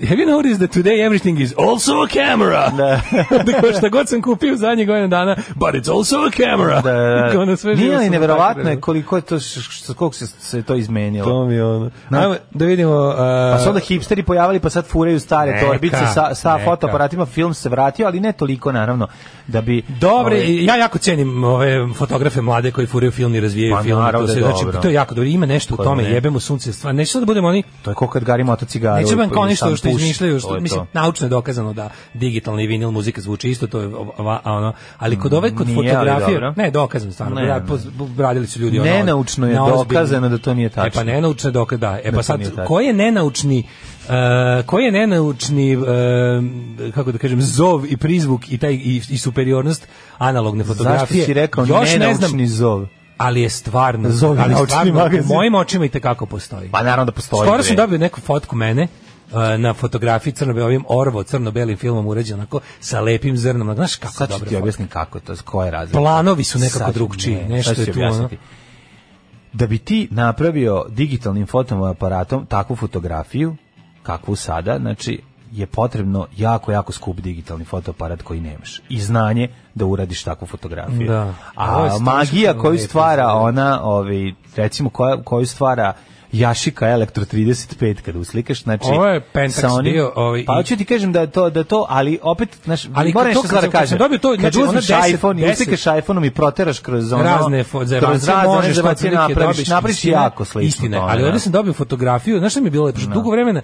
Speaker 6: Have you noticed that today everything is also a camera?
Speaker 7: Da.
Speaker 6: Dakle, šta god sam kupio zadnjih godina dana, but it's also a camera.
Speaker 7: Da, da, da.
Speaker 6: Ono, sve živo
Speaker 7: Nije
Speaker 6: sam
Speaker 7: li
Speaker 6: na
Speaker 7: neverovatno je
Speaker 6: takav-
Speaker 7: koliko je to, š- š- koliko se, se to izmenilo?
Speaker 6: To mi je ono.
Speaker 7: Na-
Speaker 6: Ajmo da vidimo... Uh,
Speaker 7: Pa su onda hipsteri pojavili, pa sad furaju stare
Speaker 6: Neka,
Speaker 7: torbice sa, sa
Speaker 6: neka.
Speaker 7: fotoaparatima, film se vratio, ali ne toliko, naravno, da bi...
Speaker 6: Dobre,
Speaker 7: ovaj,
Speaker 6: ja jako cenim ove fotografe mlade koji furaju film i razvijaju
Speaker 7: Pa,
Speaker 6: film.
Speaker 7: naravno
Speaker 6: To, se,
Speaker 7: da je
Speaker 6: znači,
Speaker 7: dobro.
Speaker 6: to je jako dobro. Ima nešto
Speaker 7: Pa,
Speaker 6: u tome,
Speaker 7: ne.
Speaker 6: jebemo sunce. Stvarno, neće sad da budemo oni
Speaker 7: To je ko kad garimo Pa to cigaru.
Speaker 6: Neće vam kao ništa
Speaker 7: sam
Speaker 6: što
Speaker 7: puši,
Speaker 6: izmišljaju,
Speaker 7: to
Speaker 6: što
Speaker 7: je
Speaker 6: mislim
Speaker 7: to.
Speaker 6: naučno je dokazano da digitalni vinil muzika zvuči isto, to je ova, a ono, ali kod ove kod
Speaker 7: Nije, ali dobro.
Speaker 6: fotografije, ne, dokazano stvarno,
Speaker 7: Ne,
Speaker 6: ra-
Speaker 7: ne.
Speaker 6: poz- radili su ljudi ono.
Speaker 7: Nenaučno je
Speaker 6: na ozbiljnim-
Speaker 7: dokazano da to nije tačno.
Speaker 6: E pa nenaučno je dokaz, da. E
Speaker 7: to
Speaker 6: pa sad
Speaker 7: nije tačno.
Speaker 6: koji je nenaučni Uh, koji je nenaučni uh, kako da kažem zov i prizvuk i taj i, i superiornost analogne fotografije
Speaker 7: Zašto si rekao
Speaker 6: još ne znam
Speaker 7: nenaučni zov?
Speaker 6: ali je stvarno
Speaker 7: Zov je
Speaker 6: ali
Speaker 7: naučni
Speaker 6: stvarno,
Speaker 7: magazin.
Speaker 6: u mojim očima i kako postoji
Speaker 7: Pa naravno da postoji.
Speaker 6: Skoro
Speaker 7: bre.
Speaker 6: sam dobio neku fotku mene uh, na fotografiji crno ovim orvo crno-belim filmom urađen onako sa lepim zrnom. Znaš kako
Speaker 7: Sad ću
Speaker 6: dobro
Speaker 7: ti objasniti kako je to, s koje razlike.
Speaker 6: Planovi su nekako
Speaker 7: Sad,
Speaker 6: drugčiji, nešto
Speaker 7: sad ću
Speaker 6: je
Speaker 7: ti
Speaker 6: tu, ono.
Speaker 7: objasniti. Da bi ti napravio digitalnim fotoaparatom takvu fotografiju, kakvu sada, znači je potrebno jako, jako skup digitalni fotoaparat koji nemaš. I znanje da uradiš takvu fotografiju.
Speaker 6: Da. Ovo je
Speaker 7: A
Speaker 6: strašno
Speaker 7: magija koju
Speaker 6: lepo
Speaker 7: stvara
Speaker 6: izgleda.
Speaker 7: ona, ovaj, recimo koja, koju stvara Jašika Elektro 35 kad uslikaš, znači
Speaker 6: Ovo je Pentax
Speaker 7: sa onim-
Speaker 6: bio, ovaj,
Speaker 7: pa
Speaker 6: i-
Speaker 7: hoću ti kažem da je to da to, ali opet znaš,
Speaker 6: Ali
Speaker 7: ali moram
Speaker 6: kad
Speaker 7: nešto
Speaker 6: to-
Speaker 7: sad da
Speaker 6: kad sam- kad sam
Speaker 7: kažem.
Speaker 6: dobio to,
Speaker 7: kad
Speaker 6: znači, ono
Speaker 7: uzmeš
Speaker 6: 10,
Speaker 7: iPhone i
Speaker 6: 10.
Speaker 7: uslikaš iPhone-om i proteraš kroz ono...
Speaker 6: razne fo-
Speaker 7: kroz
Speaker 6: zebancije
Speaker 7: razne
Speaker 6: možeš to
Speaker 7: zebancije
Speaker 6: otprilike
Speaker 7: napraviš,
Speaker 6: dobiš,
Speaker 7: napraviš
Speaker 6: istina,
Speaker 7: jako slično.
Speaker 6: istina je,
Speaker 7: tome,
Speaker 6: ali
Speaker 7: da.
Speaker 6: ovdje sam dobio fotografiju znaš šta mi je bilo lepo Što dugo vremena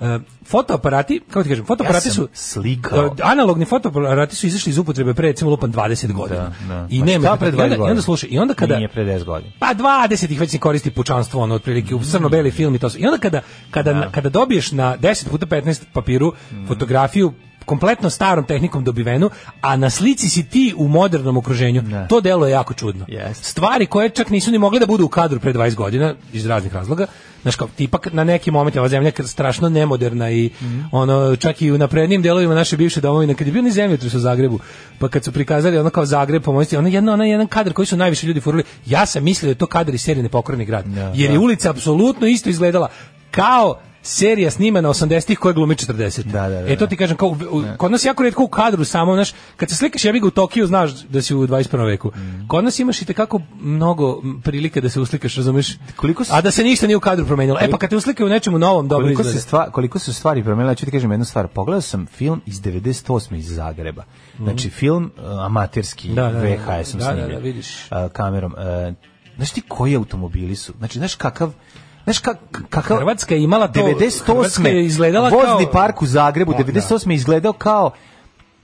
Speaker 6: uh, fotoaparati, kako ti kažem, fotoaparati
Speaker 7: Ja sam
Speaker 6: su
Speaker 7: slikao.
Speaker 6: Uh, analogni fotoaparati su izašli iz upotrebe pre recimo lupan 20 godina. I
Speaker 7: Pa
Speaker 6: nema
Speaker 7: šta pre
Speaker 6: i onda-
Speaker 7: 20
Speaker 6: I onda
Speaker 7: godina?
Speaker 6: slušaj, i onda kada
Speaker 7: Nije pre 10 godina.
Speaker 6: Pa 20 ih već se koristi pučanstvo, ono, otprilike, u crno-beli film i to sve. I onda kada, kada, kada dobiješ na 10 puta 15 papiru fotografiju kompletno starom tehnikom dobivenu, a na slici si ti u modernom okruženju, to delo je jako čudno.
Speaker 7: Jeste.
Speaker 6: Stvari koje čak nisu ni mogle da budu u kadru pre 20 godina, iz raznih razloga, znaš kao, tipak na nekim momentima ova zemlja je strašno nemoderna i
Speaker 7: Mhm.
Speaker 6: ono, čak i u naprednim delovima naše bivše domovine, kad je bio ni zemljotres u Zagrebu, pa kad su prikazali ono kao Zagreb pomoći, ono jedno, ono jedan kadar koji su najviše ljudi furali, ja sam mislio da je to kadar iz serije Nepokorni grad, jer je ulica apsolutno isto izgledala kao serija snimana 80-ih koja glumi 40.
Speaker 7: Da, da, da,
Speaker 6: E to ti kažem, kao, u- u- kod nas jako redko u kadru samo, znaš, kad se slikaš jebi ga u Tokiju, znaš da si u 21. veku.
Speaker 7: Mm.
Speaker 6: Kod nas imaš i tekako mnogo m, prilike da se uslikaš, razumeš?
Speaker 7: Koliko se-
Speaker 6: A da se ništa nije u kadru promenilo. E pa kad te uslikaju u nečemu novom, dobro
Speaker 7: koliko se,
Speaker 6: izgleda.
Speaker 7: stva, koliko su stvari promenile, ja ću ti kažem jednu stvar. Pogledao sam film iz 98. iz Zagreba. Znači film uh, amaterski
Speaker 6: Mhm. Da, da, da.
Speaker 7: VHS-om
Speaker 6: Da, da,
Speaker 7: snimljen,
Speaker 6: da, vidiš.
Speaker 7: uh, kamerom. Uh, znaš ti koji automobili su? Znači, znaš kakav Znaš kak, kakav
Speaker 6: Hrvatska je imala to-
Speaker 7: 98.
Speaker 6: Hrvatska je izgledala
Speaker 7: vozni
Speaker 6: kao-
Speaker 7: park u Zagrebu 98. je izgledao kao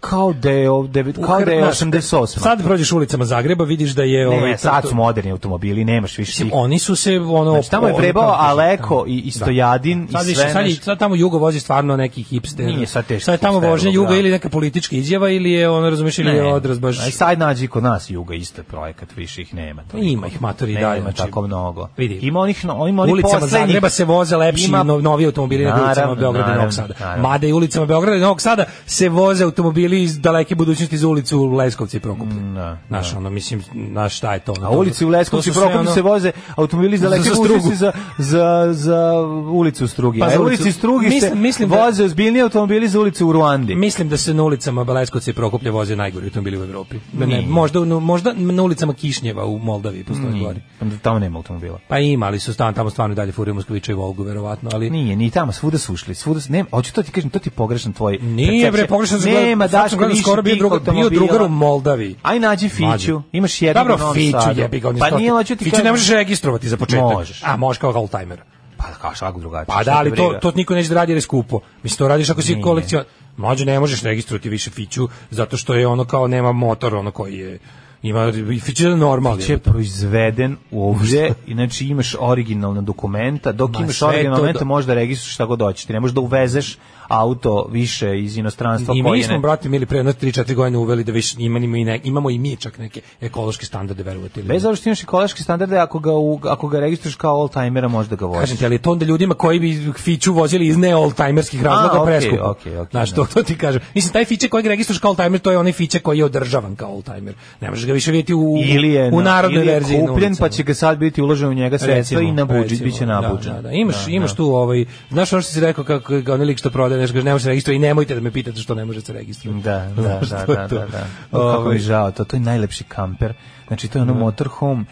Speaker 7: kao da je ov- devet- kao da je
Speaker 6: Znaš,
Speaker 7: 88.
Speaker 6: Sad prođeš ulicama Zagreba, vidiš da je... ovaj,
Speaker 7: ne, sad
Speaker 6: to-
Speaker 7: su moderni automobili, nemaš više
Speaker 6: Mislim,
Speaker 7: tih.
Speaker 6: oni su se ono
Speaker 7: Znači, tamo je
Speaker 6: ono,
Speaker 7: vrebao
Speaker 6: kako kažem,
Speaker 7: Aleko i- i
Speaker 6: Da.
Speaker 7: Stojadin i
Speaker 6: sad
Speaker 7: sve
Speaker 6: više, sad, je-
Speaker 7: naš-
Speaker 6: sad tamo jugo vozi stvarno neki hipster
Speaker 7: Nije sad teški
Speaker 6: je tamo
Speaker 7: hipster,
Speaker 6: vožnja juga
Speaker 7: da.
Speaker 6: ili neka politička izjava ili je ono razumeš ili je odraz baš Pa
Speaker 7: Aj sad nađi kod nas Juga isto je projekat, više ih nema. To
Speaker 6: Ima ih, matori,
Speaker 7: Nema
Speaker 6: dalje,
Speaker 7: Ima
Speaker 6: znači,
Speaker 7: tako mnogo.
Speaker 6: vidi.
Speaker 7: Ima onih, no, ima onih
Speaker 6: ulicama
Speaker 7: poslednjih.
Speaker 6: Zagreba se voze lepši
Speaker 7: Ima-
Speaker 6: no, novi automobili nego ulicama
Speaker 7: Naravno,
Speaker 6: Beograda i Novog
Speaker 7: naravno,
Speaker 6: Sada.
Speaker 7: naravno.
Speaker 6: Mada i ulicama Beograda i Novog Sada se voze automobili iz daleke budućnosti za ulicu Leskovci i Prokuplje.
Speaker 7: Mm, da,
Speaker 6: Znaš, ono, mislim, znaš šta je to? ono,
Speaker 7: A
Speaker 6: to-
Speaker 7: ulici u
Speaker 6: to
Speaker 7: Leskovcu
Speaker 6: su
Speaker 7: i
Speaker 6: sve,
Speaker 7: Prokuplju
Speaker 6: ono-
Speaker 7: se voze automobili za
Speaker 6: Za-
Speaker 7: leke
Speaker 6: za Strugu.
Speaker 7: bušice za, za, za ulicu Strugi.
Speaker 6: Pa
Speaker 7: A
Speaker 6: za ulicu-
Speaker 7: ulici Strugi se
Speaker 6: Mislim- mislim da-
Speaker 7: voze ozbiljni automobili za ulicu u Ruandi.
Speaker 6: Mislim da se na ulicama Leskovca i Prokuplja voze najgori automobili u Evropi. Da ne, možda, u- možda na ulicama Kišnjeva u Moldaviji postoji gori.
Speaker 7: Tamo nema automobila.
Speaker 6: Pa ima, ali su stan, tamo stvarno i dalje furaju Moskovića i Volgu, verovatno, ali...
Speaker 7: Nije, ni tamo, svuda su ušli, svuda su, nema, hoću to ti kažem, to ti je pogrešan tvoj
Speaker 6: Nije bre, pogrešno sam gledao.
Speaker 7: Nema,
Speaker 6: sad sam
Speaker 7: Daško,
Speaker 6: gledao
Speaker 7: više
Speaker 6: skoro bio
Speaker 7: tih
Speaker 6: drugar, bio
Speaker 7: automobila.
Speaker 6: drugar u Moldaviji.
Speaker 7: Aj nađi Fiću,
Speaker 6: Mlađe.
Speaker 7: imaš jednog u
Speaker 6: Dobro,
Speaker 7: Novom
Speaker 6: Fiću
Speaker 7: Sadu.
Speaker 6: jebi ga. on je
Speaker 7: Pa
Speaker 6: sto-
Speaker 7: nije, hoću ti
Speaker 6: Fiću
Speaker 7: kažem-
Speaker 6: ne možeš registrovati za početak.
Speaker 7: Možeš.
Speaker 6: A, možeš kao oldtimer.
Speaker 7: Pa kao šagu drugačije.
Speaker 6: Pa
Speaker 7: šta
Speaker 6: da,
Speaker 7: te
Speaker 6: ali to,
Speaker 7: briga.
Speaker 6: to niko neće da radi jer je skupo. Mislim, to radiš ako si
Speaker 7: Nije.
Speaker 6: kolekcion... Mlađe, ne možeš registrovati više Fiću, zato što je ono kao nema motor, ono koji je... Ima, Fiću je normalni.
Speaker 7: će proizveden ovdje, inače imaš originalna dokumenta, dok
Speaker 6: Ma,
Speaker 7: imaš
Speaker 6: sve to
Speaker 7: originalne dokumenta
Speaker 6: do-
Speaker 7: možeš da registruješ šta god hoćeš, ti ne možeš da uvezeš auto više iz inostranstva
Speaker 6: I
Speaker 7: koje
Speaker 6: mi smo,
Speaker 7: ne-
Speaker 6: brate, mili pre jedno 3-4 godine uveli da više imamo i, ne, imamo i mi čak neke ekološke standarde, verujete ili ne.
Speaker 7: Bez obzira što imaš ekološki standarde, ako ga, u, ako ga registruješ kao all-timera, možda ga voziš.
Speaker 6: Kažem ti, ali je to onda ljudima koji bi fiću vozili iz ne oldtimerskih razloga
Speaker 7: A, okej,
Speaker 6: preskupo.
Speaker 7: okej, okej,
Speaker 6: Znaš, to, to ti kažem. Mislim, taj fiće kojeg registruješ kao oldtimer, to je onaj fiće koji je održavan kao oldtimer. Ne možeš ga više vidjeti u,
Speaker 7: ili je,
Speaker 6: u narodnoj
Speaker 7: ili je
Speaker 6: verziji. na
Speaker 7: kupljen,
Speaker 6: ulicama.
Speaker 7: pa će ga sad biti uloženo u njega sredstva i
Speaker 6: Recimo,
Speaker 7: nabuđit,
Speaker 6: recimo,
Speaker 7: bit će nabuđen.
Speaker 6: Da, da, da. Imaš, imaš tu ovaj, znaš ono što si rekao kako ga onaj lik što prodaje, nešto kaže ne može se registrovati i nemojte da me pitate što ne može se registrovati.
Speaker 7: Da, da, da,
Speaker 6: Znaš,
Speaker 7: da,
Speaker 6: to je
Speaker 7: da,
Speaker 6: to.
Speaker 7: da, da. O, Kako mi
Speaker 6: Ovaj,
Speaker 7: je žao, to, to je najlepši kamper. Znači, to je ono motorhome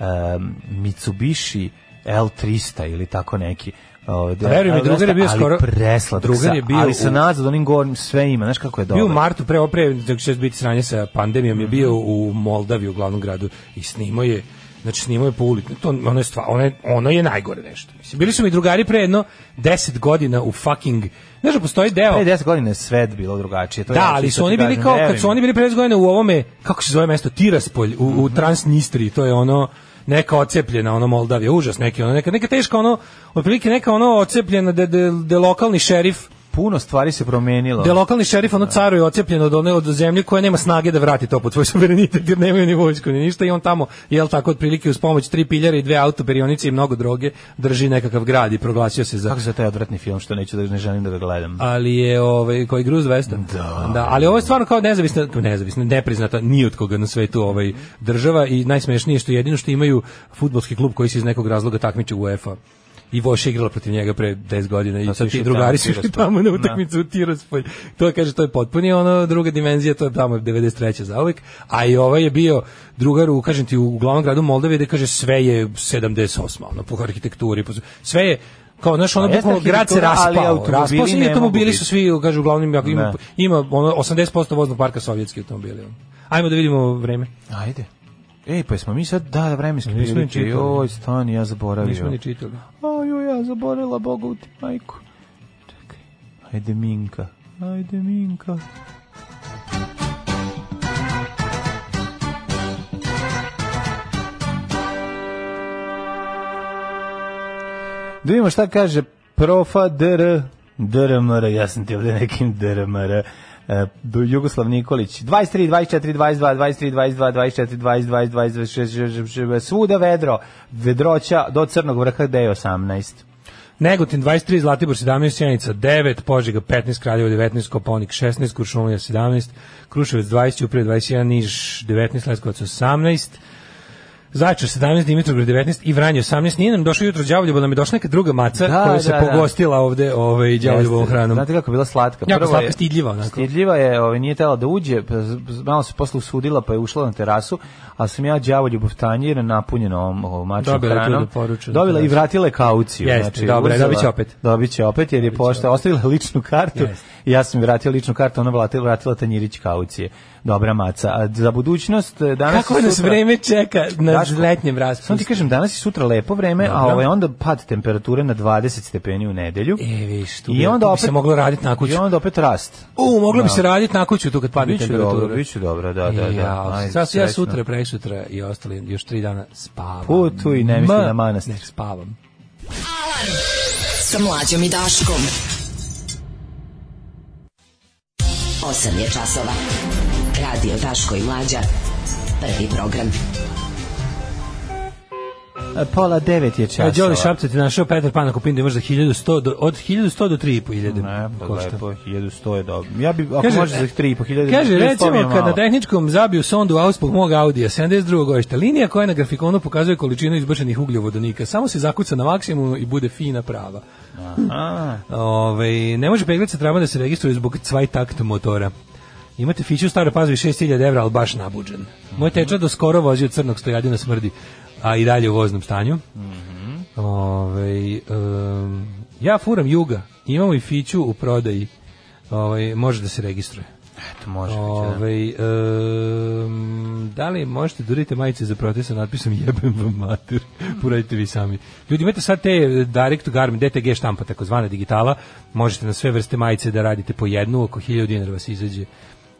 Speaker 7: em, Mitsubishi L300 ili tako neki. O, da,
Speaker 6: Pa Veruj mi,
Speaker 7: L300,
Speaker 6: drugar je bio
Speaker 7: ali
Speaker 6: skoro-
Speaker 7: presladak
Speaker 6: drugar
Speaker 7: sa-
Speaker 6: je bio
Speaker 7: ali sa
Speaker 6: u-
Speaker 7: nazad, onim gornjim sve ima, znaš kako je
Speaker 6: Bio
Speaker 7: dobro.
Speaker 6: u martu, pre, pre, dok će biti sranje sa pandemijom,
Speaker 7: Mhm.
Speaker 6: je bio u Moldavi, u glavnom gradu, i snimao je, znači snimao je po ulici. To, ono, je stva, ono, je, ono je najgore nešto. Mislim, bili su mi drugari pre jedno 10 godina u fucking... Znaš, da postoji deo...
Speaker 7: Pre 10 godina je svet bilo drugačije. To Pa ja
Speaker 6: Da,
Speaker 7: ću
Speaker 6: ali
Speaker 7: sad
Speaker 6: su oni
Speaker 7: ti
Speaker 6: bili
Speaker 7: kažem,
Speaker 6: kao,
Speaker 7: veruj
Speaker 6: kad su
Speaker 7: mi.
Speaker 6: oni bili pre 10 godina u ovome, kako se zove mesto, Tiraspolj, u,
Speaker 7: Mhm.
Speaker 6: u Transnistriji, to je ono neka ocepljena ono Moldavija, užas neki ono, neka, neka teška ono, otprilike neka ono ocepljena de, de, de lokalni šerif
Speaker 7: Puno stvari se promenilo.
Speaker 6: da je lokalni šerif ono caru je ocepljen od one od zemlje koja nema snage da vrati to pod svoj suverenitet jer nemaju ni vojsku ni ništa i on tamo jel tako otprilike uz pomoć tri piljara i dve autoperionice i mnogo droge drži nekakav grad i proglasio se za
Speaker 7: Kako se taj odvratni film što neću da ne želim da ga gledam.
Speaker 6: ali je ovaj koji gruz vesta. Da. ali ovo je stvarno kao nezavisna, kao nezavisna, nepriznata ni od koga na svetu ovaj država i najsmešnije je što jedino što imaju fudbalski klub koji se iz nekog razloga takmiči u UEFA. I Voša igrala protiv njega pre 10 godina i
Speaker 7: Da,
Speaker 6: sad
Speaker 7: su
Speaker 6: ti
Speaker 7: išli
Speaker 6: drugari
Speaker 7: tamo,
Speaker 6: su išli
Speaker 7: Tiraspolj.
Speaker 6: tamo na
Speaker 7: Da.
Speaker 6: utakmicu u Tiraspolj. To je, kaže, to je potpuni ono, druga dimenzija, to je tamo 93. zauvek. A i ovaj je bio drugar u, kažem ti, u glavnom gradu Moldavije gde kaže sve je 78. Ono, po arhitekturi, po, sve je kao znaš ono
Speaker 7: Pa jeste
Speaker 6: bukvalno grad se
Speaker 7: arhitektura, ali
Speaker 6: raspao,
Speaker 7: automobili
Speaker 6: raspao se i
Speaker 7: ne
Speaker 6: automobili
Speaker 7: mogu
Speaker 6: su svi, kaže uglavnom ako ima,
Speaker 7: Ne.
Speaker 6: ima ono 80% voznog parka sovjetski automobili. ono. Ajmo da vidimo vreme.
Speaker 7: Ajde. Ej, pa smo mi sad, da, da, vremenski
Speaker 6: Nismo ni
Speaker 7: prilike.
Speaker 6: čitali.
Speaker 7: Joj, stani, ja
Speaker 6: Nismo
Speaker 7: zaboravio.
Speaker 6: ni čitali.
Speaker 7: Ajoj, ja zaboravila Boga u ti majku. Čekaj. Ajde, Minka. Ajde, Minka. Da vidimo šta kaže profa dr. DRMR, ja sam ti ovde nekim DRMR. E, Jugoslav Nikolić 23, 24, 22, 23, 22, 24, 22, 26, 26, svuda vedro vedroća do crnog vrha gde je 18
Speaker 6: Negotin 23, Zlatibor 17, Sjenica 9, Požega 15, Kraljevo 19, Koponik 16, Kuršumlija 17, Kruševac 20, Uprije 21, Niš 19, Leskovac 18, Zajčar 17, Dimitrovgrad 19 i Vranje 18. Nije nam došlo jutro Đavoljubo, nam je došla neka druga maca
Speaker 7: Da,
Speaker 6: koja se
Speaker 7: da, da.
Speaker 6: pogostila ovde ovaj, Đavoljubovom
Speaker 7: Jeste.
Speaker 6: hranom.
Speaker 7: Znate kako je bila slatka?
Speaker 6: Jako
Speaker 7: Prvo
Speaker 6: slatka,
Speaker 7: je-
Speaker 6: stidljiva onako.
Speaker 7: Stidljiva je, ovaj, nije tela da uđe, pa z- z- malo se posle usudila pa je ušla na terasu, ali sam ja đavo ljubav tanjir napunjeno ovom, ovom mačom
Speaker 6: Dobila je tu
Speaker 7: hranom.
Speaker 6: da poruče na
Speaker 7: dobila i
Speaker 6: terasu.
Speaker 7: vratila je kauciju. znači,
Speaker 6: Jeste, dobro je,
Speaker 7: uzela-
Speaker 6: dobit će opet.
Speaker 7: Dobit će opet jer je pošta ostavila ličnu kartu.
Speaker 6: Jeste.
Speaker 7: I ja sam joj vratio ličnu kartu, ona vratila, vratila tanjirić kaucije. Dobra maca. A za budućnost e, danas
Speaker 6: Kako
Speaker 7: i
Speaker 6: nas
Speaker 7: sutra-
Speaker 6: vreme čeka na
Speaker 7: Daško,
Speaker 6: letnjem
Speaker 7: Samo ti
Speaker 6: raspustu?
Speaker 7: kažem, danas i sutra lepo vreme, a
Speaker 6: Dobro.
Speaker 7: ovaj onda pad temperature na 20 stepeni u nedelju.
Speaker 6: E, vidiš, tu bi-
Speaker 7: I onda
Speaker 6: tu bi
Speaker 7: opet
Speaker 6: se moglo raditi na kuću.
Speaker 7: I onda opet rast.
Speaker 6: U, moglo bi se raditi na kuću tu kad padne
Speaker 7: Biće
Speaker 6: temperatura. E,
Speaker 7: dobro, biće dobro, da, da, da.
Speaker 6: Ja,
Speaker 7: Ajde,
Speaker 6: sad su ja
Speaker 7: srećno.
Speaker 6: sutra, presutra i ostali još tri dana spavam.
Speaker 7: Putuj i ne misli
Speaker 6: Ma,
Speaker 7: na manastir.
Speaker 6: Ne, spavam.
Speaker 9: Sa mlađom i Daškom. 8 je časova. Radio Daško i Mlađa. Prvi program.
Speaker 7: E, Pola devet je
Speaker 6: Ja,
Speaker 7: časova.
Speaker 6: Đoli Šapca ti našao Petar Pan na Kupindu imaš za 1100 do, od 1100 do 3500.
Speaker 7: Ne, pa lepo, 1100 je dobro. Ja bi, ako
Speaker 6: Kaže- e,
Speaker 7: može za 3.500,
Speaker 6: Kaže,
Speaker 7: 1100 mi je
Speaker 6: recimo, kad
Speaker 7: malo.
Speaker 6: na tehničkom zabiju sondu auspog mog Audija 72. godišta, linija koja na grafikonu pokazuje količinu izbačenih ugljovodonika, samo se zakuca na maksimumu i bude fina prava.
Speaker 7: A,
Speaker 6: Ove, ne može peglica trava da se registruje zbog cvajtakt motora. Imate fiću u staroj pazovi 6000 evra, ali baš nabuđen. Moj teča do skoro vozio crnog stojadina smrdi, a i dalje u voznom stanju. Ovaj, em, ja furam juga, imamo i fiću u prodaji. Ovaj, može da se registruje.
Speaker 7: eto, može biti, da.
Speaker 6: Ovaj, em, da li možete da urite majice za protest sa natpisom jebem vam mater,
Speaker 7: Mm.
Speaker 6: uradite vi sami. Ljudi, imate sad te e, direct to garment, DTG štampa, takozvana digitala, možete na sve vrste majice da radite po jednu, oko 1000 dinara vas izađe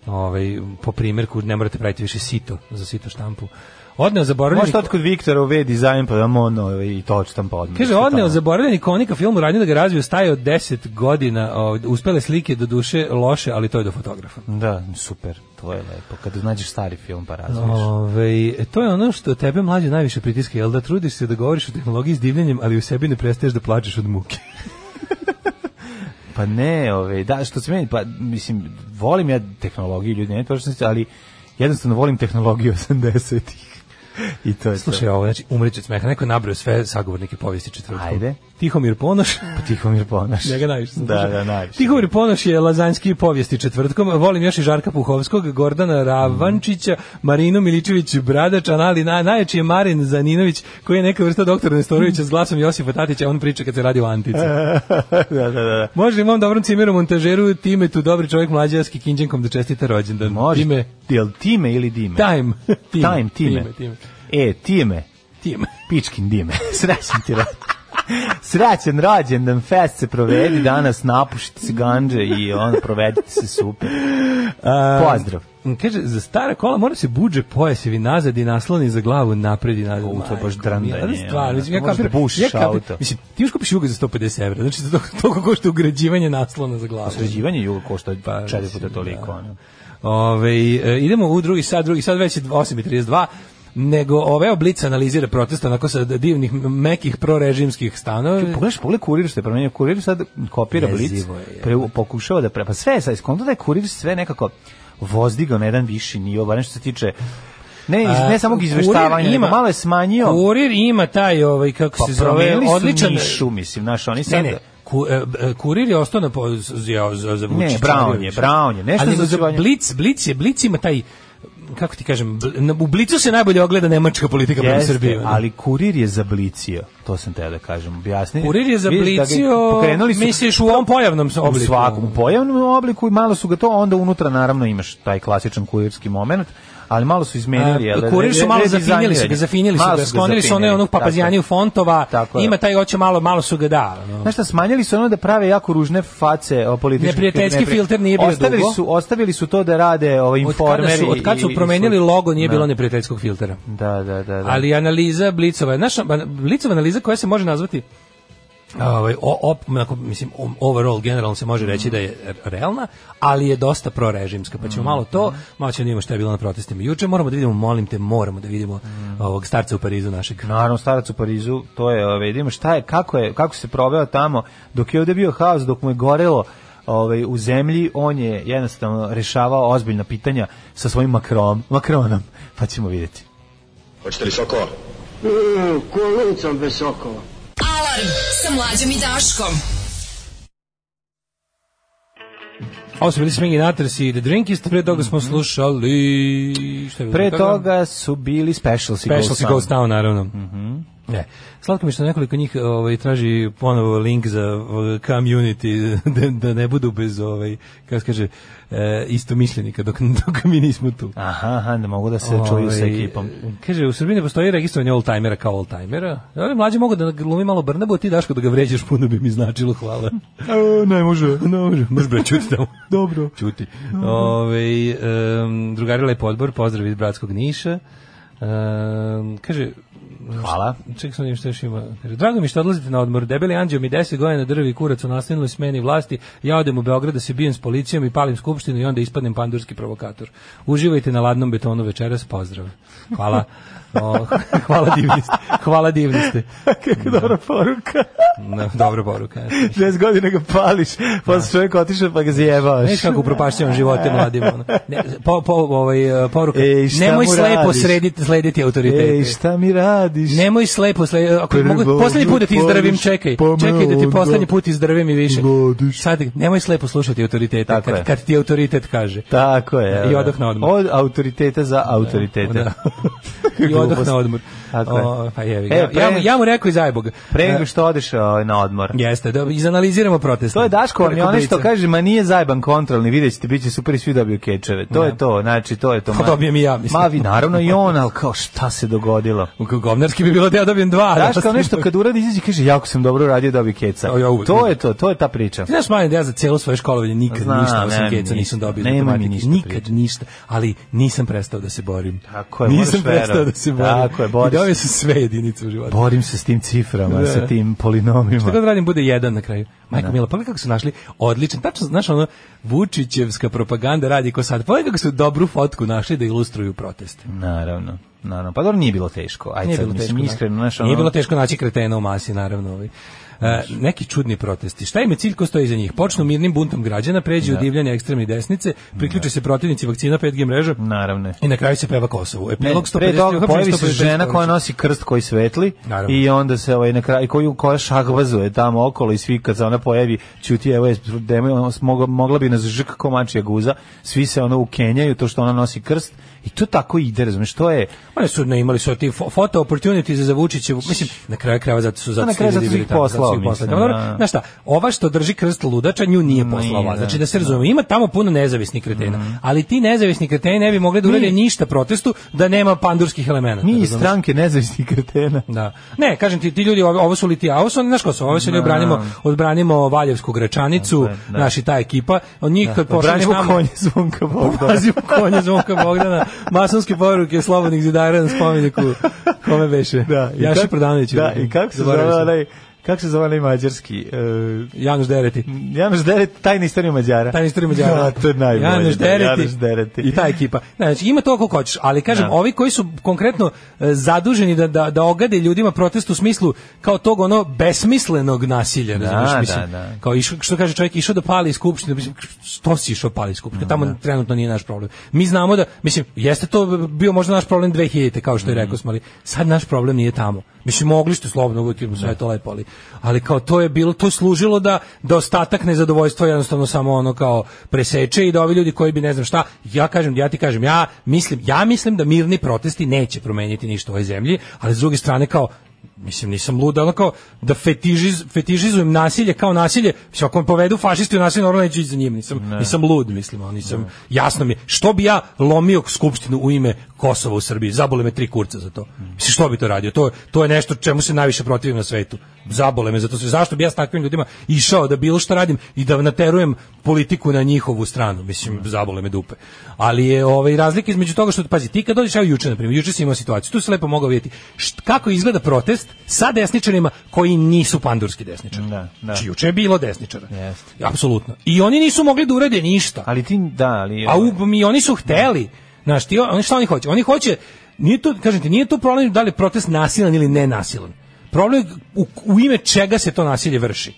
Speaker 6: ovaj, po primjerku ne morate praviti više sito za sito štampu. Odneo zaboravljeni...
Speaker 7: Možete od kod Viktora u V-Design pa da mono i to odštam pa odmah.
Speaker 6: Kaže, odneo zaboravljeni konika film uradnju da ga razvio staje od 10 godina, ovaj, uspele slike do duše loše, ali to je do fotografa.
Speaker 7: Da, super, to je lepo. Kada nađeš stari film pa razmiš.
Speaker 6: Ove, to je ono što tebe mlađe najviše pritiska, jel da trudiš se da govoriš o tehnologiji s divljenjem, ali u sebi ne prestaješ da plačeš od muke.
Speaker 7: Pa ne, ove, da, što se meni, pa, mislim, volim ja tehnologiju ljudi, ne to što sam se- ali jednostavno volim tehnologiju 80-ih. I to je
Speaker 6: Slušaj ovo, znači umreće od smeha, neko je nabrao sve sagovornike povijesti četvrtkom.
Speaker 7: Ajde.
Speaker 6: Tihomir Ponoš.
Speaker 7: to. Tihomir Ponoš.
Speaker 6: Ja ga najviše sam
Speaker 7: Da,
Speaker 6: slušao.
Speaker 7: da, najviše.
Speaker 6: Tihomir Ponoš je lazanjski povijesti četvrtkom. Volim još i Žarka Puhovskog, Gordana Ravančića, Marinu Miličević Bradačan, ali na, najjači je Marin Zaninović, koji je neka vrsta doktora Nestorovića s glasom Josipa Tatića, on priča kad se radi o antici.
Speaker 7: da, da, da.
Speaker 6: Može i mom dobrom cimeru montažeru time tu dobri čovjek mlađarski kinđenkom da čestita rođendan.
Speaker 7: Može.
Speaker 6: Time,
Speaker 7: Jel time ili dime?
Speaker 6: time, time,
Speaker 7: Time, time.
Speaker 6: time, time.
Speaker 7: E, time.
Speaker 6: time.
Speaker 7: Pičkin dime. Srećan ti rođen. Srećan rođendan, fest se provedi danas, napušite se ganđe i ono, provedite se super. Pozdrav.
Speaker 6: Kaže, za stara kola mora se buđe pojasevi nazad i nasloni za glavu napred i nazad.
Speaker 7: U, to je baš
Speaker 6: Majko
Speaker 7: drndanje,
Speaker 6: mila, ali
Speaker 7: ono,
Speaker 6: stvarno, mislim, ja
Speaker 7: možeš da
Speaker 6: kapiram-
Speaker 7: bušiš
Speaker 6: ja kapiram-
Speaker 7: auto.
Speaker 6: Mislim, ti još kupiš jugo za 150 evra, znači za to, toliko košta ugrađivanje naslona za glavu.
Speaker 7: Sređivanje juga košta
Speaker 6: Pa,
Speaker 7: četiri
Speaker 6: mislim,
Speaker 7: puta toliko.
Speaker 6: da.
Speaker 7: ono.
Speaker 6: Ove, e, idemo u drugi sad, drugi sad već je 8.32, nego ove oblica analizira protesta onako sa divnih mekih prorežimskih stanova.
Speaker 7: Pogledaš, pogledaj kurir što je promenio. Kurir sad kopira Blic,
Speaker 6: Jezivo je,
Speaker 7: pre, pokušava da pre... Pa sve je sad, skonto da je kurir sve nekako vozdigao na jedan viši nivo, barem što se tiče ne, iz, ne samog
Speaker 6: Kurir
Speaker 7: izveštavanja, nego malo je smanjio.
Speaker 6: Kurir ima taj, ovaj, kako
Speaker 7: pa
Speaker 6: se zove,
Speaker 7: promenili su
Speaker 6: odličan...
Speaker 7: nišu, mislim, znaš, oni sad...
Speaker 6: Ne, ne, ku, e, e, kurir je ostao na po, z- za, za, za
Speaker 7: Ne,
Speaker 6: Vučića.
Speaker 7: Brown je, Brown je, nešto
Speaker 6: Ali
Speaker 7: za
Speaker 6: za
Speaker 7: očuvanje.
Speaker 6: Blic, Blic je, Blic ima taj kako ti kažem, bl- na- u Blicu se najbolje ogleda nemačka politika prema
Speaker 7: Jeste,
Speaker 6: Srbiji. ono.
Speaker 7: ali kurir je zablicio, to sam teo da kažem, objasni.
Speaker 6: Kurir je zablicio, misliš u ovom pojavnom s-
Speaker 7: obliku.
Speaker 6: obliku?
Speaker 7: U svakom pojavnom obliku i malo su ga to, onda unutra naravno imaš taj klasičan kurirski moment, ali malo su izmenili. jel,
Speaker 6: A, kurir su
Speaker 7: re-
Speaker 6: malo
Speaker 7: re-
Speaker 6: zafinjili su ga,
Speaker 7: redizajnirali.
Speaker 6: zafinjili su
Speaker 7: Malo
Speaker 6: ga, sklonili su one
Speaker 7: zafinjili,
Speaker 6: onog
Speaker 7: tako je.
Speaker 6: papazijaniju fontova,
Speaker 7: Tako je.
Speaker 6: ima taj hoće malo, malo su ga da. ono.
Speaker 7: Znaš šta, smanjili su ono da prave jako ružne face o politički.
Speaker 6: Neprijateljski filter nije bio
Speaker 7: ostavili
Speaker 6: dugo.
Speaker 7: Su, ostavili su to da rade ovo,
Speaker 6: Od kada
Speaker 7: informeri.
Speaker 6: su, od kad su
Speaker 7: i- i
Speaker 6: promenili
Speaker 7: sl-
Speaker 6: logo nije
Speaker 7: Da.
Speaker 6: bilo neprijateljskog filtera.
Speaker 7: Da, da, da. da.
Speaker 6: Ali analiza Blicova, naša Blicova analiza koja se može nazvati ovaj o- op, onako, mislim o- overall generalno se može reći da je re- realna, ali je dosta prorežimska. Pa ćemo malo to, malo ćemo da vidimo šta je bilo na protestima. Juče moramo da vidimo, molim te, moramo da vidimo ovog starca u Parizu našeg.
Speaker 7: Naravno, starac u Parizu, to je, ove, vidimo šta je, kako je, kako se proveo tamo, dok je ovde bio haos, dok mu je gorelo ovaj, u zemlji, on je jednostavno rešavao ozbiljna pitanja sa svojim makrom, makronom, pa ćemo vidjeti.
Speaker 4: Hoćete li sokova?
Speaker 5: Kolunicom bez sokova.
Speaker 9: Alarm sa mlađom i Daškom.
Speaker 6: Ovo su bili Swingin' Natters i The Drinkist, pre toga smo slušali... Mhm. Šta je bilo
Speaker 7: Pre toga su bili Specials i
Speaker 6: Special si Ghost
Speaker 7: Ghost Town.
Speaker 6: Town, naravno. Ne. Slatko mi je što nekoliko njih ovaj, traži ponovo link za ovaj, community, da, da ne budu bez, ovaj, kako se kaže, e, istomišljenika dok, dok mi nismo tu.
Speaker 7: Aha, aha, da mogu da se čuju sa
Speaker 6: Ovaj,
Speaker 7: ekipom.
Speaker 6: Kaže, u Srbiji ne postoji registrovanje oldtimera kao oldtimera. Ali mlađe mogu da glumi malo Brnabu, a ti Daško da ga vređaš puno bi mi značilo, hvala.
Speaker 7: E, ne može.
Speaker 6: ne može, može bre, čuti tamo.
Speaker 7: Dobro.
Speaker 6: Čuti. Ovaj em, drugari Lep odbor, pozdrav iz Bratskog Niša. Em, kaže,
Speaker 7: Hvala.
Speaker 6: Ček sam da vidim šta još ima. Kaže, Drago mi je što odlazite na odmor. Debeli anđeo mi 10 godina drvi kurac u nastavnoj smeni vlasti. Ja odem u Beograd da se bijem s policijom i palim skupštinu i onda ispadnem pandurski provokator. Uživajte na ladnom betonu večeras. Pozdrav. Hvala. O, hvala divni ste. Hvala divni ste.
Speaker 7: Kako dobra poruka.
Speaker 6: No, dobra poruka.
Speaker 7: 10 godina ga pališ, pa se čovjek otišao pa ga zjebaš.
Speaker 6: Znaš kako upropašćavam živote mladim. ono. Ne, po, po, ovaj, e, poruka.
Speaker 7: Ej, šta
Speaker 6: Nemoj
Speaker 7: mu
Speaker 6: slepo
Speaker 7: radiš?
Speaker 6: srediti, slediti autoritete.
Speaker 7: Ej, šta mi radiš?
Speaker 6: Nemoj slepo, sle, ako
Speaker 7: Prvo
Speaker 6: mogu, poslednji put da ti izdrvim,
Speaker 7: odvodiš,
Speaker 6: čekaj.
Speaker 7: pa me
Speaker 6: Čekaj da ti
Speaker 7: onda
Speaker 6: poslednji put izdrvim i više.
Speaker 7: vodiš.
Speaker 6: Sad, nemoj slepo slušati autoriteta,
Speaker 7: Tako je.
Speaker 6: kad, kad ti autoritet kaže.
Speaker 7: Tako je.
Speaker 6: I
Speaker 7: da.
Speaker 6: odoh na odmor.
Speaker 7: Od autoriteta za autoritete.
Speaker 6: Da. I
Speaker 7: Glupost.
Speaker 6: odoh na odmor.
Speaker 7: Tako je.
Speaker 6: O, pa jevi ga.
Speaker 7: E,
Speaker 6: Ja- ja, mu-
Speaker 7: pre-
Speaker 6: ja mu rekao i zajebog.
Speaker 7: Pre nego što odeš ovaj, na odmor.
Speaker 6: Jeste, da izanaliziramo proteste.
Speaker 7: To je Daško, vam je
Speaker 6: Preko
Speaker 7: ono što
Speaker 6: Blica.
Speaker 7: kaže, ma nije zajban kontrolni, vidjet ćete, bit će super i svi dobiju kečeve. To je to, znači, to je to.
Speaker 6: Pa dobijem i ja, mislim.
Speaker 7: Ma vi, naravno i on, ali kao šta se dogodilo?
Speaker 6: U- Govna novinarski bi bilo da ja dobijem dva.
Speaker 7: Znaš, kao
Speaker 6: snim-
Speaker 7: nešto kad uradi izađe kaže jako sam dobro radio dobio keca.
Speaker 6: Ja, ja uvek-
Speaker 7: to je to, to je ta priča.
Speaker 6: Ti znaš manje da ja za celo svoje školovanje nikad
Speaker 7: Znam,
Speaker 6: ništa osim
Speaker 7: nema mi
Speaker 6: keca
Speaker 7: ništa.
Speaker 6: nisam dobio iz
Speaker 7: Nema mi
Speaker 6: matematike.
Speaker 7: ništa
Speaker 6: nikad
Speaker 7: priče.
Speaker 6: ništa, ali nisam prestao da se borim.
Speaker 7: Tako je,
Speaker 6: nisam
Speaker 7: moraš
Speaker 6: prestao
Speaker 7: verovati.
Speaker 6: da se borim.
Speaker 7: Tako je, boriš
Speaker 6: I dobio
Speaker 7: se.
Speaker 6: sam sve jedinice u životu.
Speaker 7: Borim se s tim ciframa,
Speaker 6: Da.
Speaker 7: sa tim polinomima.
Speaker 6: Šta god radim bude jedan na kraju. Majko Mila, pogledaj kako su našli odličan, tačno, znaš, ono, Vučićevska propaganda radi ko sad. Pogledaj kako su dobru fotku našli da ilustruju proteste.
Speaker 7: Naravno. Naravno. Pa dobro, nije bilo teško. Ajde,
Speaker 6: Nije
Speaker 7: sad,
Speaker 6: bilo
Speaker 7: mislim,
Speaker 6: teško, da.
Speaker 7: iskreno, znaš, ono,
Speaker 6: Nije bilo teško naći kretena u masi, naravno. Ovaj. E, neki čudni protesti. Šta im je cilj ko stoji iza njih? Počnu mirnim buntom građana, pređu u divljanje ekstremne desnice, priključe se protivnici vakcina 5G mreže
Speaker 7: Naravno.
Speaker 6: i na kraju se peva Kosovo.
Speaker 7: Ne,
Speaker 6: Epilog 150.
Speaker 7: pre toga
Speaker 6: uhapšenih,
Speaker 7: pojavi se
Speaker 6: 150
Speaker 7: žena koja
Speaker 6: uhapšenih.
Speaker 7: nosi krst koji svetli
Speaker 6: Naravno.
Speaker 7: i onda se ovaj na kraju koju koja šahvazuje tamo okolo i svi kad se ona pojavi ćuti evo je demo, ono, smogla- mogla bi nas žk komačija guza svi se ono ukenjaju to što ona nosi krst i to tako ide razumeš to je
Speaker 6: Oni su ne imali su ti fo- photo opportunity za Vučićevu, mislim na kraju krajeva zato su zato
Speaker 7: Pa na
Speaker 6: su
Speaker 7: kraju
Speaker 6: ljudi
Speaker 7: zato su
Speaker 6: bili
Speaker 7: ih
Speaker 6: tamo, zato su
Speaker 7: poslao,
Speaker 6: ih
Speaker 7: mislim,
Speaker 6: tamo. Dobro,
Speaker 7: da.
Speaker 6: znaš šta, ova što drži krst ludača nju nije poslala.
Speaker 7: Nije,
Speaker 6: Znači
Speaker 7: da, Mhm.
Speaker 6: da se razume, ima tamo puno nezavisnih kretena, ali ti nezavisni kreteni ne bi mogli da urade ništa protestu da nema pandurskih elemenata.
Speaker 7: mi iz
Speaker 6: razumeš?
Speaker 7: stranke nezavisnih kretena
Speaker 6: Da. Ne, kažem ti, ti ljudi, ovo, ovo su li ti, a ovo su, oni, znaš ko su, ovo su li obranimo, odbranimo Valjevsku Gračanicu,
Speaker 7: da.
Speaker 6: naši ta ekipa, od njih kad pošalješ
Speaker 7: Branimo
Speaker 6: tamo...
Speaker 7: konje zvonka Bogdana.
Speaker 6: Pazimo konje Zvonka Bogdana, masonske poruke slobodnih zidara na spomeniku kome beše.
Speaker 7: Da, i
Speaker 6: Jaši
Speaker 7: kak-
Speaker 6: Prodanoviću.
Speaker 7: Da, i kako se
Speaker 6: Zaboravio
Speaker 7: zove
Speaker 6: sam.
Speaker 7: onaj kako se zove onaj mađarski e,
Speaker 6: Januš Dereti.
Speaker 7: Janoš Deret, tajna istorija Mađara.
Speaker 6: Tajni istorija Mađara.
Speaker 7: Da, to je najbolje.
Speaker 6: Januš
Speaker 7: da,
Speaker 6: Dereti,
Speaker 7: Janoš Dereti.
Speaker 6: I ta ekipa. Znači, ima to koliko hoćeš, ali kažem,
Speaker 7: Da.
Speaker 6: ovi koji su konkretno e, zaduženi da, da, da ogade ljudima protest u smislu kao tog ono besmislenog nasilja, razumiješ?
Speaker 7: da,
Speaker 6: mislim,
Speaker 7: da.
Speaker 6: Kao išao, što kaže čovjek, išao da pali skupštinu, mislim, što si išao pali skupštinu, tamo trenutno nije naš problem. Mi znamo da, mislim, jeste to bio možda naš problem 2000 kao što je rekao smo, ali sad naš problem nije tamo. Mislim, mogli ste slobodno, uvijek je sve to lepo, ali, ali kao to je bilo, to je služilo da, da ostatak nezadovoljstva jednostavno samo ono kao preseče i da ovi ljudi koji bi ne znam šta, ja kažem, ja ti kažem, ja mislim, ja mislim da mirni protesti neće promeniti ništa u ovoj zemlji, ali s druge strane kao mislim nisam lud, ali kao da fetižiz, fetižizujem nasilje kao nasilje, mislim ako me povedu fašisti u nasilje, normalno neću ići za njim, nisam, nisam lud, mislim, ali nisam, jasno mi je, što bi ja lomio skupštinu u ime Kosova u Srbiji, zabole me tri kurca za to, mislim što bi to radio, to, to je nešto čemu se najviše protivim na svetu, zabole me, zato se, zašto bi ja s takvim ljudima išao da bilo šta radim i da naterujem politiku na njihovu stranu, mislim, zabole me dupe, ali je ovaj, razlika između toga što, pazi, ti kad dođeš, evo juče, na primjer, juče si imao situaciju, tu se lepo mogao vidjeti, št, kako izgleda protest sa desničarima koji nisu pandurski desničari.
Speaker 7: Da, da.
Speaker 6: Znači, juče je bilo desničara.
Speaker 7: Jeste.
Speaker 6: Apsolutno. I oni nisu mogli da urade ništa.
Speaker 7: Ali ti, da, ali...
Speaker 6: A u, mi oni su hteli. Znaš, ti, oni šta oni hoće? Oni hoće, nije to, kažem ti, nije to problem da li je protest nasilan ili nenasilan. Problem je u, u ime čega se to nasilje vrši.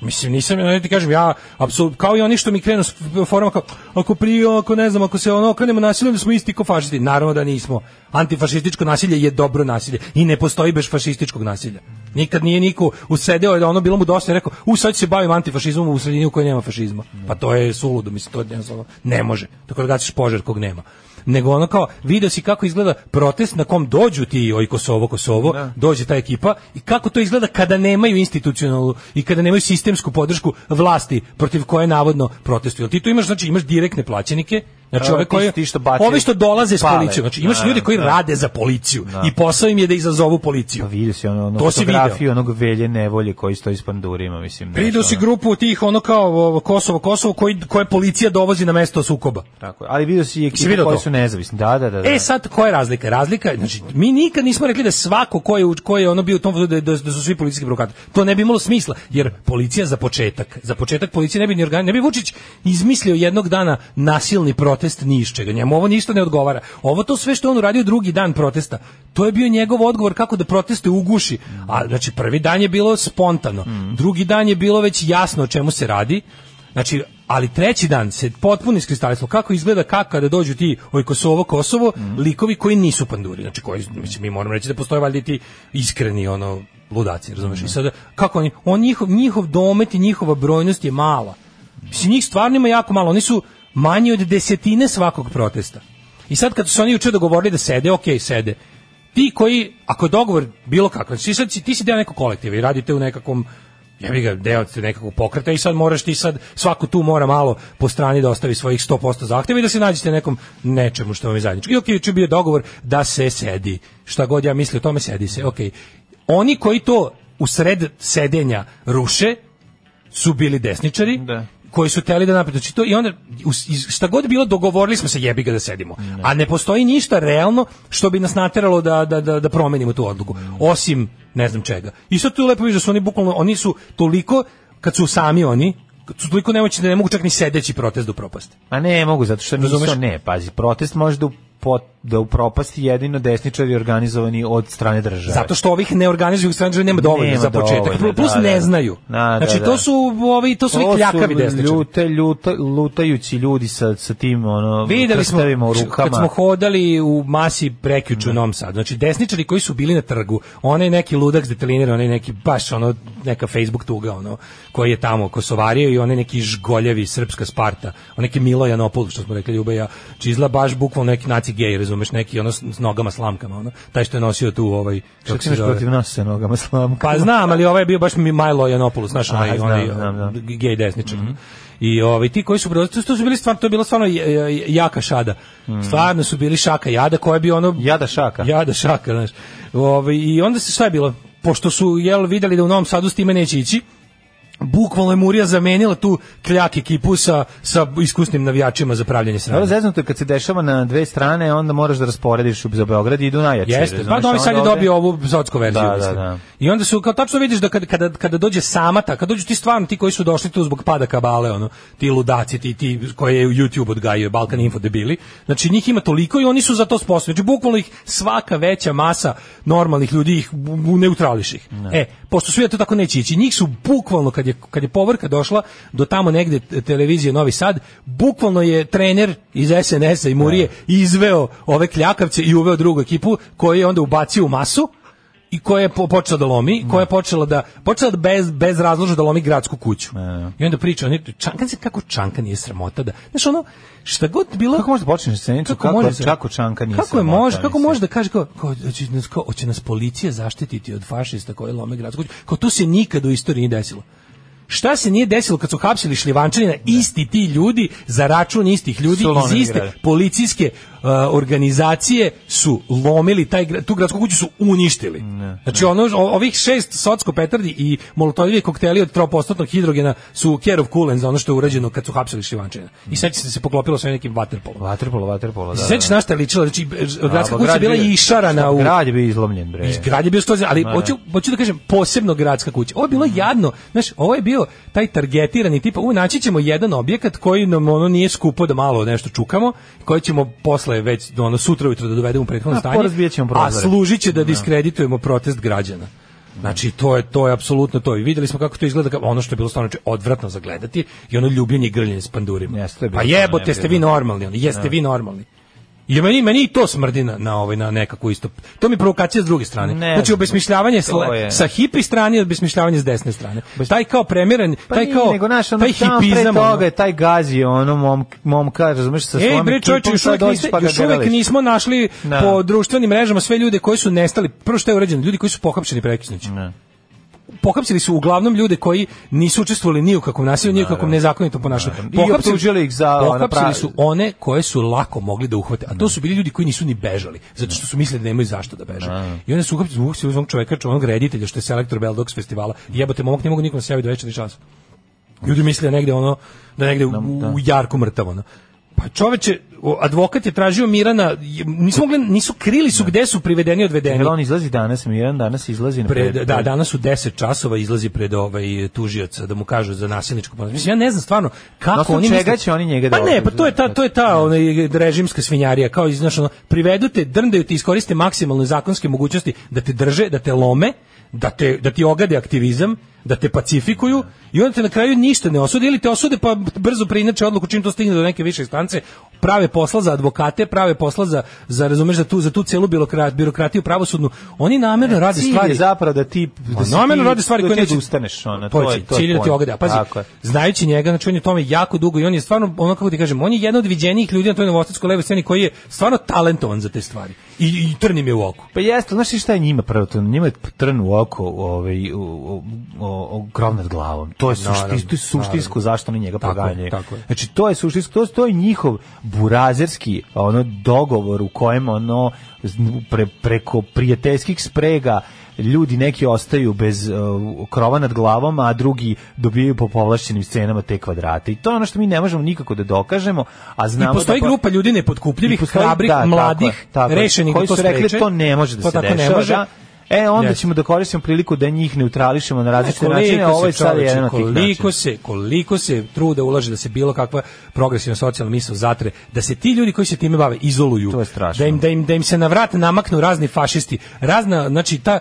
Speaker 6: Mislim, nisam, ja ti kažem, ja, apsolutno, kao i oni što mi krenu s forma kao, ako prije, ako ne znam, ako se ono okrenemo nasiljem, da smo isti ko fašisti. Naravno da nismo. Antifašističko nasilje je dobro nasilje i ne postoji bez fašističkog nasilja. Nikad nije niko usedeo, da ono bilo mu dosta i rekao, u sad ću se bavim antifašizmom u sredini u kojoj nema fašizma. Pa to je suludo, mislim, to je jednostavno, ne može. Tako da gaciš požar kog nema nego ono kao video si kako izgleda protest na kom dođu ti oj Kosovo Kosovo dođe ta ekipa i kako to izgleda kada nemaju institucionalnu i kada nemaju sistemsku podršku vlasti protiv koje navodno protestuju. Jel Ti tu imaš znači imaš direktne plaćenike Znači
Speaker 7: A,
Speaker 6: ove
Speaker 7: ti-
Speaker 6: koji
Speaker 7: ti što bacaju-
Speaker 6: ove što dolaze s
Speaker 7: pale.
Speaker 6: policijom. Znači imaš
Speaker 7: Da,
Speaker 6: ljude koji
Speaker 7: da.
Speaker 6: rade za policiju i posao im je da izazovu policiju.
Speaker 7: Pa vidio si ono, ono
Speaker 6: To si video.
Speaker 7: fotografiju onog velje nevolje koji stoji s pandurima, mislim. znaš,
Speaker 6: Vidio si
Speaker 7: ono.
Speaker 6: grupu tih ono kao ovo, Kosovo Kosovo koji koje policija dovozi na mesto sukoba.
Speaker 7: Tako, je. ali vidio si i
Speaker 6: vidio
Speaker 7: ekipu koji
Speaker 6: to?
Speaker 7: su nezavisni. Da, da, da. da.
Speaker 6: E sad koja je razlika? Razlika je, znači mi nikad nismo rekli da svako ko je u- ko je ono bio u tom da, da, da su svi policijski provokatori. To ne bi imalo smisla jer policija za početak, za početak policija ne bi ni organ, ne bi Vučić izmislio jednog dana nasilni protest ni iz čega. Njemu ovo ništa ne odgovara. Ovo to sve što je on uradio drugi dan protesta, to je bio njegov odgovor kako da proteste uguši. A znači prvi dan je bilo spontano.
Speaker 7: Mm.
Speaker 6: Drugi dan je bilo već jasno o čemu se radi. Znači, ali treći dan se potpuno iskristalisalo kako izgleda kako kada dođu ti oj Kosovo Kosovo likovi koji nisu panduri znači koji mislim mi moramo reći da postoje valjda i ti iskreni ono ludaci razumeš i sada kako oni on njihov njihov domet i njihova brojnost je mala mislim njih stvarno ima jako malo oni su manji od desetine svakog protesta i sad kad su se oni juče dogovorili da sede ok sede ti koji ako je dogovor bilo kakav ti sad si- ti si deo nekog kolektiva i radite u nekakvom Ja bih ga deo te nekakvog pokreta i sad moraš ti sad svako tu mora malo po strani da ostavi svojih 100% zahteva i da se nađete nekom nečemu što vam je zajedničko. I ok, će bio dogovor da se sedi. Šta god ja mislim o tome, sedi se. Ok. Oni koji to u sred sedenja ruše su bili desničari
Speaker 7: Da.
Speaker 6: koji su teli da napredu. Znači to i onda us- iz- šta god bilo dogovorili smo se jebi ga da sedimo. A ne postoji ništa realno što bi nas nateralo da da da da promenimo tu odluku. Osim ne znam čega. I sad tu lepo vidiš da su oni bukvalno oni su toliko kad su sami oni kad su toliko nemoćni da ne mogu čak ni sedeći protest do propasti.
Speaker 7: Ma ne, mogu, zato što nisu,
Speaker 6: Razumeš?
Speaker 7: ne, pazi, protest može da, upo, da upropasti jedino desničari organizovani od strane države.
Speaker 6: Zato što ovih neorganizovanih stranđa nema dovoljno
Speaker 7: Nema
Speaker 6: za početak.
Speaker 7: dovoljno,
Speaker 6: Plus
Speaker 7: da,
Speaker 6: ne
Speaker 7: da.
Speaker 6: znaju.
Speaker 7: Da, da,
Speaker 6: znači
Speaker 7: da.
Speaker 6: to su ovi to su ovi
Speaker 7: To
Speaker 6: kljakavi desničari.
Speaker 7: Ljute, ljuta, lutajući ljudi sa, sa tim ono,
Speaker 6: Videli smo
Speaker 7: krstavima u rukama.
Speaker 6: kad smo hodali u masi prekjuče u Novom Sadu. Znači desničari koji su bili na trgu, onaj neki ludak s detelinira, onaj neki baš ono neka Facebook tuga ono koji je tamo kosovario i onaj neki žgoljevi srpska Sparta, onaj neki Milo Janopoulos što smo rekli Ljuba i ja. Znači izla baš bukvalno neki naci gej, razumeš, neki ono s, s nogama slamkama, ono. Taj što je nosio tu ovaj
Speaker 7: Šta
Speaker 6: kako
Speaker 7: ti
Speaker 6: se
Speaker 7: imaš
Speaker 6: zove?
Speaker 7: protiv nas sa nogama slamka?
Speaker 6: Pa znam, ali ovaj je bio baš mi- Milo Janopoulos, znaš, onaj,
Speaker 7: Aha, znam,
Speaker 6: onaj
Speaker 7: znam, Mhm. znam.
Speaker 6: gej desničar. I ovaj ti koji su brodci, to su bili stvarno, to je bila stvarno j- j- jaka šada. Stvarno su bili šaka jada, koja bi ono
Speaker 7: Mhm. Jada šaka.
Speaker 6: Jada šaka, znaš. Ovaj, I onda se šta je bilo? Pošto su jel videli da u Novom Sadu s time neće ići, bukvalno je Murija zamenila tu kljak ekipu sa, sa iskusnim navijačima za pravljanje sranja.
Speaker 7: Dobro, zeznuto je kad se dešava na dve strane, onda moraš da rasporediš u- za Beograd i idu najjači.
Speaker 6: Jeste,
Speaker 7: razumeš,
Speaker 6: pa Novi
Speaker 7: znači, onda
Speaker 6: Sad je
Speaker 7: ovde-
Speaker 6: dobio ovu zotsku verziju.
Speaker 7: Da, da,
Speaker 6: mislim.
Speaker 7: da.
Speaker 6: I onda su, kao tačno vidiš da kada, kada, kada dođe samata, kada dođu ti stvarno ti koji su došli tu zbog pada kabale, ono, ti ludaci, ti, ti koje je u YouTube odgajio, Balkan Info debili, znači njih ima toliko i oni su za to sposobni. Znači bukvalno ih svaka veća masa normalnih ljudi ih bu- bu- neutrališ ih. E, pošto su ja to tako neće ići, njih su bukvalno kad je, kad je povrka došla do tamo negde t- televizije Novi Sad, bukvalno je trener iz SNS-a i Murije izveo ove kljakavce i uveo drugu ekipu koju je onda ubacio u masu i koja je po, počela da lomi, koja je počela da počela da bez bez razloga da lomi gradsku kuću. I onda priča, oni čankan se kako čankan nije sramota da. Znaš ono šta god bilo
Speaker 7: Kako možeš da počneš scenicu? Kako, kako,
Speaker 6: se-
Speaker 7: kako Čanka nije
Speaker 6: Kako je
Speaker 7: sramota,
Speaker 6: može, kako
Speaker 7: mislim?
Speaker 6: može da kaže kao, kao hoće nas kao hoće nas policija zaštititi od fašista koji lome gradsku kuću. Kao to se nikad u istoriji nije desilo. Šta se nije desilo kad su hapsili Šljivančanina, isti ti ljudi za račun istih ljudi
Speaker 7: Su
Speaker 6: iz
Speaker 7: lomili
Speaker 6: iste
Speaker 7: grad.
Speaker 6: policijske uh, organizacije su lomili taj gra- tu gradsku kuću su uništili. znači ono o- ovih šest socko petardi i molotovljevi kokteli od tropostotnog hidrogena su care of coolant za ono što je urađeno kad su hapsili Šljivančanina. I sad se se poklopilo sa nekim vaterpolom.
Speaker 7: Vaterpolo, vaterpolo, da.
Speaker 6: Sećaš na šta je ličila, znači
Speaker 7: da.
Speaker 6: gradska
Speaker 7: A, pa
Speaker 6: kuća je
Speaker 7: grad
Speaker 6: bila
Speaker 7: bio-
Speaker 6: i išarana
Speaker 7: šta,
Speaker 6: u
Speaker 7: Grad je bio izlomljen, bre.
Speaker 6: grad je bio stozen, ali
Speaker 7: Ma, Mhm.
Speaker 6: hoću, hoću da kažem posebno gradska kuća. Ovo je bilo jadno, znaš, ovo je bio taj targetirani tipa, u naći ćemo jedan objekat koji nam ono nije skupo da malo nešto čukamo, koji ćemo posle već ono sutra ujutro da dovedemo u prethodno
Speaker 7: A,
Speaker 6: stanje,
Speaker 7: porazbijat ćemo
Speaker 6: a
Speaker 7: prozore.
Speaker 6: služit će da diskreditujemo protest građana. Znači to je to je apsolutno to. I videli smo kako to izgleda kao ono što je bilo stvarno znači, odvratno za gledati i ono ljubljenje i grljenje s pandurima.
Speaker 7: Jeste, to je bilo
Speaker 6: pa
Speaker 7: stvarno
Speaker 6: jebote ste vi
Speaker 7: neprirodno.
Speaker 6: normalni, ono, jeste vi normalni. I meni, meni i to smrdi na, na, ovaj, na nekakvu isto. To mi je provokacija s druge strane.
Speaker 7: Ne
Speaker 6: znači,
Speaker 7: znam,
Speaker 6: obesmišljavanje
Speaker 7: to
Speaker 6: sle-
Speaker 7: je.
Speaker 6: sa hipi strane i obesmišljavanje s desne strane. Taj kao premjeren,
Speaker 7: Pa
Speaker 6: taj
Speaker 7: nije,
Speaker 6: kao,
Speaker 7: nego, znaš, ono,
Speaker 6: taj
Speaker 7: tamo pre
Speaker 6: hipizam. ono.
Speaker 7: toga je taj gazi, ono, mom, momka, razumeš, sa
Speaker 6: Ej,
Speaker 7: svojom
Speaker 6: bre, čovječe,
Speaker 7: ekipom,
Speaker 6: još
Speaker 7: sad
Speaker 6: uvek,
Speaker 7: dođeš
Speaker 6: niste,
Speaker 7: pa ga
Speaker 6: još uvek
Speaker 7: greliš.
Speaker 6: nismo našli
Speaker 7: Da.
Speaker 6: po društvenim mrežama sve ljude koji su nestali. Prvo što je urađeno, ljudi koji su pohapšeni prekisnući. Pohapsili su uglavnom ljude koji nisu učestvovali ni u kakvom nasilju, ni u kakvom nezakonitom ponašanju.
Speaker 7: I optužili ih za, ono,
Speaker 6: pohapsili
Speaker 7: pravi-
Speaker 6: su one koje su lako mogli da uhvate, a to su bili ljudi koji nisu ni bežali, zato što su mislili da nemaju zašto da beže. I onda su uhapsili uhapsili onog čoveka, onog reditelja što je selektor Beldox festivala. Jebote, momak ne mogu nikom da se javi do večeri časa. Ljudi misle negde ono da negde u, u jarku mrtavo. ono. Pa čoveče, o, advokat je tražio Mirana, j- nisu mogli, nisu krili su gde su privedeni i odvedeni.
Speaker 7: Jer on izlazi danas, Miran danas izlazi na
Speaker 6: Pred,
Speaker 7: pred-
Speaker 6: da, danas u 10 časova izlazi pred ovaj tužioca da mu kažu za nasilničko ponašanje. Mislim ja ne znam stvarno
Speaker 7: Na
Speaker 6: kako
Speaker 7: osnovu
Speaker 6: oni
Speaker 7: čega će oni njega da
Speaker 6: Pa ne, pa to je ta
Speaker 7: optuže?
Speaker 6: to je ta onaj režimska svinjarija kao znaš, ono, privedu te, drndaju te, iskoriste maksimalne zakonske mogućnosti da te drže, da te lome, da te da ti ogade aktivizam, da te pacifikuju i onda te na kraju ništa ne osude ili te osude pa brzo preinače odluku čim to stigne do neke više instance, prave posla za advokate, prave posla za za razumeš za tu za tu celu birokrat, birokratiju pravosudnu. Oni namerno rade
Speaker 7: E, Cilj je
Speaker 6: stvari
Speaker 7: zapravo da ti da
Speaker 6: Ma
Speaker 7: si
Speaker 6: namerno
Speaker 7: ti-
Speaker 6: Pa radi stvari
Speaker 7: da
Speaker 6: koje
Speaker 7: ti
Speaker 6: neće
Speaker 7: odustaneš, ono,
Speaker 6: To
Speaker 7: to
Speaker 6: je
Speaker 7: je- to je
Speaker 6: cilj da ti
Speaker 7: point.
Speaker 6: ogada. Pazi,
Speaker 7: Tako je.
Speaker 6: znajući njega, znači on je u tome jako dugo i on je stvarno ono kako ti kažem, on je jedan od viđenijih ljudi na toj novostatskoj levoj sceni koji je stvarno talentovan za te stvari. i, i trni mi u oku.
Speaker 7: Pa jeste, znaš ti šta je njima prvo to? Njima je trn u oko ovaj, u, u, o- o- grov nad glavom. To je, sušti,
Speaker 6: Naravno,
Speaker 7: to je suštinsko zašto oni njega
Speaker 6: Tako je,
Speaker 7: proganjaju.
Speaker 6: tako je.
Speaker 7: Znači, to je suštinsko, to, to je njihov burazerski ono, dogovor u kojem ono, z- pre, preko prijateljskih sprega ljudi neki ostaju bez uh, krova nad glavom, a drugi dobijaju po povlašćenim cenama te kvadrate. I to je ono što mi ne možemo nikako da dokažemo, a
Speaker 6: I
Speaker 7: znamo
Speaker 6: postoji
Speaker 7: da... pa-
Speaker 6: grupa ljudi nepotkupljivih,
Speaker 7: I postoji-
Speaker 6: hrabrih,
Speaker 7: da, tako je,
Speaker 6: mladih,
Speaker 7: tako je,
Speaker 6: rešenih da
Speaker 7: koji
Speaker 6: to
Speaker 7: su rekli
Speaker 6: spreče.
Speaker 7: to ne može da
Speaker 6: To
Speaker 7: se
Speaker 6: tako ne
Speaker 7: dešava,
Speaker 6: može.
Speaker 7: da. E, onda
Speaker 6: Jeste.
Speaker 7: ćemo da koristimo priliku da njih neutrališemo na različite
Speaker 6: Koliko
Speaker 7: načine, a ovo je
Speaker 6: se,
Speaker 7: sad
Speaker 6: čoveče,
Speaker 7: jedan od tih
Speaker 6: koliko
Speaker 7: načina.
Speaker 6: se, koliko se truda ulaže da se bilo kakva progresivna socijalna misao zatre, da se ti ljudi koji se time bave izoluju,
Speaker 7: To je strašno.
Speaker 6: da im da im da im se na vrat namaknu razni fašisti, razna znači ta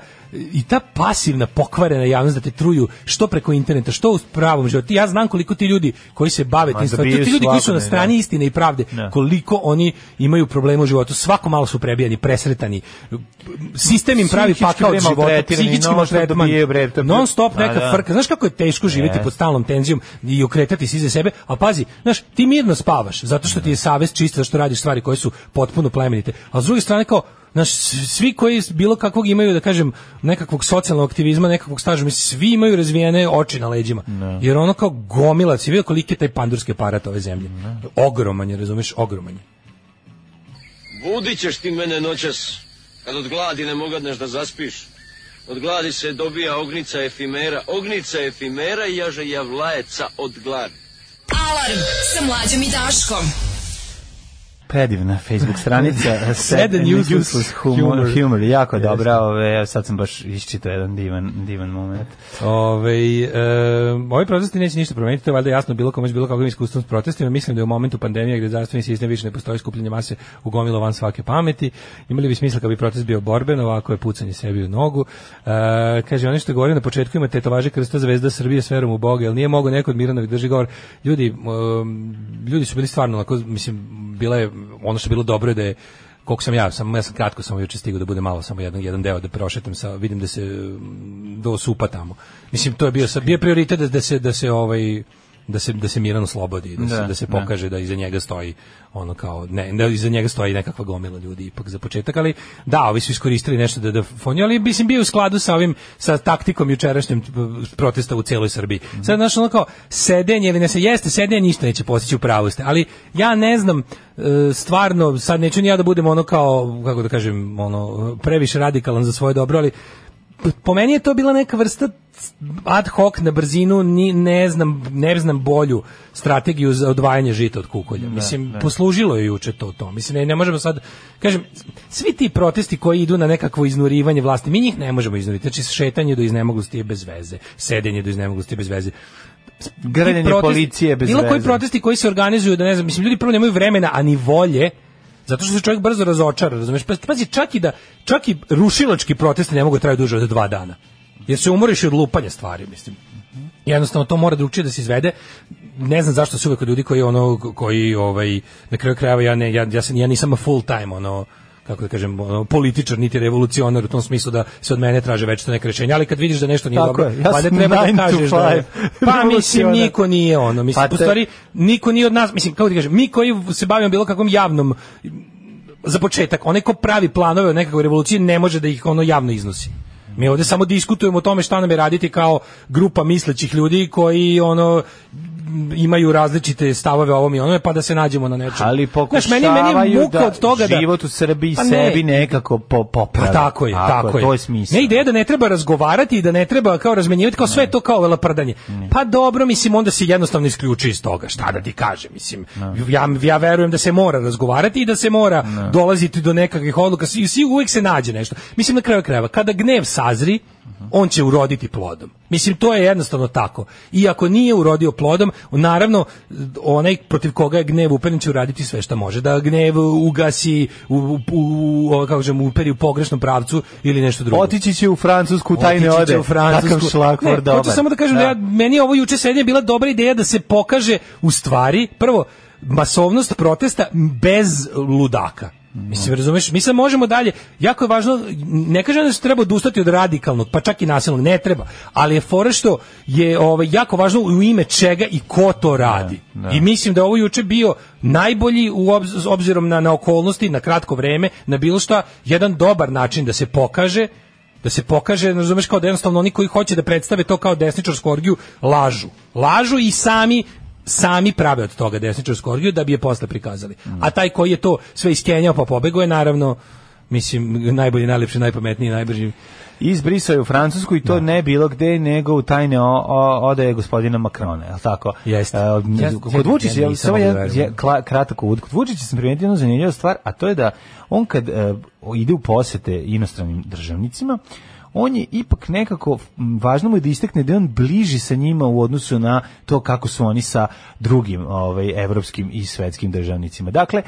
Speaker 6: i ta pasivna pokvarena javnost da te truju što preko interneta, što u pravom životu. Ja znam koliko ti ljudi koji se bave
Speaker 7: Ma,
Speaker 6: tim stvarima,
Speaker 7: dobijaju
Speaker 6: ti ljudi koji su na
Speaker 7: svakodnevno.
Speaker 6: strani istine i pravde,
Speaker 7: Da.
Speaker 6: koliko oni imaju problema u životu, svako malo su prebijani, presretani. Sistem im pravi
Speaker 7: Psihički
Speaker 6: pakao od
Speaker 7: bre
Speaker 6: života,
Speaker 7: maltretirani,
Speaker 6: psihički
Speaker 7: non stop
Speaker 6: maltretman,
Speaker 7: dobijaju, bre, to-
Speaker 6: non stop
Speaker 7: Pa,
Speaker 6: neka
Speaker 7: da.
Speaker 6: frka frka. Znaš kako je teško živjeti
Speaker 7: Yes.
Speaker 6: pod stalnom tenzijom i okretati se iza sebe, a pazi, znaš, ti mirno spavaš zato što ti je savest čista, zato što radiš stvari koje su potpuno plemenite. A s druge strane kao Znaš, s- svi koji s- bilo kakvog imaju, da kažem, nekakvog socijalnog aktivizma, nekakvog staža, mislim, svi imaju razvijene oči na leđima. Jer ono kao gomila, si vidio koliki je taj pandurski aparat ove zemlje. Ogroman je, razumeš, ogroman je.
Speaker 10: Budit ćeš ti mene noćas, kad od gladi ne mogadneš da zaspiš. Od gladi se dobija ognica efimera, ognica efimera i jaže javlajeca od gladi.
Speaker 9: Alarm sa mlađom i Daškom.
Speaker 7: Predivna Facebook stranica Sad
Speaker 6: and
Speaker 7: and
Speaker 6: useless
Speaker 7: useless humor,
Speaker 6: humor.
Speaker 7: humor. jako
Speaker 6: Jeste.
Speaker 7: dobra, ove, evo, sad sam baš iščitao jedan divan, divan moment.
Speaker 6: Ove, e, ovi protesti neće ništa promeniti, to je valjda jasno bilo komu s bilo kakvim iskustvom s protestima. Mislim da je u momentu pandemije gde zdravstveni sistem više ne postoji skupljenje mase ugomilo van svake pameti. Imali bi smisla kad bi protest bio borben, ovako je pucanje sebi u nogu. E, kaže, ono što je govorio na početku ima tetovaže krsta zvezda Srbije s verom u Boga, jel nije mogao neko od Miranovi drži govor. Ljudi, e, ljudi su bili stvarno, onako, mislim, bila je, ono što je bilo dobro je da je koliko sam ja, sam, ja sam kratko samo juče stigao da bude malo samo jedan, jedan deo da prošetam sa, vidim da se mm, do supa tamo. Mislim, to je bio, sa- bio je prioritet da, da se, da se ovaj da se da se Miran oslobodi, da, se,
Speaker 7: Da,
Speaker 6: da se
Speaker 7: da.
Speaker 6: pokaže da iza njega stoji ono kao ne, da iza njega stoji nekakva gomila ljudi ipak za početak, ali da, ovi su iskoristili nešto da da fonju, ali mislim bio je u skladu sa ovim sa taktikom jučerašnjim t- protesta u celoj Srbiji. Sad znaš ono kao sedenje ili ne se jeste sedenje ništa neće postići u pravu ste, ali ja ne znam e, stvarno sad neću ni ja da budem ono kao kako da kažem ono previše radikalan za svoje dobro, ali po meni je to bila neka vrsta ad hoc na brzinu ni ne znam ne znam bolju strategiju za odvajanje žita od kukolja. Mislim poslužilo je juče to to. Mislim ne, ne možemo sad kažem svi ti protesti koji idu na nekakvo iznurivanje vlasti, mi njih ne možemo iznuriti. Znači šetanje do iznemoglosti je bez veze, sedenje do iznemoglosti je bez veze.
Speaker 7: Grljenje
Speaker 6: Ti protest-
Speaker 7: policije bez
Speaker 6: bilo koji
Speaker 7: veze.
Speaker 6: protesti koji se organizuju da ne znam mislim ljudi prvo nemaju vremena a ni volje zato što se čovjek brzo razočara razumeš pa pazi čak i da čak i rušilački protesti ne mogu da traju duže od dva dana jer se umoriš i od lupanja stvari mislim jednostavno to mora drugčije da se izvede ne znam zašto se uvek od ljudi koji ono koji ovaj na kraju krajeva ja ne ja ja, se, ja nisam full time ono kako da kažem, ono, političar, niti revolucionar u tom smislu da se od mene traže večito neke rješenja, ali kad vidiš da nešto nije
Speaker 7: Tako
Speaker 6: dobro,
Speaker 7: je, ja
Speaker 6: valjda
Speaker 7: sam
Speaker 6: treba da
Speaker 7: nine to
Speaker 6: kažeš da je-
Speaker 7: five
Speaker 6: Pa mislim,
Speaker 7: revolucionar.
Speaker 6: niko nije ono, mislim,
Speaker 7: Pa
Speaker 6: po
Speaker 7: te-
Speaker 6: stvari, niko nije od nas, mislim, kako ti kažem, mi koji se bavimo bilo kakvom javnom za početak, onaj ko pravi planove o nekakvoj revoluciji ne može da ih ono javno iznosi. Mi ovdje samo diskutujemo o tome šta nam je raditi kao grupa mislećih ljudi koji ono m, imaju različite stavove o ovom i onome pa da se nađemo na nečemu.
Speaker 7: Ali
Speaker 6: Znaš,
Speaker 7: pokušavaju
Speaker 6: meni, meni je muka
Speaker 7: da,
Speaker 6: od toga da
Speaker 7: život u Srbiji
Speaker 6: Pa ne,
Speaker 7: sebi nekako po,
Speaker 6: pa
Speaker 7: popravi.
Speaker 6: tako je, tako, je.
Speaker 7: To je smisla.
Speaker 6: Ne ideja da ne treba razgovarati i da ne treba kao razmenjivati, kao sve je to kao velaprdanje. Pa dobro, mislim, onda se jednostavno isključi iz toga. Šta da ti kažem, mislim. Ja, ja verujem da se mora razgovarati i da se mora dolaziti do nekakvih odluka. I svi uvijek se nađe nešto. Mislim, na kraju krajeva, kada gnev sazri, on će uroditi plodom. Mislim, to je jednostavno tako. I ako nije urodio plodom, naravno, onaj protiv koga je gnev uperen će uraditi sve šta može. Da gnev ugasi, u, u, u, o, kako kažem, uperi u pogrešnom pravcu ili nešto drugo.
Speaker 7: Otići će u Francusku, taj ne
Speaker 6: Otići će
Speaker 7: ode.
Speaker 6: u Francusku.
Speaker 7: Takav šlagvor
Speaker 6: Ne,
Speaker 7: dobar.
Speaker 6: Hoću samo da kažem da, ja, meni je ovo juče sedenje bila dobra ideja da se pokaže u stvari, prvo, masovnost protesta bez ludaka. Mislim, razumeš, mi sad možemo dalje, jako je važno, ne kažem da se treba odustati od radikalnog, pa čak i nasilnog, ne treba, ali je fora što je ovaj, jako važno u ime čega i ko to radi. I mislim da je ovo juče bio najbolji u obz- s obzirom na, na okolnosti, na kratko vreme, na bilo šta, jedan dobar način da se pokaže da se pokaže, ne razumeš, kao da jednostavno oni koji hoće da predstave to kao desničarsku orgiju, lažu. Lažu i sami sami prave od toga desničarsku orgiju da bi je posle prikazali. A taj koji je to sve iskenjao pa pobegao je naravno mislim najbolji, najlepši, najpametniji, najbrži.
Speaker 7: Izbrisao je u Francusku i to ne bilo gde, nego u tajne o, o, odaje gospodina Makrona, je li tako?
Speaker 6: Jeste.
Speaker 7: E,
Speaker 6: Ja-
Speaker 7: kod Vučića,
Speaker 6: ja
Speaker 7: je li
Speaker 6: nisam
Speaker 7: samo
Speaker 6: mogu da
Speaker 7: jedan
Speaker 6: verujem.
Speaker 7: je- kla- kratak uvod, kod Vučića sam primetio jednu zanimljivu stvar, a to je da on kad e, ide u posete inostranim državnicima, on je ipak nekako, m, važno mu je da istekne da je on bliži sa njima u odnosu na to kako su oni sa drugim ovaj, evropskim i svetskim državnicima. Dakle,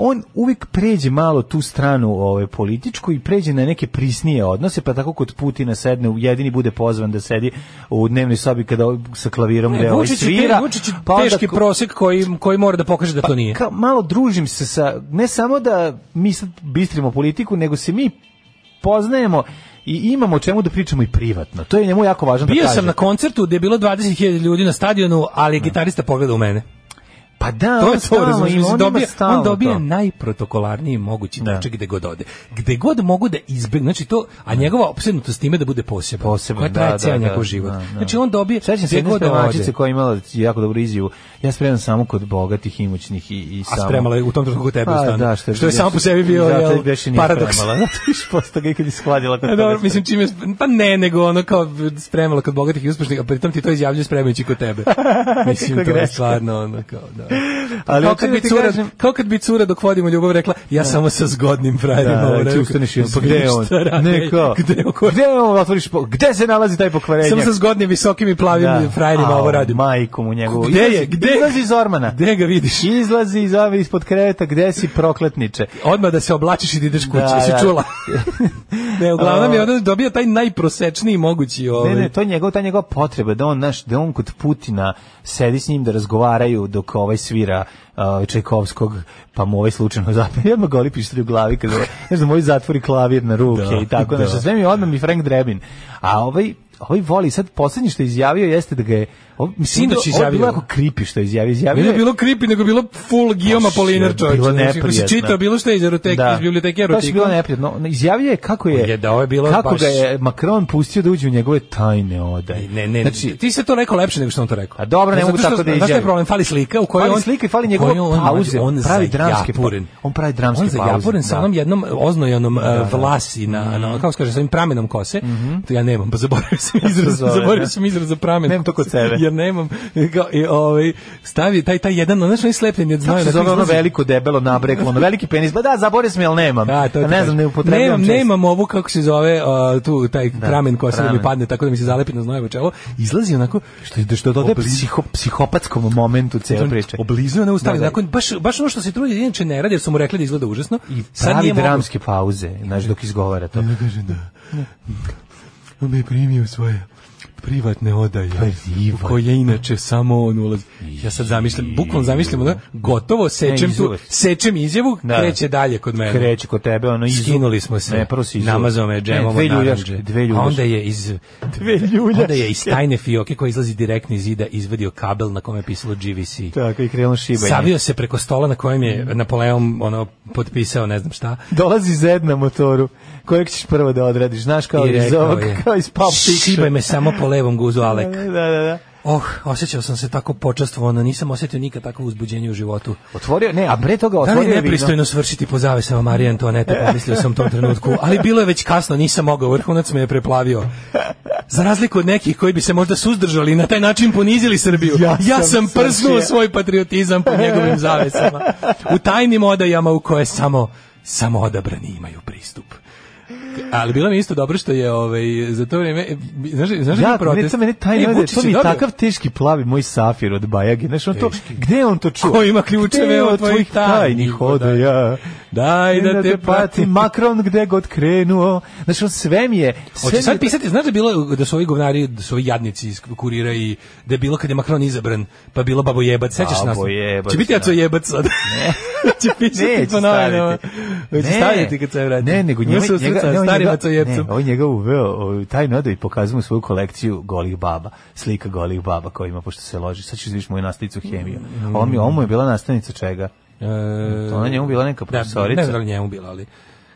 Speaker 7: on uvijek pređe malo tu stranu ovaj, političku i pređe na neke prisnije odnose, pa tako kod Putina sedne, jedini bude pozvan da sedi u dnevnoj sobi kada ovaj- sa klavirom gde ovaj
Speaker 6: Vučić je,
Speaker 7: svira.
Speaker 6: te- Vučić je
Speaker 7: pa onda
Speaker 6: teški
Speaker 7: ko- Pa
Speaker 6: prosek koji, koji mora da pokaže da to nije.
Speaker 7: kao, malo družim se sa, ne samo da mi sad bistrimo politiku, nego se mi poznajemo i imamo o čemu da pričamo i privatno. To je njemu jako važno da
Speaker 6: Bio
Speaker 7: kaže.
Speaker 6: sam na koncertu gdje je bilo 20.000 ljudi na stadionu, ali je gitarista pogledao u mene.
Speaker 7: Pa da,
Speaker 6: to
Speaker 7: on
Speaker 6: je to,
Speaker 7: stalno
Speaker 6: razumiješ,
Speaker 7: ima, on
Speaker 6: on
Speaker 7: ima
Speaker 6: dobija,
Speaker 7: stalno
Speaker 6: on dobija
Speaker 7: to.
Speaker 6: najprotokolarniji mogući
Speaker 7: Da.
Speaker 6: tačak gde god ode. Gde god mogu da izbjegnu, znači to, a njegova opsednutost time da bude posebna.
Speaker 7: Poseban,
Speaker 6: koja
Speaker 7: da,
Speaker 6: traje
Speaker 7: da,
Speaker 6: cijel
Speaker 7: da,
Speaker 6: njegov
Speaker 7: da,
Speaker 6: život.
Speaker 7: da.
Speaker 6: Znači on dobije
Speaker 7: Sećam se
Speaker 6: gde
Speaker 7: jedne
Speaker 6: god da
Speaker 7: spremačice
Speaker 6: ode.
Speaker 7: koja je imala jako dobru izjavu. Ja spremam samo kod bogatih, imućnih i, i
Speaker 6: A
Speaker 7: samo.
Speaker 6: spremala je u tom trenutku tebe u
Speaker 7: Pa,
Speaker 6: stanu.
Speaker 7: da,
Speaker 6: što,
Speaker 7: što,
Speaker 6: je, samo po sebi bio
Speaker 7: zato
Speaker 6: jel,
Speaker 7: je beše nije
Speaker 6: paradoks.
Speaker 7: spremala. Zato je što posle toga ikad ishladila kod
Speaker 6: E,
Speaker 7: toga
Speaker 6: Dobro, mislim čime je sp- pa ne, nego ono kao spremala kod bogatih i uspešnih, a pritom ti to izjavljuje spremajući kod tebe. Mislim to je
Speaker 7: greška.
Speaker 6: stvarno ono kao da.
Speaker 7: Ali
Speaker 6: kao
Speaker 7: hoću
Speaker 6: kad
Speaker 7: da
Speaker 6: bi
Speaker 7: ti
Speaker 6: cura,
Speaker 7: kažem-
Speaker 6: kao kad bi cura dok vodimo ljubav rekla, ja samo sa zgodnim frajerima
Speaker 7: Da, da,
Speaker 6: ovo
Speaker 7: da, ti
Speaker 6: ono rekao.
Speaker 7: ustaneš i on, pa gde je on?
Speaker 6: Šta radi?
Speaker 7: Ne, kao,
Speaker 6: Gde je on?
Speaker 7: gde je on, otvoriš, po- gde se nalazi taj pokvarenjak?
Speaker 6: Samo sa zgodnim, visokim i plavim frajerima
Speaker 7: Au,
Speaker 6: ovo radim.
Speaker 7: Majku mu njegovu.
Speaker 6: Gde je?
Speaker 7: Izlazi-
Speaker 6: Gde?
Speaker 7: Izlazi iz ormana.
Speaker 6: Gde ga vidiš?
Speaker 7: Izlazi iz ove ispod kreveta, gde si prokletniče?
Speaker 6: Odmah da se oblačiš i da ideš kući,
Speaker 7: Da,
Speaker 6: jesi
Speaker 7: da.
Speaker 6: čula? ne, uglavnom
Speaker 7: A.
Speaker 6: je onda dobio taj najprosečniji mogući ovaj.
Speaker 7: Ne, ne, to je njegov, ta njegova potreba da on naš, da on kod Putina sedi s njim da razgovaraju dok ovaj svira uh, Čajkovskog, pa mu ovaj slučajno zapne. Jedno goli pištolj u glavi kada, znaš da mu ovaj zatvori klavir na ruke
Speaker 6: Da,
Speaker 7: i tako, znaš,
Speaker 6: da.
Speaker 7: sve mi odmah mi Frank Drebin. A ovaj, ovaj voli, sad posljednje što je izjavio jeste da ga je, ovo, mislim,
Speaker 6: Sinoć
Speaker 7: ovo, ovo je bilo
Speaker 6: izjavio.
Speaker 7: jako kripi što je izjavio. izjavio
Speaker 6: Nije
Speaker 7: je,
Speaker 6: bilo creepy, nego bilo full Guillaume Apollinaire
Speaker 7: Pa,
Speaker 6: čovječe.
Speaker 7: je bilo
Speaker 6: Znači, ako si
Speaker 7: neprijatno.
Speaker 6: čitao bilo šta iz eroteke, iz biblioteke
Speaker 7: Baš je
Speaker 6: erotika. Pa
Speaker 7: bilo neprijatno. Izjavio je kako je,
Speaker 6: Je, da, ovo je bilo
Speaker 7: kako
Speaker 6: baš-
Speaker 7: ga je Macron pustio da uđe u njegove tajne odaje.
Speaker 6: Ne, ne, znači, ti se to rekao lepše nego što on to rekao.
Speaker 7: A Pa dobro, ne
Speaker 6: Zato
Speaker 7: mogu
Speaker 6: što-
Speaker 7: tako da
Speaker 6: Znaš šta je
Speaker 7: izjavim.
Speaker 6: problem? Fali slika u kojoj
Speaker 7: Fali
Speaker 6: on...
Speaker 7: slika i fali
Speaker 6: u
Speaker 7: njegove
Speaker 6: kojoj on-
Speaker 7: pauze.
Speaker 6: On
Speaker 7: Pravi
Speaker 6: za
Speaker 7: dramske pa-
Speaker 6: japuren.
Speaker 7: on pravi dramske
Speaker 6: On za
Speaker 7: pauze,
Speaker 6: japuren sa
Speaker 7: da. Mhm.
Speaker 6: onom jednom oznojanom eh, vlasi na, na- kako se kaže, sa ovim pramenom kose. To ja nemam, pa zaboravio sam izraz,
Speaker 7: zove,
Speaker 6: zaboravio
Speaker 7: ne?
Speaker 6: sam izraz za pramen.
Speaker 7: Nemam to kod sebe.
Speaker 6: Jer nemam, kao- i ovaj, stavi taj, taj jedan, znaš, on je slepljen, jer
Speaker 7: Kako
Speaker 6: znaju
Speaker 7: se
Speaker 6: da
Speaker 7: zove ono
Speaker 6: izlazi-
Speaker 7: veliko, debelo, nabreklo, ono veliki penis? Ba da, zaboravio sam, jel nemam.
Speaker 6: Da, to ti
Speaker 7: Pa ne
Speaker 6: kažem.
Speaker 7: znam, ne upotrebljavam
Speaker 6: Nemam,
Speaker 7: često.
Speaker 6: nemam ovu, kako se zove, a, tu, taj pramen koja se da mi
Speaker 7: pramen.
Speaker 6: padne, tako da mi se zalepi na znojevo čelo. Izlazi onako, što,
Speaker 7: Što dodaje psiho, psihopatskom momentu cijele priče.
Speaker 6: Oblizuje ne ustavi,
Speaker 7: Da, da.
Speaker 6: onako, baš, baš ono što se trudi, inače ne radi, jer su mu rekli da izgleda užasno.
Speaker 7: I
Speaker 6: Sad
Speaker 7: pravi
Speaker 6: nije mogao.
Speaker 7: dramske pauze, znaš, dok izgovara to.
Speaker 6: On me je primio u svoje privatne odaje,
Speaker 7: Privatne.
Speaker 6: u koje inače samo on ulazi. Ja sad zamišljam, bukvalno zamišljam, ono, gotovo sečem, tu,
Speaker 7: izuvest.
Speaker 6: sečem izjavu,
Speaker 7: Da.
Speaker 6: kreće dalje kod mene.
Speaker 7: Kreće kod tebe, ono izu.
Speaker 6: Skinuli smo se.
Speaker 7: Ne, prvo si izu.
Speaker 6: Namazao me džemom
Speaker 7: Ne,
Speaker 6: od
Speaker 7: dve
Speaker 6: naranđe.
Speaker 7: ljuljaške, dve
Speaker 6: A
Speaker 7: ljuljaške.
Speaker 6: onda je iz
Speaker 7: Dve ljuljaške.
Speaker 6: Onda je iz tajne fioke koja izlazi direktno iz zida izvadio kabel na kome je pisalo GVC.
Speaker 7: Tako, i krenulo šibanje.
Speaker 6: Savio se preko stola na kojem je Napoleon ono potpisao ne znam šta.
Speaker 7: Dolazi zed na motoru, kojeg ćeš prvo da odradiš, znaš, kao
Speaker 6: I
Speaker 7: iz
Speaker 6: rekao
Speaker 7: ovog,
Speaker 6: je,
Speaker 7: kao iz Pulp
Speaker 6: Šibaj
Speaker 7: Fiction.
Speaker 6: me samo po levom guzu, Alek.
Speaker 7: Da, da, da.
Speaker 6: Oh, osjećao sam se tako počastvovano, nisam osjetio nikad takvo uzbuđenje u životu.
Speaker 7: Otvorio, ne, a pre toga
Speaker 6: Da li
Speaker 7: otvorio
Speaker 6: je
Speaker 7: je vino.
Speaker 6: nepristojno svršiti po zavesama Marije Antonete, pomislio sam u tom trenutku, ali bilo je već kasno, nisam mogao, vrhunac me je preplavio. Za razliku od nekih koji bi se možda suzdržali i na taj način ponizili Srbiju, ja,
Speaker 7: Ja
Speaker 6: sam,
Speaker 7: sam
Speaker 6: prsnuo
Speaker 7: svršio.
Speaker 6: svoj patriotizam pod njegovim zavesama, u tajnim odajama u koje samo, samo odabrani imaju pristup. Ali bilo mi je isto dobro što je ovaj, za to vrijeme, znaš, znaš
Speaker 7: Ja,
Speaker 6: neki protest?
Speaker 7: ne, to mene tajno,
Speaker 6: E,
Speaker 7: ode,
Speaker 6: Vučić
Speaker 7: to
Speaker 6: je
Speaker 7: mi je
Speaker 6: dobio-
Speaker 7: takav teški plavi moj safir od Bajage, znaš, on to, gde je on to čuo?
Speaker 6: Ko ima ključeve
Speaker 7: Gde je
Speaker 6: od
Speaker 7: od
Speaker 6: tvojih
Speaker 7: tvojih tajnih
Speaker 6: tajnih
Speaker 7: odaja?
Speaker 6: Daj da te pratim.
Speaker 7: Makron gde god krenuo. Znači, on sve mi je... sve mi
Speaker 6: Hoće
Speaker 7: je
Speaker 6: sad
Speaker 7: to-
Speaker 6: pisati, znaš da je bilo da su ovi govnari, da su ovi jadnici iz kurira i da je bilo kad je Makron izabran, pa je bilo babojebac, sećaš nas?
Speaker 7: Babojebac,
Speaker 6: Će biti
Speaker 7: da.
Speaker 6: jaco jebac sad. Ne. će pisati
Speaker 7: Neće
Speaker 6: po novinama.
Speaker 7: staviti.
Speaker 6: Hoće stavljati kad se vrati.
Speaker 7: Ne, nego
Speaker 6: Ima
Speaker 7: njega,
Speaker 6: susret
Speaker 7: njega,
Speaker 6: sa
Speaker 7: ne, on
Speaker 6: starim
Speaker 7: njega-
Speaker 6: macojevcem.
Speaker 7: Ne, on njega uveo o, taj nodo i pokazuje mu svoju kolekciju golih baba, slika golih baba koja ima pošto se loži. Sad ćeš vidiš moju nastavnicu hemiju. A on mi, on mu je bila nastavnica čega?
Speaker 6: E,
Speaker 7: To ona njemu bila neka
Speaker 6: Da,
Speaker 7: profesorica.
Speaker 6: ne znam da li njemu bila, ali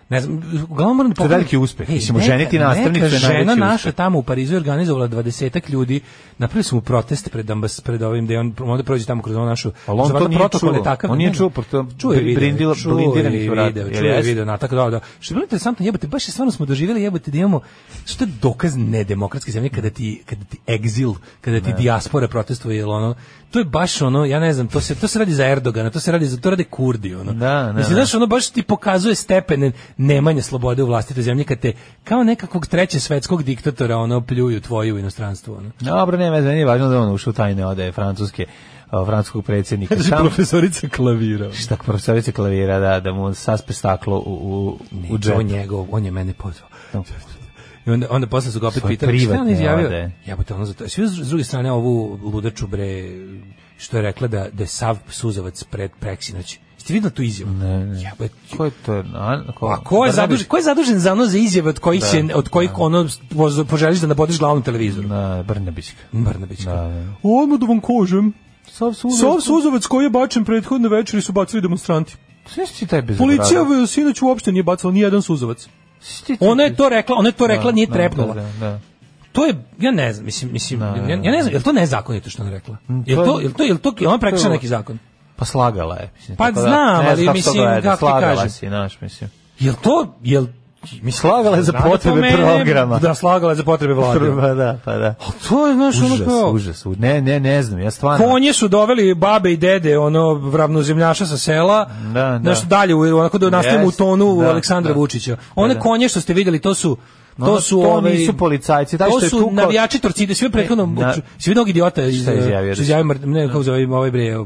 Speaker 6: ne znam, uglavnom moram da
Speaker 7: je
Speaker 6: pogledam-
Speaker 7: veliki uspeh.
Speaker 6: Ej,
Speaker 7: Mislim,
Speaker 6: neka-
Speaker 7: oženiti nastavnicu je
Speaker 6: neka
Speaker 7: najveći
Speaker 6: žena
Speaker 7: uspeh.
Speaker 6: naša tamo u Parizu je organizovala 20 ljudi, napravili su mu protest pred, ambas, pred ovim, da je on onda prođe tamo kroz ovu našu...
Speaker 7: Ali on
Speaker 6: za
Speaker 7: to
Speaker 6: valjda
Speaker 7: nije
Speaker 6: protokol je
Speaker 7: čuo.
Speaker 6: takav,
Speaker 7: On nije
Speaker 6: ne,
Speaker 7: čuo, pošto
Speaker 6: čuo je video,
Speaker 7: brindila-
Speaker 6: čuo je
Speaker 7: blindiranih vrata,
Speaker 6: video,
Speaker 7: jel
Speaker 6: čuo je
Speaker 7: jeste?
Speaker 6: video, na tako da, da. Što je bilo interesantno, jebote, baš je stvarno smo doživjeli jebote da imamo, što je dokaz nedemokratske zemlje kada ti, kada ti egzil, kada ti dijaspora protestuje, jel ono, to je baš ono, ja ne znam, to se, to se radi za Erdogana, to se radi za, to rade Kurdi, ono.
Speaker 7: Da, da,
Speaker 6: Mislim,
Speaker 7: da.
Speaker 6: znaš, ono baš ti pokazuje stepen nemanje slobode u vlastitoj zemlji kad te kao nekakvog treće svetskog diktatora ono pljuju tvoju u inostranstvu. Ono.
Speaker 7: Dobro, ne, meni je važno da on ušao u tajne odaje francuske, o, francuskog predsjednika.
Speaker 6: Znači,
Speaker 7: Tamo-
Speaker 6: profesorica klavira.
Speaker 7: Šta profesorica klavira, da, da mu saspe staklo u, u, u džep.
Speaker 6: On njegov, on je mene pozvao.
Speaker 7: Da.
Speaker 6: I onda, onda posle su ga opet
Speaker 7: Svoje
Speaker 6: pitali, šta je on
Speaker 7: privatne
Speaker 6: izjavio?
Speaker 7: ode.
Speaker 6: Jebote, ono za to. Svi s druge strane ovu ludaču bre, što je rekla da, da je sav suzovac pred preksinoć. Ste vidjeli znači, tu izjavu? Ne, ne. Jebote,
Speaker 7: Ko je to? A, ko,
Speaker 6: A Pa ko je,
Speaker 7: Brnabić?
Speaker 6: zadužen, ko je zadužen za ono za izjave od kojih, se, od kojih ono poz- poželiš da nabodeš glavnom televizoru?
Speaker 7: Na, Brnabićka.
Speaker 6: Brnabićka.
Speaker 7: Da, da.
Speaker 6: Odmah da vam kažem,
Speaker 7: Sav suzac.
Speaker 6: sav suzovac koji je bačen prethodne večeri su bacili demonstranti.
Speaker 7: Sve si taj bez
Speaker 6: Policija v- sinoć uopšte nije bacila ni jedan suzovac. Ona je to rekla, ona je to rekla, nije trepnula.
Speaker 7: Da, da.
Speaker 6: To je, ja ne znam, mislim, mislim,
Speaker 7: Da, da, Mm,
Speaker 6: ja, ja ne znam, je li to nezakonito što ona rekla? Je
Speaker 7: to
Speaker 6: li to,
Speaker 7: je-
Speaker 6: je li to, je li to, je li ona prekršila
Speaker 7: to je-
Speaker 6: neki zakon?
Speaker 7: Pa slagala je. Mislim,
Speaker 6: Pa
Speaker 7: tako da-
Speaker 6: znam,
Speaker 7: ne
Speaker 6: ali
Speaker 7: znam kako
Speaker 6: mislim,
Speaker 7: to gleda,
Speaker 6: kako ti
Speaker 7: slagala
Speaker 6: kažem.
Speaker 7: si, znaš, mislim.
Speaker 6: Je li to, je li,
Speaker 7: Mi slagala je za
Speaker 6: Znam da to
Speaker 7: potrebe
Speaker 6: mene-
Speaker 7: programa.
Speaker 6: Da, slagala je za potrebe vlade.
Speaker 7: Pa da, pa da.
Speaker 6: A to je, znaš, ono
Speaker 7: Užas,
Speaker 6: kao...
Speaker 7: užas. u- Ne, ne, ne znam, ja stvarno...
Speaker 6: Konje su doveli babe i dede, ono ravnozemljaša sa sela.
Speaker 7: Da, da.
Speaker 6: Znaš, dalje u- onako da nastavimo u
Speaker 7: Jest,
Speaker 6: tonu
Speaker 7: da,
Speaker 6: Aleksandra
Speaker 7: da.
Speaker 6: Vučića. One
Speaker 7: Da, da.
Speaker 6: konje što ste vidjeli, to su
Speaker 7: No,
Speaker 6: to su
Speaker 7: Ono, to
Speaker 6: ovaj,
Speaker 7: nisu policajci, taj
Speaker 6: to
Speaker 7: što je
Speaker 6: su
Speaker 7: tukao-
Speaker 6: navijači Torcide, svi prethodno
Speaker 7: na-
Speaker 6: svi mnogi idiota iz
Speaker 7: Šta je izjavio?
Speaker 6: što izjavio mrt- ne kako zove ovaj bre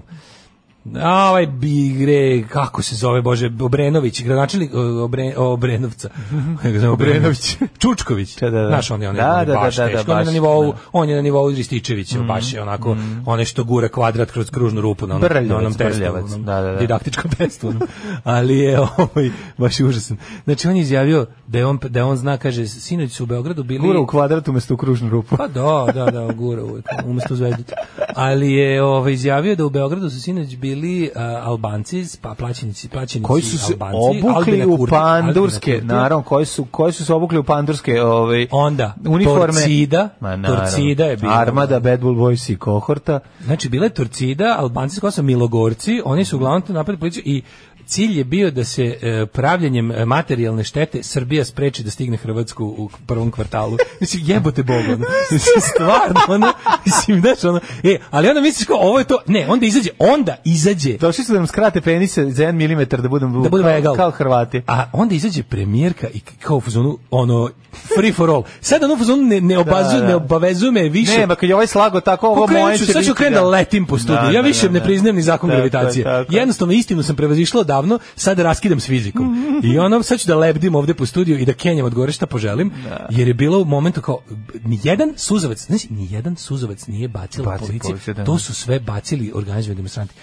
Speaker 6: A ovaj Bigre, kako se zove, bože, Obrenović, gradonačelnik e, Obre, Obrenovca. Kako ga zove, Obrenović. Čučković.
Speaker 7: Da, da, da.
Speaker 6: Znaš, on je, on je,
Speaker 7: Da,
Speaker 6: on je
Speaker 7: da,
Speaker 6: baš
Speaker 7: da, da, da,
Speaker 6: teško. On je na
Speaker 7: baš,
Speaker 6: nivou,
Speaker 7: da. Mm,
Speaker 6: on je na nivou Rističevića, baš je onako, one što gura kvadrat kroz kružnu rupu na onom,
Speaker 7: Brljavac,
Speaker 6: na onom testu,
Speaker 7: brljavac,
Speaker 6: onom
Speaker 7: da, da, da.
Speaker 6: didaktičkom testu. onom. Ali je ovaj, baš je užasan. Znači, on je izjavio da je on, da je on zna, kaže, sinoć su u Beogradu bili...
Speaker 7: Gura u kvadratu umesto u kružnu rupu.
Speaker 6: Pa da, da, da, gura uvek, umesto zvezdicu. Ali je ovaj, izjavio da u Beogradu su sinoć bili uh, Albanci, pa plaćenici, plaćenici
Speaker 7: koji su se
Speaker 6: Albanci,
Speaker 7: obukli
Speaker 6: Albina
Speaker 7: u
Speaker 6: Kurti-
Speaker 7: pandurske,
Speaker 6: Albina Kurti.
Speaker 7: naravno, koji su, koji su se obukli u pandurske ovaj,
Speaker 6: Onda,
Speaker 7: uniforme.
Speaker 6: Torcida,
Speaker 7: naravno.
Speaker 6: Torcida je bila.
Speaker 7: Armada, Bad Bull Boys i kohorta.
Speaker 6: Znači, bila je Turcida, Albanci su Milogorci, oni su uglavnom tu napadli policiju i cilj je bio da se e, pravljenjem e, materijalne štete Srbija spreči da stigne Hrvatsku u prvom kvartalu. Mislim, jebote Bogu, ono. Mislim, stvarno, ono, mislim, znaš, ono, e, ali onda misliš kao, ovo je to, ne, onda izađe, onda izađe
Speaker 7: Došli su da nam skrate penise za 1 milimetar da budemo,
Speaker 6: da budemo
Speaker 7: kao,
Speaker 6: egal.
Speaker 7: kao Hrvati.
Speaker 6: A onda izađe premijerka i kao u fazonu, ono, free for all. Sad ono u fazonu ne, ne, obazu,
Speaker 7: Da, da.
Speaker 6: ne obavezuje me više.
Speaker 7: Ne, ma kad je ovaj slago tako, ovo
Speaker 6: Pokrenut
Speaker 7: moje će
Speaker 6: ću, sad ću
Speaker 7: biti,
Speaker 6: krenuti da letim po studiju.
Speaker 7: Da,
Speaker 6: ja
Speaker 7: da,
Speaker 6: više
Speaker 7: da,
Speaker 6: ne
Speaker 7: da.
Speaker 6: priznajem ni zakon
Speaker 7: Da, to je
Speaker 6: gravitacije.
Speaker 7: tako.
Speaker 6: Jednostavno, istinu sam prevazišla odavno, sad raskidam s fizikom. I ono, sad ću da lebdim ovde po studiju i da kenjam od gore šta poželim, jer je bilo u momentu kao, nijedan suzavac, znači, nijedan suzavac nije bacila
Speaker 7: Baci
Speaker 6: policija.
Speaker 7: policija, da.
Speaker 6: To su sve bacili organizovani demonstranti.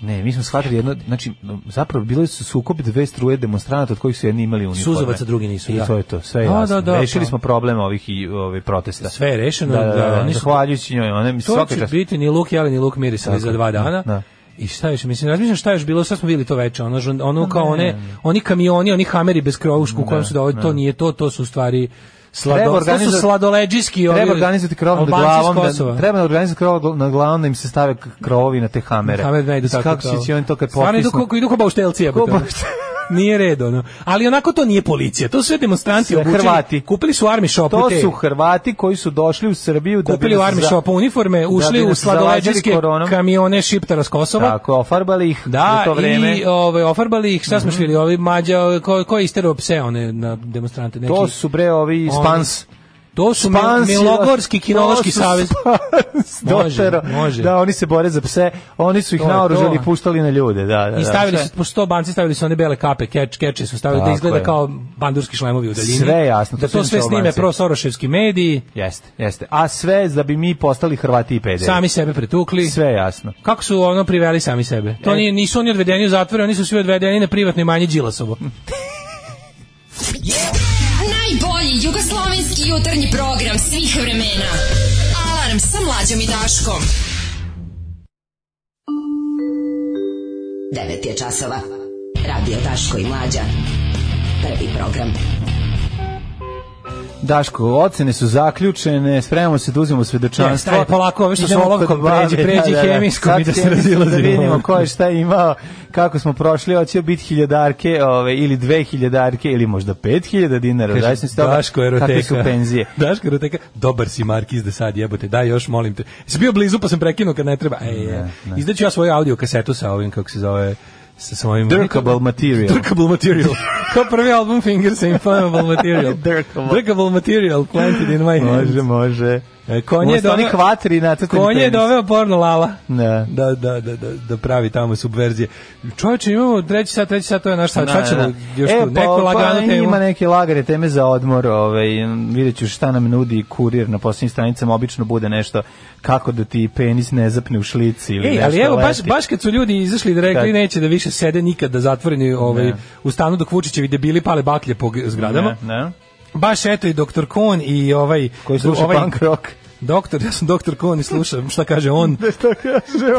Speaker 7: Ne, mi smo shvatili jedno, znači, zapravo bili su sukob dve struje demonstranata od kojih su jedni imali uniforme.
Speaker 6: Suzovaca, drugi nisu,
Speaker 7: I
Speaker 6: da.
Speaker 7: to je to, sve je
Speaker 6: Da,
Speaker 7: jasno.
Speaker 6: da, da,
Speaker 7: Rešili
Speaker 6: da.
Speaker 7: smo problem ovih i ovih protesta.
Speaker 6: Sve je rešeno,
Speaker 7: Da, da,
Speaker 6: da,
Speaker 7: da,
Speaker 6: oni su-
Speaker 7: zahvaljujući njoj, ona mi
Speaker 6: To
Speaker 7: svaka
Speaker 6: će
Speaker 7: čast.
Speaker 6: biti ni luk jeli ni luk mirisali
Speaker 7: Tako
Speaker 6: za
Speaker 7: je,
Speaker 6: dva
Speaker 7: da,
Speaker 6: dana.
Speaker 7: da.
Speaker 6: I šta još, mislim, razmišljam šta još bilo, sad smo bili to veče, ono, žun-
Speaker 7: Pa
Speaker 6: ono kao one, oni kamioni, oni hameri bez krovušku u kojem su dovoljni, to nije to, to su u stvari slado,
Speaker 7: Treba
Speaker 6: to su
Speaker 7: organizovati-
Speaker 6: sladoleđiski ovi
Speaker 7: Treba organizovati krov nad
Speaker 6: Albanci s
Speaker 7: glavom, da,
Speaker 6: Kosova.
Speaker 7: treba organizovati krov nad glavom da im se stave k- krovovi na te hamere.
Speaker 6: Hamer ne idu tako.
Speaker 7: Kako
Speaker 6: kao.
Speaker 7: si će on to kad
Speaker 6: Stvarno idu
Speaker 7: potisnu?
Speaker 6: ko, idu ko bauštelci, jebote,
Speaker 7: Ko
Speaker 6: ono.
Speaker 7: bauštel-
Speaker 6: Nije red, ono. Ali onako to nije policija, to su sve demonstranti
Speaker 7: Sve
Speaker 6: obučeni.
Speaker 7: Hrvati.
Speaker 6: Kupili su army shopu
Speaker 7: To
Speaker 6: te.
Speaker 7: su Hrvati koji su došli u Srbiju da
Speaker 6: kupili u
Speaker 7: nas
Speaker 6: army
Speaker 7: za-
Speaker 6: shopu uniforme, ušli
Speaker 7: bi
Speaker 6: u
Speaker 7: nas
Speaker 6: sladoleđiske
Speaker 7: zalazili koronom.
Speaker 6: kamione šiptara s Kosova.
Speaker 7: Tako, ofarbalih ih
Speaker 6: Da,
Speaker 7: u to vreme. Mhm.
Speaker 6: i ovaj, ofarbali ih, šta smo šli, ovi mađa, ko, ko je isterao pse one na demonstrante? Neki,
Speaker 7: To su bre ovi
Speaker 6: oni-
Speaker 7: Spans.
Speaker 6: To su mi-
Speaker 7: Spansi-
Speaker 6: Milogorski kinološki
Speaker 7: to su
Speaker 6: savez.
Speaker 7: Spans
Speaker 6: Može,
Speaker 7: dotero.
Speaker 6: može.
Speaker 7: Da, oni se bore za pse, oni su ih
Speaker 6: To je
Speaker 7: naoružali
Speaker 6: to.
Speaker 7: i puštali na ljude, da, da. da.
Speaker 6: I stavili
Speaker 7: Sve-
Speaker 6: su, pošto banci stavili su one bele kape, keč, keče su stavili da
Speaker 7: Tako
Speaker 6: izgleda
Speaker 7: je.
Speaker 6: kao bandurski šlemovi u daljini.
Speaker 7: Sve je jasno, to
Speaker 6: Da
Speaker 7: su
Speaker 6: to sve
Speaker 7: inače
Speaker 6: snime
Speaker 7: Albanci.
Speaker 6: prosoroševski mediji,
Speaker 7: Jeste, jeste. A sve da bi mi postali Hrvati i pederi.
Speaker 6: sami sebe pretukli.
Speaker 7: Sve je jasno.
Speaker 6: Kako su ono priveli sami sebe? To
Speaker 7: E.
Speaker 6: nije, nisu oni odvedeni u zatvore, oni su svi odvedeni na privatnoj manji Đilasovo.
Speaker 5: Najbolji jugoslovenski jutarnji program svih vremena. Alarm sa mlađom i Daškom.
Speaker 9: 9 je časova. Radio Daško i Mlađa. Prvi program.
Speaker 7: Daško, ocene su zaključene, spremamo se da uzmemo svedočanstvo.
Speaker 6: Ne, staj, polako, ove što su
Speaker 7: Idemo
Speaker 6: olovkom,
Speaker 7: kod babe,
Speaker 6: pređi- pređi hemijskom
Speaker 7: Sad
Speaker 6: i da se
Speaker 7: hemijskom
Speaker 6: razilazimo.
Speaker 7: Da vidimo ko je šta imao, kako smo prošli, hoće biti hiljadarke ove, ili dve hiljadarke ili možda pet hiljada dinara.
Speaker 6: Kaže,
Speaker 7: zavisno od toga
Speaker 6: Daško eroteka.
Speaker 7: Kakve su penzije.
Speaker 6: Daško eroteka. Dobar si Markiz da sad jebote. Daj još, molim te. Si bio blizu pa sam prekinuo kad ne treba. E, Ej, ne, Izdaću ja svoju audio kasetu sa ovim, kako se zove, sa, sa ovim...
Speaker 7: Durkable material.
Speaker 6: Durkable material. Kao prvi album Fingers and Inflammable Material.
Speaker 7: Durkable.
Speaker 6: Durkable material planted in my hands.
Speaker 7: Može, može.
Speaker 6: E, Konje je
Speaker 7: Umesto onih
Speaker 6: doveo,
Speaker 7: vatri na crtani
Speaker 6: konje je
Speaker 7: penis.
Speaker 6: doveo porno lala.
Speaker 7: Da.
Speaker 6: Da, da, da, da, da pravi tamo subverzije. Čovječe, imamo treći sat, treći sat, to je naš sat. Šta ćemo još
Speaker 7: e,
Speaker 6: tu? Neku laganu temu?
Speaker 7: Ima neke lagane teme za odmor, ovaj, vidjet ću šta nam nudi kurir na posljednjim stranicama, obično bude nešto kako da ti penis ne zapne u šlici ili
Speaker 6: Ej,
Speaker 7: nešto
Speaker 6: ali evo, baš,
Speaker 7: leti.
Speaker 6: baš kad su ljudi izašli da rekli
Speaker 7: Kad?
Speaker 6: neće da više sede nikada zatvoreni ovaj, u stanu dok Vučićevi debili pale baklje po g- zgradama,
Speaker 7: Ne, ne?
Speaker 6: baš eto i doktor Kon i ovaj...
Speaker 7: Koji sluša
Speaker 6: ovaj,
Speaker 7: punk rock.
Speaker 6: Doktor, ja sam doktor Kon i slušam šta kaže on.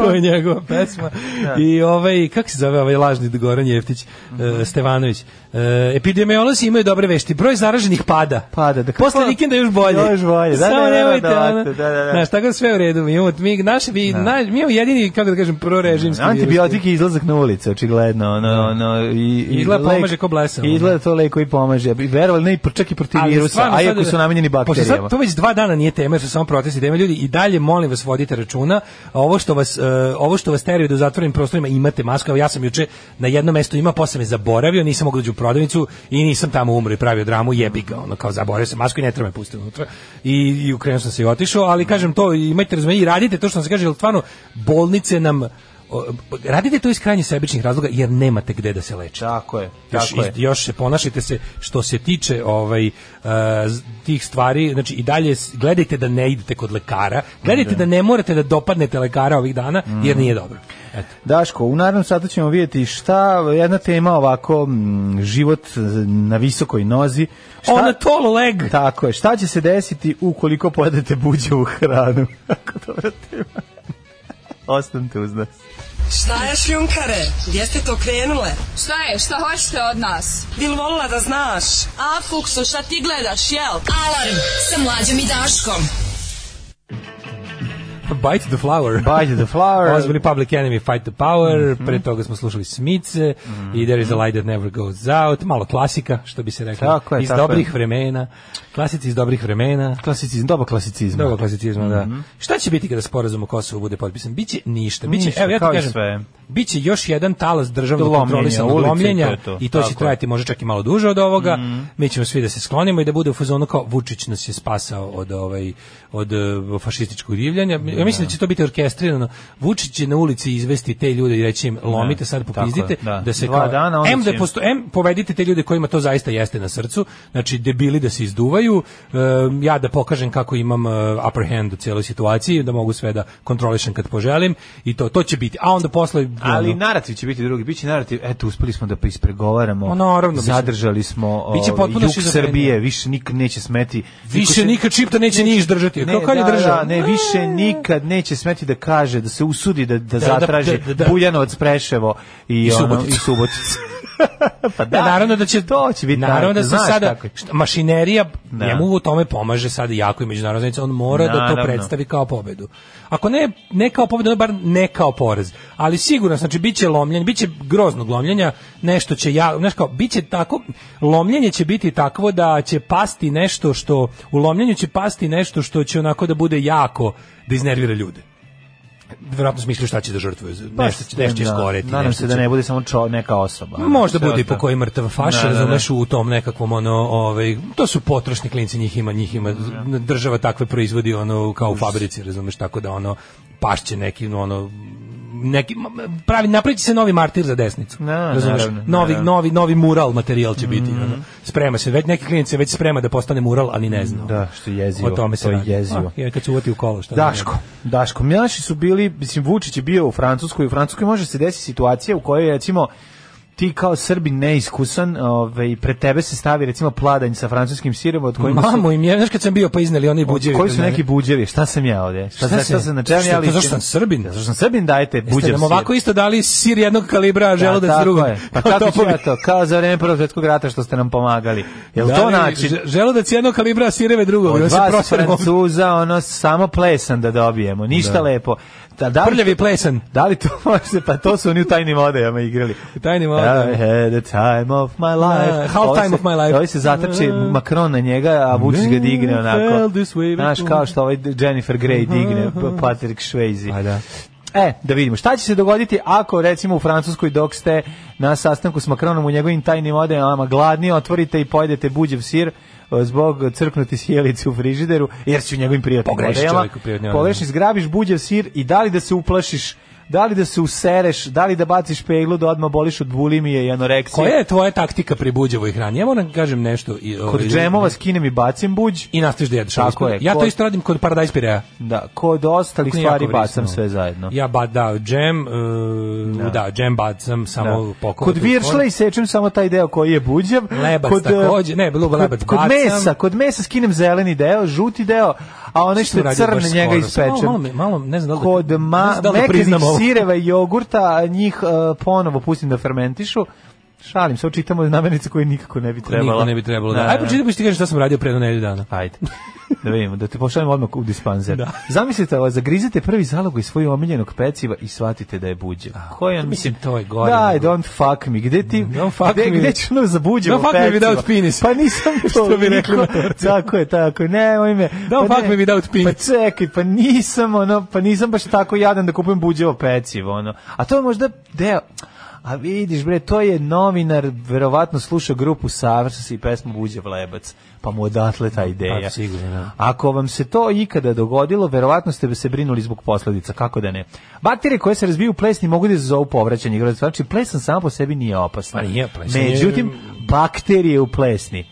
Speaker 6: to je njegova pesma. I ovaj, kako se zove ovaj lažni Goran Jeftić,
Speaker 7: Mhm.
Speaker 6: e, Stevanović. E, epidemiolozi imaju dobre vešti. Broj zaraženih pada.
Speaker 7: Pada, da kako-
Speaker 6: Posle vikenda još bolje.
Speaker 7: Još bolje, da,
Speaker 6: Samo
Speaker 7: da, da,
Speaker 6: nemojte,
Speaker 7: da, da,
Speaker 6: ono.
Speaker 7: da, da, da.
Speaker 6: Znaš, tako da sve u redu. Mi imamo, mi, naši, mi, naš, mi imamo jedini, kako da kažem, prorežimski virus.
Speaker 7: Antibiotik i izlazak na ulice, očigledno. Ono, ono, i, i
Speaker 6: Izgleda
Speaker 7: lek-
Speaker 6: pomaže ko blesav, ono.
Speaker 7: Izgleda to lek koji pomaže. I Verovali, ne, i pro- čak i protiv
Speaker 6: Ali
Speaker 7: virusa,
Speaker 6: stvarno
Speaker 7: a
Speaker 6: sad-
Speaker 7: iako su namenjeni
Speaker 6: Pošto
Speaker 7: bakterijama.
Speaker 6: sad to već dva dana nije tema, jer su samo protesti tema ljudi i dalje molim vas vodite računa. A Ovo što vas e, ovo što vas teraju da u zatvorenim prostorima imate masku. Evo, Ja sam juče na jednom mestu ima, posle me zaboravio, nisam mogao da uđem u prodavnicu i nisam tamo umro i pravio dramu, jebi ga, ono kao zaboravio sam masku i ne treba me pustiti unutra. I i ukrenuo sam se i otišao, ali kažem to imajte razumevanje i radite to što vam se kaže, jer stvarno bolnice nam o, radite to iz krajnje sebičnih razloga jer nemate gde da se lečite
Speaker 7: Tako je,
Speaker 6: još,
Speaker 7: tako je.
Speaker 6: iz- još se ponašajte se što se tiče ovaj e, z- tih stvari znači i dalje s- gledajte da ne idete kod lekara gledajte da, Mm. ne morate da dopadnete lekara ovih dana jer nije dobro eto
Speaker 7: Daško, u narednom satu ćemo vidjeti šta, jedna tema ovako, mm, život e, na visokoj nozi. Šta,
Speaker 6: on a tall leg
Speaker 7: Tako je, šta će se desiti ukoliko pojedete buđevu hranu? Ako dobra tema. Ostanite uz nas.
Speaker 11: Šta je šljunkare? Gdje ste to krenule?
Speaker 5: Šta je, šta hoćete od nas?
Speaker 11: Bil volila da znaš?
Speaker 5: A, Fuksu, šta ti gledaš, jel?
Speaker 11: Alarm sa mlađom i Daškom.
Speaker 6: bite the flower
Speaker 7: Bite the flower.
Speaker 6: Ovo su bili Public Enemy Fight the Power, pre toga smo slušali Smice i There is a light that never goes out, malo klasika, što bi se reklo,
Speaker 7: Tako je,
Speaker 6: iz
Speaker 7: tako je.
Speaker 6: dobrih vremena, klasici iz dobrih vremena.
Speaker 7: Klasicizam, doba klasicizma. Mhm.
Speaker 6: Doba klasicizma, da. Šta će biti kada sporazum o Kosovu bude potpisan? Biće ništa. Biće,
Speaker 7: Ništa,
Speaker 6: evo ja ti
Speaker 7: kao i
Speaker 6: kažem,
Speaker 7: sve.
Speaker 6: biće još jedan talas državnog
Speaker 7: Lomljenja,
Speaker 6: kontrolisanog
Speaker 7: ulica i
Speaker 6: lomljenja
Speaker 7: to je to.
Speaker 6: i to će
Speaker 7: Tako je. Mhm.
Speaker 6: trajati možda čak i malo duže od ovoga. Mi ćemo svi da se sklonimo i da bude u fazonu kao Vučić nas je spasao od ovaj od eh, fašističkog divljanja. Ja mislim da će to biti orkestrirano. Vučić će na ulici izvesti te ljude i reći im lomite sad
Speaker 7: tako je,
Speaker 6: popizdite
Speaker 7: da.
Speaker 6: da. se
Speaker 7: Dva
Speaker 6: kao
Speaker 7: dana, onda
Speaker 6: em da
Speaker 7: će im-
Speaker 6: posto- em povedite te ljude kojima to zaista jeste na srcu, znači debili da se izduvaju, e, ja da pokažem kako imam e, upper hand u cijeloj situaciji, da mogu sve da kontrolišem kad poželim i to to će biti. A onda posle
Speaker 7: Ali
Speaker 6: ono,
Speaker 7: narativ će biti drugi, biće narativ, eto, uspeli smo da pa ispregovaramo,
Speaker 6: Ma, naravno, mislim.
Speaker 7: zadržali smo
Speaker 6: Biće
Speaker 7: ovaj,
Speaker 6: potpuno
Speaker 7: jug
Speaker 6: šizofrenija.
Speaker 7: Srbije, više nik neće smeti. Niko
Speaker 6: više
Speaker 7: se-
Speaker 6: nikad čipta neće ni izdržati. Kako kad je
Speaker 7: da,
Speaker 6: država?
Speaker 7: da, ne, više nikad neće smeti da kaže, da se usudi da, da, zatraži
Speaker 6: da, da, da.
Speaker 7: Buljanovac, Preševo i,
Speaker 6: I
Speaker 7: ono,
Speaker 6: Suboticu.
Speaker 7: i Suboticu. pa da,
Speaker 6: Da, naravno da će
Speaker 7: to će biti
Speaker 6: naravno da
Speaker 7: tako,
Speaker 6: se
Speaker 7: znaš
Speaker 6: sada
Speaker 7: kako je.
Speaker 6: šta- mašinerija
Speaker 7: Da.
Speaker 6: njemu u tome pomaže sada jako i međunarodna zajednica, on mora da
Speaker 7: Naravno.
Speaker 6: to predstavi kao pobedu. Ako ne ne kao pobedu, onda bar ne kao poraz. Ali sigurno znači biće lomljenje, biće groznog lomljenja, nešto će ja, znaš kao biće tako lomljenje će biti takvo da će pasti nešto što u lomljenju će pasti nešto što će onako da bude jako da iznervira ljude. verovatno smislio šta će da žrtvuje.
Speaker 7: Pa,
Speaker 6: Nešto će, nešto će
Speaker 7: da,
Speaker 6: iskoreti.
Speaker 7: Nadam
Speaker 6: nešto
Speaker 7: se da
Speaker 6: će-
Speaker 7: ne bude samo čo, neka osoba. ono,
Speaker 6: Možda
Speaker 7: Pa, Sve
Speaker 6: bude i po
Speaker 7: ostalo.
Speaker 6: koji mrtav faša,
Speaker 7: Da, da, da.
Speaker 6: razumeš, u tom nekakvom ono, ovaj, to su potrošni klinci, njih ima, njih ima, država takve proizvodi ono kao u fabrici, razumeš, tako da ono pašće neki ono neki ma- ma- pravi napraviće se novi martir za desnicu.
Speaker 7: Da, Mhm.
Speaker 6: razumeš?
Speaker 7: naravno,
Speaker 6: novi
Speaker 7: naravno.
Speaker 6: novi novi mural materijal će biti, ono. Sprema se, već neki klinac se već sprema da postane mural, ali ne zna.
Speaker 7: Da, što je jezivo,
Speaker 6: O tome se
Speaker 7: to je
Speaker 6: radi.
Speaker 7: jezivo.
Speaker 6: A, je, kad se uvati u kolo, šta da
Speaker 7: Daško, Daško, naši su bili, mislim, Vučić je bio u Francuskoj, u Francuskoj može se desiti situacija u kojoj, recimo, ti kao Srbin neiskusan, ovaj, pred tebe se stavi, recimo, pladanj sa francuskim sirom, od
Speaker 6: ne?
Speaker 7: kojima su,
Speaker 6: Mamo im je, znaš kad sam bio pa izneli oni buđevi.
Speaker 7: koji
Speaker 6: kod
Speaker 7: su
Speaker 6: mene.
Speaker 7: neki buđevi, šta sam ja ovde? Šta,
Speaker 6: Šta
Speaker 7: šta,
Speaker 6: si?
Speaker 7: šta sam na čemu
Speaker 6: Šta-
Speaker 7: ja
Speaker 6: to
Speaker 7: ličim?
Speaker 6: zašto sam Srbin?
Speaker 7: Zato što sam Srbin, dajte buđev
Speaker 6: Jeste
Speaker 7: sir.
Speaker 6: nam ovako isto dali sir jednog kalibra, a želudac
Speaker 7: tako
Speaker 6: drugog.
Speaker 7: je. Pa
Speaker 6: Kao
Speaker 7: kako ću
Speaker 6: topovi.
Speaker 7: ja to? Kao za vreme Prvog svjetskog rata što ste nam pomagali. Jel
Speaker 6: Da,
Speaker 7: to
Speaker 6: ne,
Speaker 7: način?
Speaker 6: ž- Želudac jednog kalibra, a sireve drugog.
Speaker 7: Od
Speaker 6: Ja se
Speaker 7: vas
Speaker 6: prostirem ovdje.
Speaker 7: Francuza, ono, samo plesan da dobijemo, ništa lepo. Da, da li-
Speaker 6: Prljavi plesan.
Speaker 7: Da li to može? Pa to su oni u tajnim odajama igrali.
Speaker 6: Tajnim
Speaker 7: I
Speaker 6: odajama.
Speaker 7: had the time of my life.
Speaker 6: Da, half
Speaker 7: Ovi
Speaker 6: time
Speaker 7: se-
Speaker 6: of my life.
Speaker 7: Ovi se zatrče Macron na njega, a Vučić ga digne onako.
Speaker 6: Fell this way
Speaker 7: Znaš,
Speaker 6: before.
Speaker 7: kao što ovaj Jennifer Grey digne, P- Patrick Swayze.
Speaker 6: Pa da.
Speaker 7: E, da vidimo. Šta će se dogoditi ako, recimo, u Francuskoj dok ste na sastanku s Macronom u njegovim tajnim odajama gladni, otvorite i pojedete buđev sir e, zbog crknuti sjelice u frižideru, jer si u njegovim prijatnim
Speaker 6: Pogreši
Speaker 7: odajama.
Speaker 6: čovjek u prijatnim odajama.
Speaker 7: Pogreši, zgrabiš buđev sir i da li da se uplašiš, da li da se usereš, da li da baciš peglu da odmah boliš od bulimije i anoreksije.
Speaker 6: Koja je tvoja taktika pri buđevoj hrani? Ja moram da kažem nešto. I,
Speaker 7: Kod
Speaker 6: ovaj,
Speaker 7: džemova skinem i bacim buđ.
Speaker 6: I nastaviš da jedeš.
Speaker 7: Tako
Speaker 6: Ispod-
Speaker 7: je,
Speaker 6: Ja to
Speaker 7: kod-
Speaker 6: isto radim kod paradajz pirea.
Speaker 7: Da, kod ostalih
Speaker 6: Nije jako
Speaker 7: stvari bacam
Speaker 6: vrisno.
Speaker 7: sve zajedno.
Speaker 6: Ja ba, da, džem, e, da. džem bacam, samo
Speaker 7: Da.
Speaker 6: pokovam.
Speaker 7: Kod viršla i sečem samo taj deo koji je buđav.
Speaker 6: Lebac
Speaker 7: kod, e,
Speaker 6: takođe, ne, bilo bi lebac
Speaker 7: Kod, kod
Speaker 6: bacam.
Speaker 7: mesa, kod mesa skinem zeleni deo, žuti deo, a onaj što je crn njega
Speaker 6: Malo, malo,
Speaker 7: ispečem.
Speaker 6: me- malo, ne znam da li,
Speaker 7: Kod
Speaker 6: ne
Speaker 7: ma,
Speaker 6: znam da li da
Speaker 7: mekenih
Speaker 6: priznam ovo.
Speaker 7: sireva i jogurta njih e, ponovo pustim da fermentišu. Šalim se, očitamo namirnice koje nikako ne bi trebalo.
Speaker 6: Niko ne bi trebalo. Da. Ajde, pročitaj pa ću ti kažem šta sam radio pre jedno nedelju dana.
Speaker 7: Ajde. Da vidimo, da te pošaljemo odmah u dispanzer. Zamislite, ovo, zagrizite prvi zalog iz svojeg omiljenog peciva i shvatite da je buđe. Ko je on?
Speaker 6: Mislim, to je gore.
Speaker 7: Daj,
Speaker 6: nego-
Speaker 7: don't fuck me. Gde ti?
Speaker 6: Don't fuck
Speaker 7: gde,
Speaker 6: me.
Speaker 7: Gde ću ono za buđevo
Speaker 6: Don't fuck me
Speaker 7: pecivo?
Speaker 6: without penis.
Speaker 7: Pa nisam to.
Speaker 6: Što bi
Speaker 7: niko-
Speaker 6: rekla.
Speaker 7: Tako je, tako je. Nemoj me.
Speaker 6: Don't
Speaker 7: pa
Speaker 6: fuck me without penis.
Speaker 7: Pa čekaj, pa nisam, ono, pa nisam baš tako jadan da kupujem buđevo pecivo, ono. A to je možda deo... A vidiš bre, to je novinar, verovatno sluša grupu Savrs i pesmu Buđev lebac, pa mu odatle ta ideja.
Speaker 6: Pa, sigurno, da.
Speaker 7: Ako vam se to ikada dogodilo, verovatno ste se brinuli zbog posledica, kako da ne. Bakterije koje se razbiju u plesni mogu da izazovu povraćanje igrača. Znači, plesan sam po sebi nije opasan.
Speaker 6: Pa nije, plesan je-
Speaker 7: Međutim, bakterije u plesni.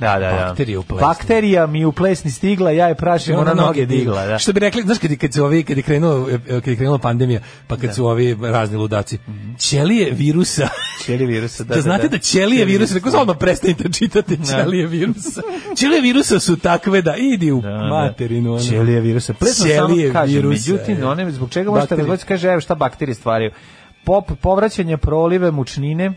Speaker 7: Da, da, da.
Speaker 6: Bakterije u plesni.
Speaker 7: Bakterija mi je u plesni stigla, ja je prašim, ona noge digla, da.
Speaker 6: Što bi rekli, znaš kad, je- kad su ovi, kad je, krenuo, e, kad je krenula pandemija, pa kad su ovi razni ludaci,
Speaker 7: Mhm.
Speaker 6: ćelije virusa,
Speaker 7: Ćelije virusa,
Speaker 6: da, znate da ćelije virusa, rekao sam odmah prestanite čitati ćelije virusa, ćelije virusa su takve da idi u
Speaker 7: Da, da.
Speaker 6: materinu. ono.
Speaker 7: Ćelije virusa. Plesno samo
Speaker 6: Ćelije
Speaker 7: kažem,
Speaker 6: virusa,
Speaker 7: međutim,
Speaker 6: je.
Speaker 7: one zbog čega možete
Speaker 6: Bakterije.
Speaker 7: razvoditi, kaže, evo šta bakterije stvaraju. Pop, povraćanje prolive, mučnine,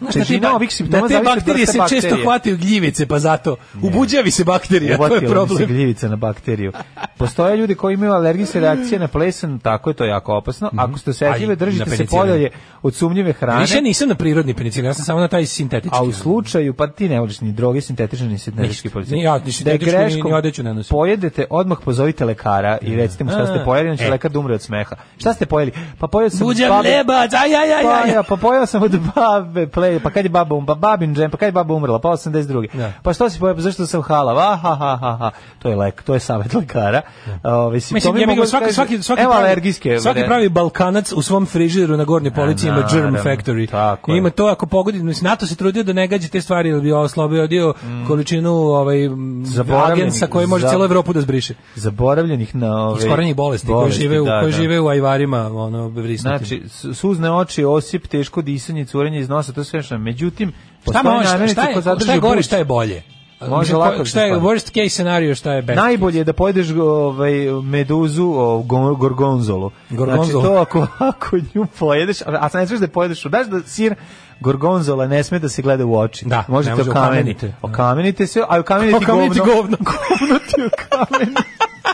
Speaker 6: Znaš, na te
Speaker 7: težina
Speaker 6: bak-
Speaker 7: ovih simptoma
Speaker 6: na te
Speaker 7: zavisi od
Speaker 6: bakterije
Speaker 7: vrste
Speaker 6: se često
Speaker 7: bakterije.
Speaker 6: hvataju gljivice, pa zato ubuđavi se bakterija, to je
Speaker 7: Uvatila mi se
Speaker 6: problem.
Speaker 7: gljivica na bakteriju. Postoje ljudi koji imaju alergijske reakcije na plesan, tako je to je jako opasno. Ako ste
Speaker 6: A
Speaker 7: osetljive,
Speaker 6: i na
Speaker 7: držite se
Speaker 6: penicilin.
Speaker 7: podalje od sumnjive hrane.
Speaker 6: Više nisam na prirodni penicilin, ja sam samo na taj sintetički.
Speaker 7: A u slučaju, pa ti ne voliš ni droge sintetične, ni sintetički
Speaker 6: Ništa.
Speaker 7: policaj.
Speaker 6: Ni ja, ni sintetičku, ni- ni odeću ne nosim.
Speaker 7: Pojedete, odmah pozovite lekara i recite mu šta ste
Speaker 6: A,
Speaker 7: pojeli, on će
Speaker 6: e.
Speaker 7: lekar da umre od smeha. Šta ste pojeli? Pa pojeli sam...
Speaker 6: Buđav
Speaker 7: babi-
Speaker 6: lebac, aj, aj, aj,
Speaker 7: Pa,
Speaker 6: aj.
Speaker 7: ja, pa pojao sam od babe, play, pa kad je baba umrla, pa babin džem, pa kad je baba umrla, pa 82.
Speaker 6: Da.
Speaker 7: Pa što si pojao, pa zašto sam halav, aha, ha, ha, ha, to je lek, to je savjet lekara. Ove,
Speaker 6: Mislim,
Speaker 7: simptomi
Speaker 6: ja
Speaker 7: mogu da
Speaker 6: svaki,
Speaker 7: kažu-
Speaker 6: svaki, svaki,
Speaker 7: evo
Speaker 6: pravi,
Speaker 7: alergijske.
Speaker 6: svaki
Speaker 7: bre.
Speaker 6: pravi Balkanac u svom frižideru na gornjoj polici ima Germ
Speaker 7: naravno,
Speaker 6: Factory.
Speaker 7: tako
Speaker 6: I
Speaker 7: je.
Speaker 6: ima to ako pogodi, mislim, NATO se trudio da ne gađe te stvari, jer bi oslobio dio količinu ovaj, m,
Speaker 7: Zaboravljenih,
Speaker 6: agensa koji može
Speaker 7: Mm. za-
Speaker 6: cijelu Evropu da zbriše.
Speaker 7: Zaboravljenih na ove...
Speaker 6: Iskorenjih bolesti, koji žive, u,
Speaker 7: da,
Speaker 6: koji
Speaker 7: da.
Speaker 6: žive u ajvarima, ono, vrisnutim.
Speaker 7: Znači, su- suzne oči, osip, teško disanje, curenje iz nosa, to je sve što. Međutim,
Speaker 6: Pa Šta,
Speaker 7: postoje
Speaker 6: može,
Speaker 7: namirnice
Speaker 6: šta, je,
Speaker 7: koje zadrže
Speaker 6: šta je gore,
Speaker 7: buč.
Speaker 6: šta je bolje?
Speaker 7: Može
Speaker 6: Mislim,
Speaker 7: lako da se
Speaker 6: šta je
Speaker 7: spadne.
Speaker 6: worst case scenario, šta je best?
Speaker 7: Najbolje je da pojedeš ovaj, meduzu o, go- gorgonzolu.
Speaker 6: Gorgonzolu.
Speaker 7: Znači, to ako, ako nju pojedeš, a, a ne smiješ da je pojedeš, znaš da sir gorgonzola ne sme da se gleda u oči.
Speaker 6: Da, ne
Speaker 7: Možete
Speaker 6: može,
Speaker 7: okamenite.
Speaker 6: okamenite.
Speaker 7: Okamenite se, a okamenite
Speaker 6: Okameniti
Speaker 7: govno.
Speaker 6: govno.
Speaker 7: govno ti okameni.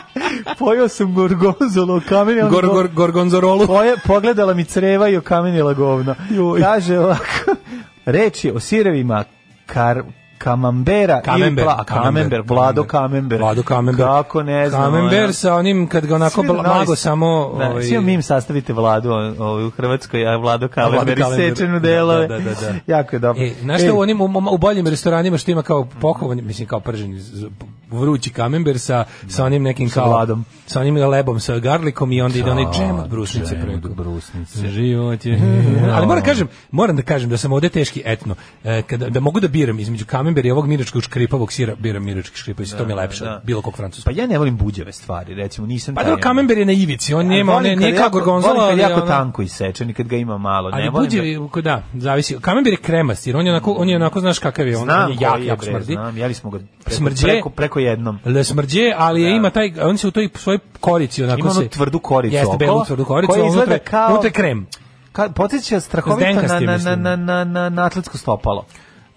Speaker 7: Pojao sam gorgonzolu, okamenio sam
Speaker 6: Gor,
Speaker 7: go-
Speaker 6: gor, gorgonzorolu.
Speaker 7: Poje, pogledala mi creva i okamenila govno. Kaže ovako, reč je o sirevima kar, Kamambera
Speaker 6: Kamember,
Speaker 7: ili Bla, Kamember, Vlado Kamember.
Speaker 6: Vlado Kamember.
Speaker 7: Kako ne znam. ono.
Speaker 6: Kamember sa onim kad ga onako
Speaker 7: Svi
Speaker 6: bla-
Speaker 7: novi-
Speaker 6: blago samo...
Speaker 7: Da,
Speaker 6: ovaj,
Speaker 7: svi vam im sastavite vladu o- ovaj, u Hrvatskoj, a vlado Kamember i
Speaker 6: Kamember.
Speaker 7: sečenu delove.
Speaker 6: Da, da, da, da.
Speaker 7: jako je dobro.
Speaker 6: E, znaš šta u onim u, u boljim restoranima što ima kao pokovan, mislim kao prženi z- vrući kamember sa sa onim nekim
Speaker 7: Sa
Speaker 6: kao
Speaker 7: vladom.
Speaker 6: sa onim lebom sa garlikom i onda ide onaj džem od brusnice
Speaker 7: džem od
Speaker 6: preko.
Speaker 7: brusnice.
Speaker 6: Život je. Ali moram kažem, moram da kažem da sam ovde teški etno. E, kada da mogu da biram između kamembera i ovog miračkog škripavog sira, biram mirački škripav, sir, to mi je lepše
Speaker 7: da.
Speaker 6: od bilo kog francuskog.
Speaker 7: Pa ja ne volim buđave stvari, recimo, nisam
Speaker 6: Pa
Speaker 7: taj- ono.
Speaker 6: dobro, kamember je na ivici, on
Speaker 7: Ali
Speaker 6: nema, on
Speaker 7: volim
Speaker 6: je-
Speaker 7: kad
Speaker 6: nije kao
Speaker 7: jako-
Speaker 6: gorgonzola,
Speaker 7: Volim kad
Speaker 6: ali
Speaker 7: jako
Speaker 6: ono-
Speaker 7: tanko isečen i kad ga ima malo.
Speaker 6: Ali
Speaker 7: ne volim da-
Speaker 6: buđevi, ko- da, zavisi. Kamember je kremast, jer on je onako, on je onako znaš kakav je, on, on
Speaker 7: Znam
Speaker 6: je
Speaker 7: koji
Speaker 6: jak,
Speaker 7: je,
Speaker 6: jak
Speaker 7: bre,
Speaker 6: smrdi.
Speaker 7: Znam, jeli smo ga preko,
Speaker 6: Smrđe.
Speaker 7: preko, preko jednom.
Speaker 6: Le smrđe, ali je ima taj, on se u toj svojoj korici onako
Speaker 7: Ima onu
Speaker 6: se-
Speaker 7: tvrdu koricu
Speaker 6: Jeste, belu
Speaker 7: okolo,
Speaker 6: tvrdu koricu,
Speaker 7: koja
Speaker 6: a unutra,
Speaker 7: izgleda kao-
Speaker 6: unutra je krem.
Speaker 7: Ka, podsjeća strahovito na,
Speaker 6: Zdenkastim,
Speaker 7: na, na,
Speaker 6: mislim.
Speaker 7: na, na, na, na atletsko stopalo.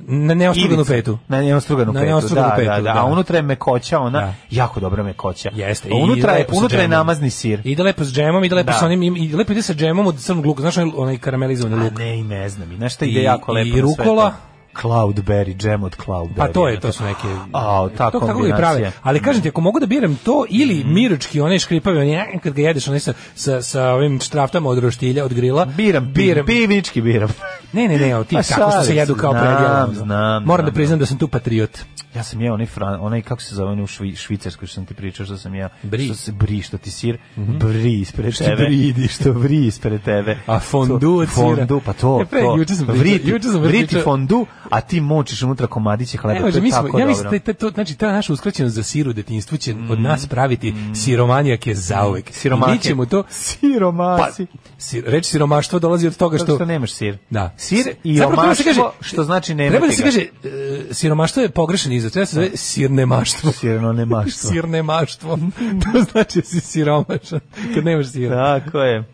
Speaker 6: Na neostruganu
Speaker 7: Ivica.
Speaker 6: fetu.
Speaker 7: Na neostruganu
Speaker 6: Na
Speaker 7: petu,
Speaker 6: neostruganu
Speaker 7: da,
Speaker 6: petu,
Speaker 7: da, da,
Speaker 6: da.
Speaker 7: A unutra je mekoća, ona,
Speaker 6: Da.
Speaker 7: jako dobra mekoća.
Speaker 6: Jeste.
Speaker 7: A unutra,
Speaker 6: i
Speaker 7: je,
Speaker 6: lepo sa
Speaker 7: unutra je
Speaker 6: džemom.
Speaker 7: namazni sir.
Speaker 6: Ide lepo s džemom, ide lepo
Speaker 7: Da.
Speaker 6: sa onim, im- i lepo ide sa džemom od crnog luka, znaš onaj, onaj
Speaker 7: A
Speaker 6: karamelizovani luk.
Speaker 7: ne, i ne znam. I nešto
Speaker 6: I-
Speaker 7: ide jako
Speaker 6: i
Speaker 7: lepo. na sve
Speaker 6: rukola.
Speaker 7: to. Cloudberry, džem od Cloudberry.
Speaker 6: Pa to je, to su neke...
Speaker 7: A, ta
Speaker 6: to, tako ga i
Speaker 7: kombinacija. Mhm.
Speaker 6: prave. Ali kažem ti, ako mogu da biram to ili miručki, onaj škripavi, onaj kad ga jedeš, onaj sa, sa, sa ovim štraftama od roštilja, od grila.
Speaker 7: Biram, biram.
Speaker 6: biram.
Speaker 7: Pivnički biram.
Speaker 6: Ne, ne, ne, o ti
Speaker 7: Pa
Speaker 6: tako što se
Speaker 7: šalim
Speaker 6: jedu
Speaker 7: se,
Speaker 6: kao
Speaker 7: znam,
Speaker 6: predjelo.
Speaker 7: znam,
Speaker 6: Moram da
Speaker 7: znam, E,
Speaker 6: priznam da sam tu patriot.
Speaker 7: Ja sam jeo onaj, fran, onaj kako se zove, onaj u švi, Švicarskoj što sam ti pričao, što sam jeo.
Speaker 6: Bri.
Speaker 7: Što se bri, što ti sir, bri ispred
Speaker 6: Mhm. Što
Speaker 7: tebe.
Speaker 6: bridi,
Speaker 7: što bri ispred tebe.
Speaker 6: A fondu od
Speaker 7: To-
Speaker 6: sira.
Speaker 7: Fondu, pa to,
Speaker 6: E, pre,
Speaker 7: to.
Speaker 6: juče sam pričao-
Speaker 7: vriti,
Speaker 6: juče sam
Speaker 7: vriti
Speaker 6: pričao-
Speaker 7: fondu, a ti močiš unutra komadiće hleba.
Speaker 6: Ne,
Speaker 7: pa to
Speaker 6: može,
Speaker 7: je
Speaker 6: mi smo-
Speaker 7: tako
Speaker 6: ja znači,
Speaker 7: dobro. Mhm.
Speaker 6: mislim da je ta- to, znači ta naša uskraćenost za sir u detinjstvu će od nas praviti siromanijake zauvek.
Speaker 7: Siromake.
Speaker 6: I Mi ćemo to pa,
Speaker 7: Siromasi.
Speaker 6: sir, reč siromaštvo dolazi od toga
Speaker 7: što,
Speaker 6: što
Speaker 7: što nemaš sir.
Speaker 6: Da.
Speaker 7: Sir i
Speaker 6: Zapravo treba da se kaže-
Speaker 7: omaštvo, što znači nema
Speaker 6: Treba da se kaže e, siromaštvo je pogrešan izraz, treba se zove sirnemaštvo.
Speaker 7: Sirno nemaštvo.
Speaker 6: Sirnemaštvo. to znači da si siromašan kad nemaš sira.
Speaker 7: Tako je.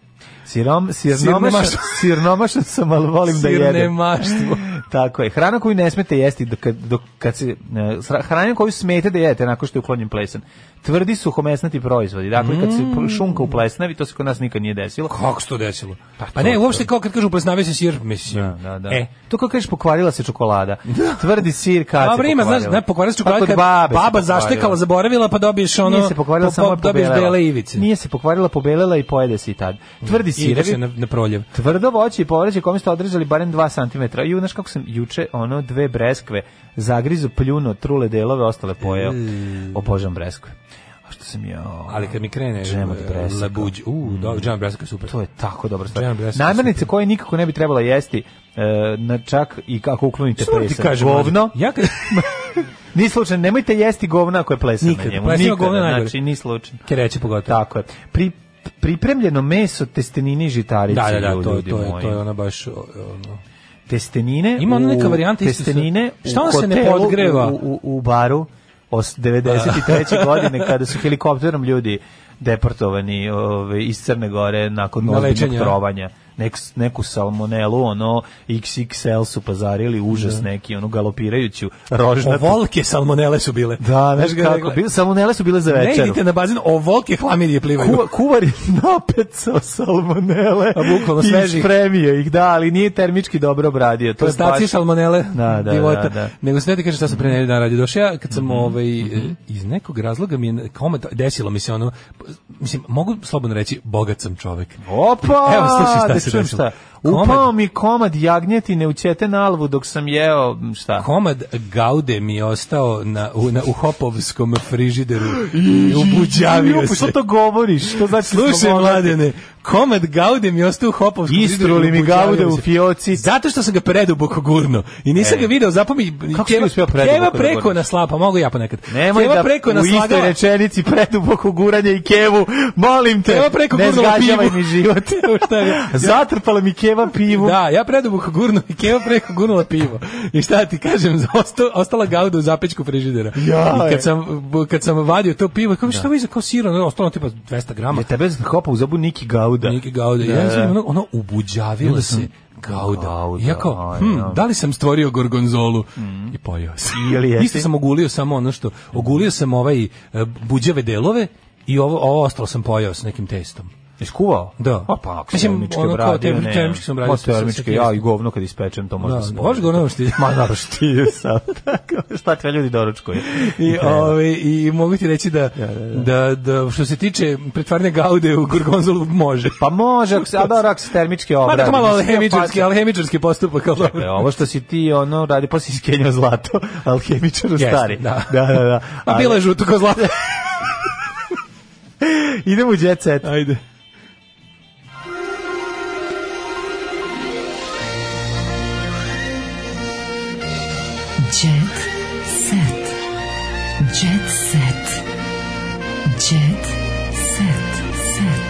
Speaker 7: Sirom, sirnomašan,
Speaker 6: Sirnemašan.
Speaker 7: sirnomašan sam, ali volim da jedem.
Speaker 6: Sirnemaštvo.
Speaker 7: Tako je. Hrana koju ne smete jesti dok, dok kad se e, sra- hrana koju smete da jedete nakon što je uklonjen plesen. Tvrdi suhomesnati proizvodi. Dakle kad se
Speaker 6: Mm.
Speaker 7: pr- šunka u plesnavi, to se kod nas nikad nije desilo.
Speaker 6: Kako se to desilo? Pa,
Speaker 7: to-
Speaker 6: ne, uopšte kao kad kažu plesnave se sir, mislim.
Speaker 7: Da, da.
Speaker 6: E,
Speaker 7: to kako kažeš pokvarila se čokolada. Tvrdi sir kad
Speaker 6: Dobro
Speaker 7: se
Speaker 6: ima, pa znaš,
Speaker 7: pokvarila.
Speaker 6: ne, pokvarila se
Speaker 7: Pa
Speaker 6: čokolada
Speaker 7: kod
Speaker 6: kad
Speaker 7: babe se
Speaker 6: baba
Speaker 7: pokvarila.
Speaker 6: zaštekala, zaboravila, pa dobiješ ono...
Speaker 7: Nije se pokvarila,
Speaker 6: po-
Speaker 7: samo je
Speaker 6: po- Dobiješ
Speaker 7: pobelela.
Speaker 6: bele ivice.
Speaker 7: Nije se pokvarila, pobelela i pojede se i tad. Tvrdi
Speaker 6: I ide se
Speaker 7: sirevi,
Speaker 6: na, na proljev.
Speaker 7: Tvrdo voće i povrće kome ste odrezali barem 2 cm. Ju, znaš kako sam juče ono dve breskve zagrizu pljuno, trule delove, ostale pojeo. Obožavam breskve. A što sam ja...
Speaker 6: Mm. Ali kad mi krene
Speaker 7: Džem od
Speaker 6: e,
Speaker 7: bresaka.
Speaker 6: labuđ, u, do, džem od bresaka je super.
Speaker 7: Mm. To je tako dobro stvar.
Speaker 6: Džem breskve,
Speaker 7: Namirnice koje nikako ne bi trebala jesti, e, na čak i kako uklonite
Speaker 6: Moram ti
Speaker 7: plesen.
Speaker 6: kažem,
Speaker 7: govno.
Speaker 6: mlađe, Ja kad,
Speaker 7: Ni slučajno, nemojte jesti govna ako je plesen
Speaker 6: Nikad,
Speaker 7: na njemu.
Speaker 6: plesnivo govno je najgore.
Speaker 7: znači, ni slučajno.
Speaker 6: kereće pogotovo.
Speaker 7: Tako je. Pri, pripremljeno meso, testenine i žitarice.
Speaker 6: Da, da, da, to,
Speaker 7: ljudi
Speaker 6: to, je,
Speaker 7: moji.
Speaker 6: to je ona baš... o, Ono.
Speaker 7: testenine
Speaker 6: Ima ona neka
Speaker 7: u-
Speaker 6: varijanta isto sa-
Speaker 7: testenine
Speaker 6: Šta
Speaker 7: u
Speaker 6: on se ne
Speaker 7: hotelu
Speaker 6: podgreva?
Speaker 7: u, u, u baru os 93. godine kada su helikopterom ljudi deportovani ove, iz Crne Gore nakon
Speaker 6: Na
Speaker 7: ozbiljnog
Speaker 6: lečenje, a?
Speaker 7: trovanja Nek, neku salmonelu ono XXL su pazarili užas neki onu galopirajuću rožnatu
Speaker 6: Ovolke salmonele su bile.
Speaker 7: da, znaš
Speaker 6: Znaš ga,
Speaker 7: kako,
Speaker 6: rekla-
Speaker 7: bile- salmonele su bile za
Speaker 6: Ne
Speaker 7: večeru
Speaker 6: idite na bazin, ovolke hlamirije plivaju.
Speaker 7: Kuva, kuvar je napecao salmonele
Speaker 6: A bukvalno
Speaker 7: i
Speaker 6: svežih.
Speaker 7: spremio ih, da, ali nije termički dobro obradio. To je
Speaker 6: Prostaci
Speaker 7: baš-
Speaker 6: salmonele
Speaker 7: Da, da,
Speaker 6: divota.
Speaker 7: da, Mhm, da.
Speaker 6: Nego sve ti kaže šta sam pre neki dan radio. Došao ja kad sam ovaj, e, iz nekog razloga mi je koment, desilo mi se ono, mislim, mogu slobodno reći, bogat sam čovek.
Speaker 7: Opa!
Speaker 6: Evo, slušaj šta
Speaker 7: da
Speaker 6: se
Speaker 7: čujem
Speaker 6: desilo.
Speaker 7: šta. Upao
Speaker 6: Komad-
Speaker 7: mi komad jagnjetine u ćete na alvu dok sam jeo, m, šta?
Speaker 6: Komad gaude mi je ostao na, u, na, u hopovskom frižideru i ubuđavio
Speaker 7: Ju,
Speaker 6: se.
Speaker 7: Što to govoriš? To znači
Speaker 6: Slušaj,
Speaker 7: smo mogli-
Speaker 6: mladene, komad gaude mi je ostao u hopovskom frižideru.
Speaker 7: Istruli
Speaker 6: i
Speaker 7: mi
Speaker 6: ubuđavio
Speaker 7: gaude u
Speaker 6: se.
Speaker 7: fioci.
Speaker 6: Zato što sam ga preduboko gurno i nisam
Speaker 7: E.
Speaker 6: ga video, zapomni,
Speaker 7: Kako si ti
Speaker 6: keva,
Speaker 7: uspeo preduboko
Speaker 6: keva
Speaker 7: da
Speaker 6: preko
Speaker 7: gurneš?
Speaker 6: na slapa, mogu ja ponekad.
Speaker 7: Nemoj
Speaker 6: keva
Speaker 7: da
Speaker 6: preko na
Speaker 7: u istoj
Speaker 6: slagala,
Speaker 7: rečenici preduboko guranje i kevu. Molim te,
Speaker 6: Keva preko
Speaker 7: ne
Speaker 6: gurnula
Speaker 7: zgađavaj
Speaker 6: pivu.
Speaker 7: mi život.
Speaker 6: Evo šta je.
Speaker 7: Zatrpala mi keva pivu.
Speaker 6: Da, ja preduboko gurnu i Keva preko gurnula pivo. I šta ti kažem, osta- ostala gauda u zapečku frižidera.
Speaker 7: Jaj.
Speaker 6: I kad sam, kad sam vadio to pivo, kako šta ovo iza kao sira, ono, ostalo tipa 200 grama.
Speaker 7: Je tebe hopa u zabu Niki Gauda.
Speaker 6: Niki gauda.
Speaker 7: Da,
Speaker 6: Ja sam
Speaker 7: da.
Speaker 6: ono, ono ubuđavila se gauda.
Speaker 7: Gauda, ono, Mhm.
Speaker 6: I ja kao,
Speaker 7: aj,
Speaker 6: hm,
Speaker 7: da.
Speaker 6: da li sam stvorio gorgonzolu? I pojeo sam.
Speaker 7: Ili jesi?
Speaker 6: Isto sam ogulio samo ono što, ogulio sam ovaj e, buđave delove i ovo, ovo ostalo sam pojeo s nekim testom.
Speaker 7: Iskuvao?
Speaker 6: Da.
Speaker 7: A pa, ako
Speaker 6: Mislim,
Speaker 7: Mislim, termički
Speaker 6: ono kao
Speaker 7: obradio,
Speaker 6: termi-
Speaker 7: ne.
Speaker 6: termički sam obradio
Speaker 7: Ma,
Speaker 6: sa- sa- sa
Speaker 7: termički, ja
Speaker 6: tijestom.
Speaker 7: i govno kad ispečem, to može
Speaker 6: Da,
Speaker 7: da, se
Speaker 6: možeš govno ono što
Speaker 7: Ma, naravno štiju sad. Tako, šta te ljudi doručkuju.
Speaker 6: I, ovaj, i mogu ti reći da, da, da, što se tiče pretvarne gaude u gorgonzolu može.
Speaker 7: Pa može, ako se- a dobro, ako se termički
Speaker 6: Ma
Speaker 7: obradi.
Speaker 6: tako malo
Speaker 7: mislim,
Speaker 6: alhemičarski,
Speaker 7: pa-
Speaker 6: alhemičarski postupak, ali
Speaker 7: E,
Speaker 6: dobro.
Speaker 7: ovo što si ti ono radi, pa si iskenjao zlato, alhemičaru
Speaker 6: Jeste,
Speaker 7: stari.
Speaker 6: da.
Speaker 7: da, da. da.
Speaker 6: A bila je žuto ko zlata.
Speaker 7: Idemo u jet set.
Speaker 6: Ajde.
Speaker 5: Jet set. Jet set. Jet set. Set.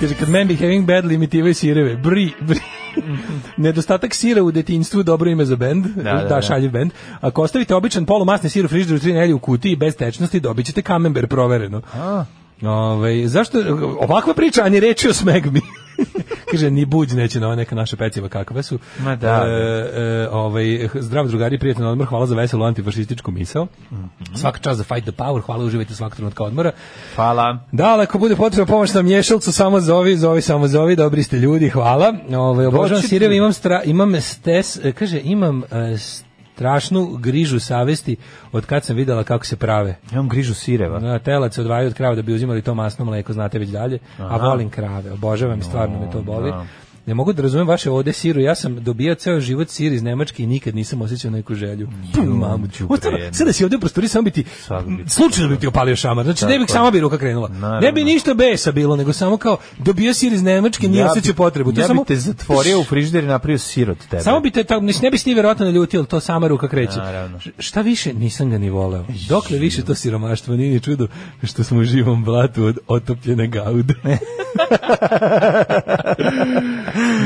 Speaker 6: Kaže, kad men be having bad limitive sireve. Bri, bri. Nedostatak sira u detinjstvu dobro ime za bend, da,
Speaker 7: Mhm. da,
Speaker 6: da,
Speaker 7: da.
Speaker 6: šaljiv bend. Ako ostavite običan polumasni sir u frižideru tri nelje u kutiji bez tečnosti, dobit ćete kamember provereno. Ove, zašto, ovakva priča, a ni reči o smegmi. Kaže, ni buđ neće na ova neka naša peciva kakve su.
Speaker 7: Ma da,
Speaker 6: E,
Speaker 7: da.
Speaker 6: e, ovaj, zdrav drugari, prijatelj odmor, hvala za veselu antifašističku misao.
Speaker 7: Mhm.
Speaker 6: Svaka čast za fight the power, hvala, uživajte svakog trenutka odmora.
Speaker 7: Hvala.
Speaker 6: Da, ali ako bude potrebna pomoć na mješalcu, samo zovi, zovi, samo zovi, dobri ste ljudi, hvala. Ove, obožavam
Speaker 7: Doći-
Speaker 6: sireve, imam, stra, imam stes, e, kaže, imam e, strašnu grižu savesti od kad sam videla kako se prave.
Speaker 7: Ja imam grižu sireva.
Speaker 6: Da, telac odvajaju od krava da bi uzimali to masno mleko, znate već dalje. A volim krave, obožavam i stvarno me to boli. Ne mogu da razumem vaše ode siru. Ja sam dobio ceo život sir iz Nemačke i nikad nisam osjećao neku želju. Pum, mamu ću.
Speaker 7: jedno.
Speaker 6: Sada si ovdje u prostoriji, samo bi ti,
Speaker 7: Sad bi-
Speaker 6: slučajno bi ti opalio šamar. Znači, ne bih
Speaker 7: Tako je.
Speaker 6: sama bi ruka krenula. Ne bi
Speaker 7: Naravno.
Speaker 6: ništa besa bilo, nego samo kao dobio sir iz Nemačke, nije
Speaker 7: bi-
Speaker 6: osjećao potrebu. To
Speaker 7: ja
Speaker 6: samo,
Speaker 7: bi te zatvorio u frižider i napravio sir od tebe.
Speaker 6: Samo bi te tako, mislim, ne bi se ti verovatno naljutio, ali to sama ruka kreće.
Speaker 7: Naravno.
Speaker 6: Š- Šta više, nisam ga ni voleo. Dokle više to siromaštvo, nije ni čudo što smo u živom blatu od otopljene gaude.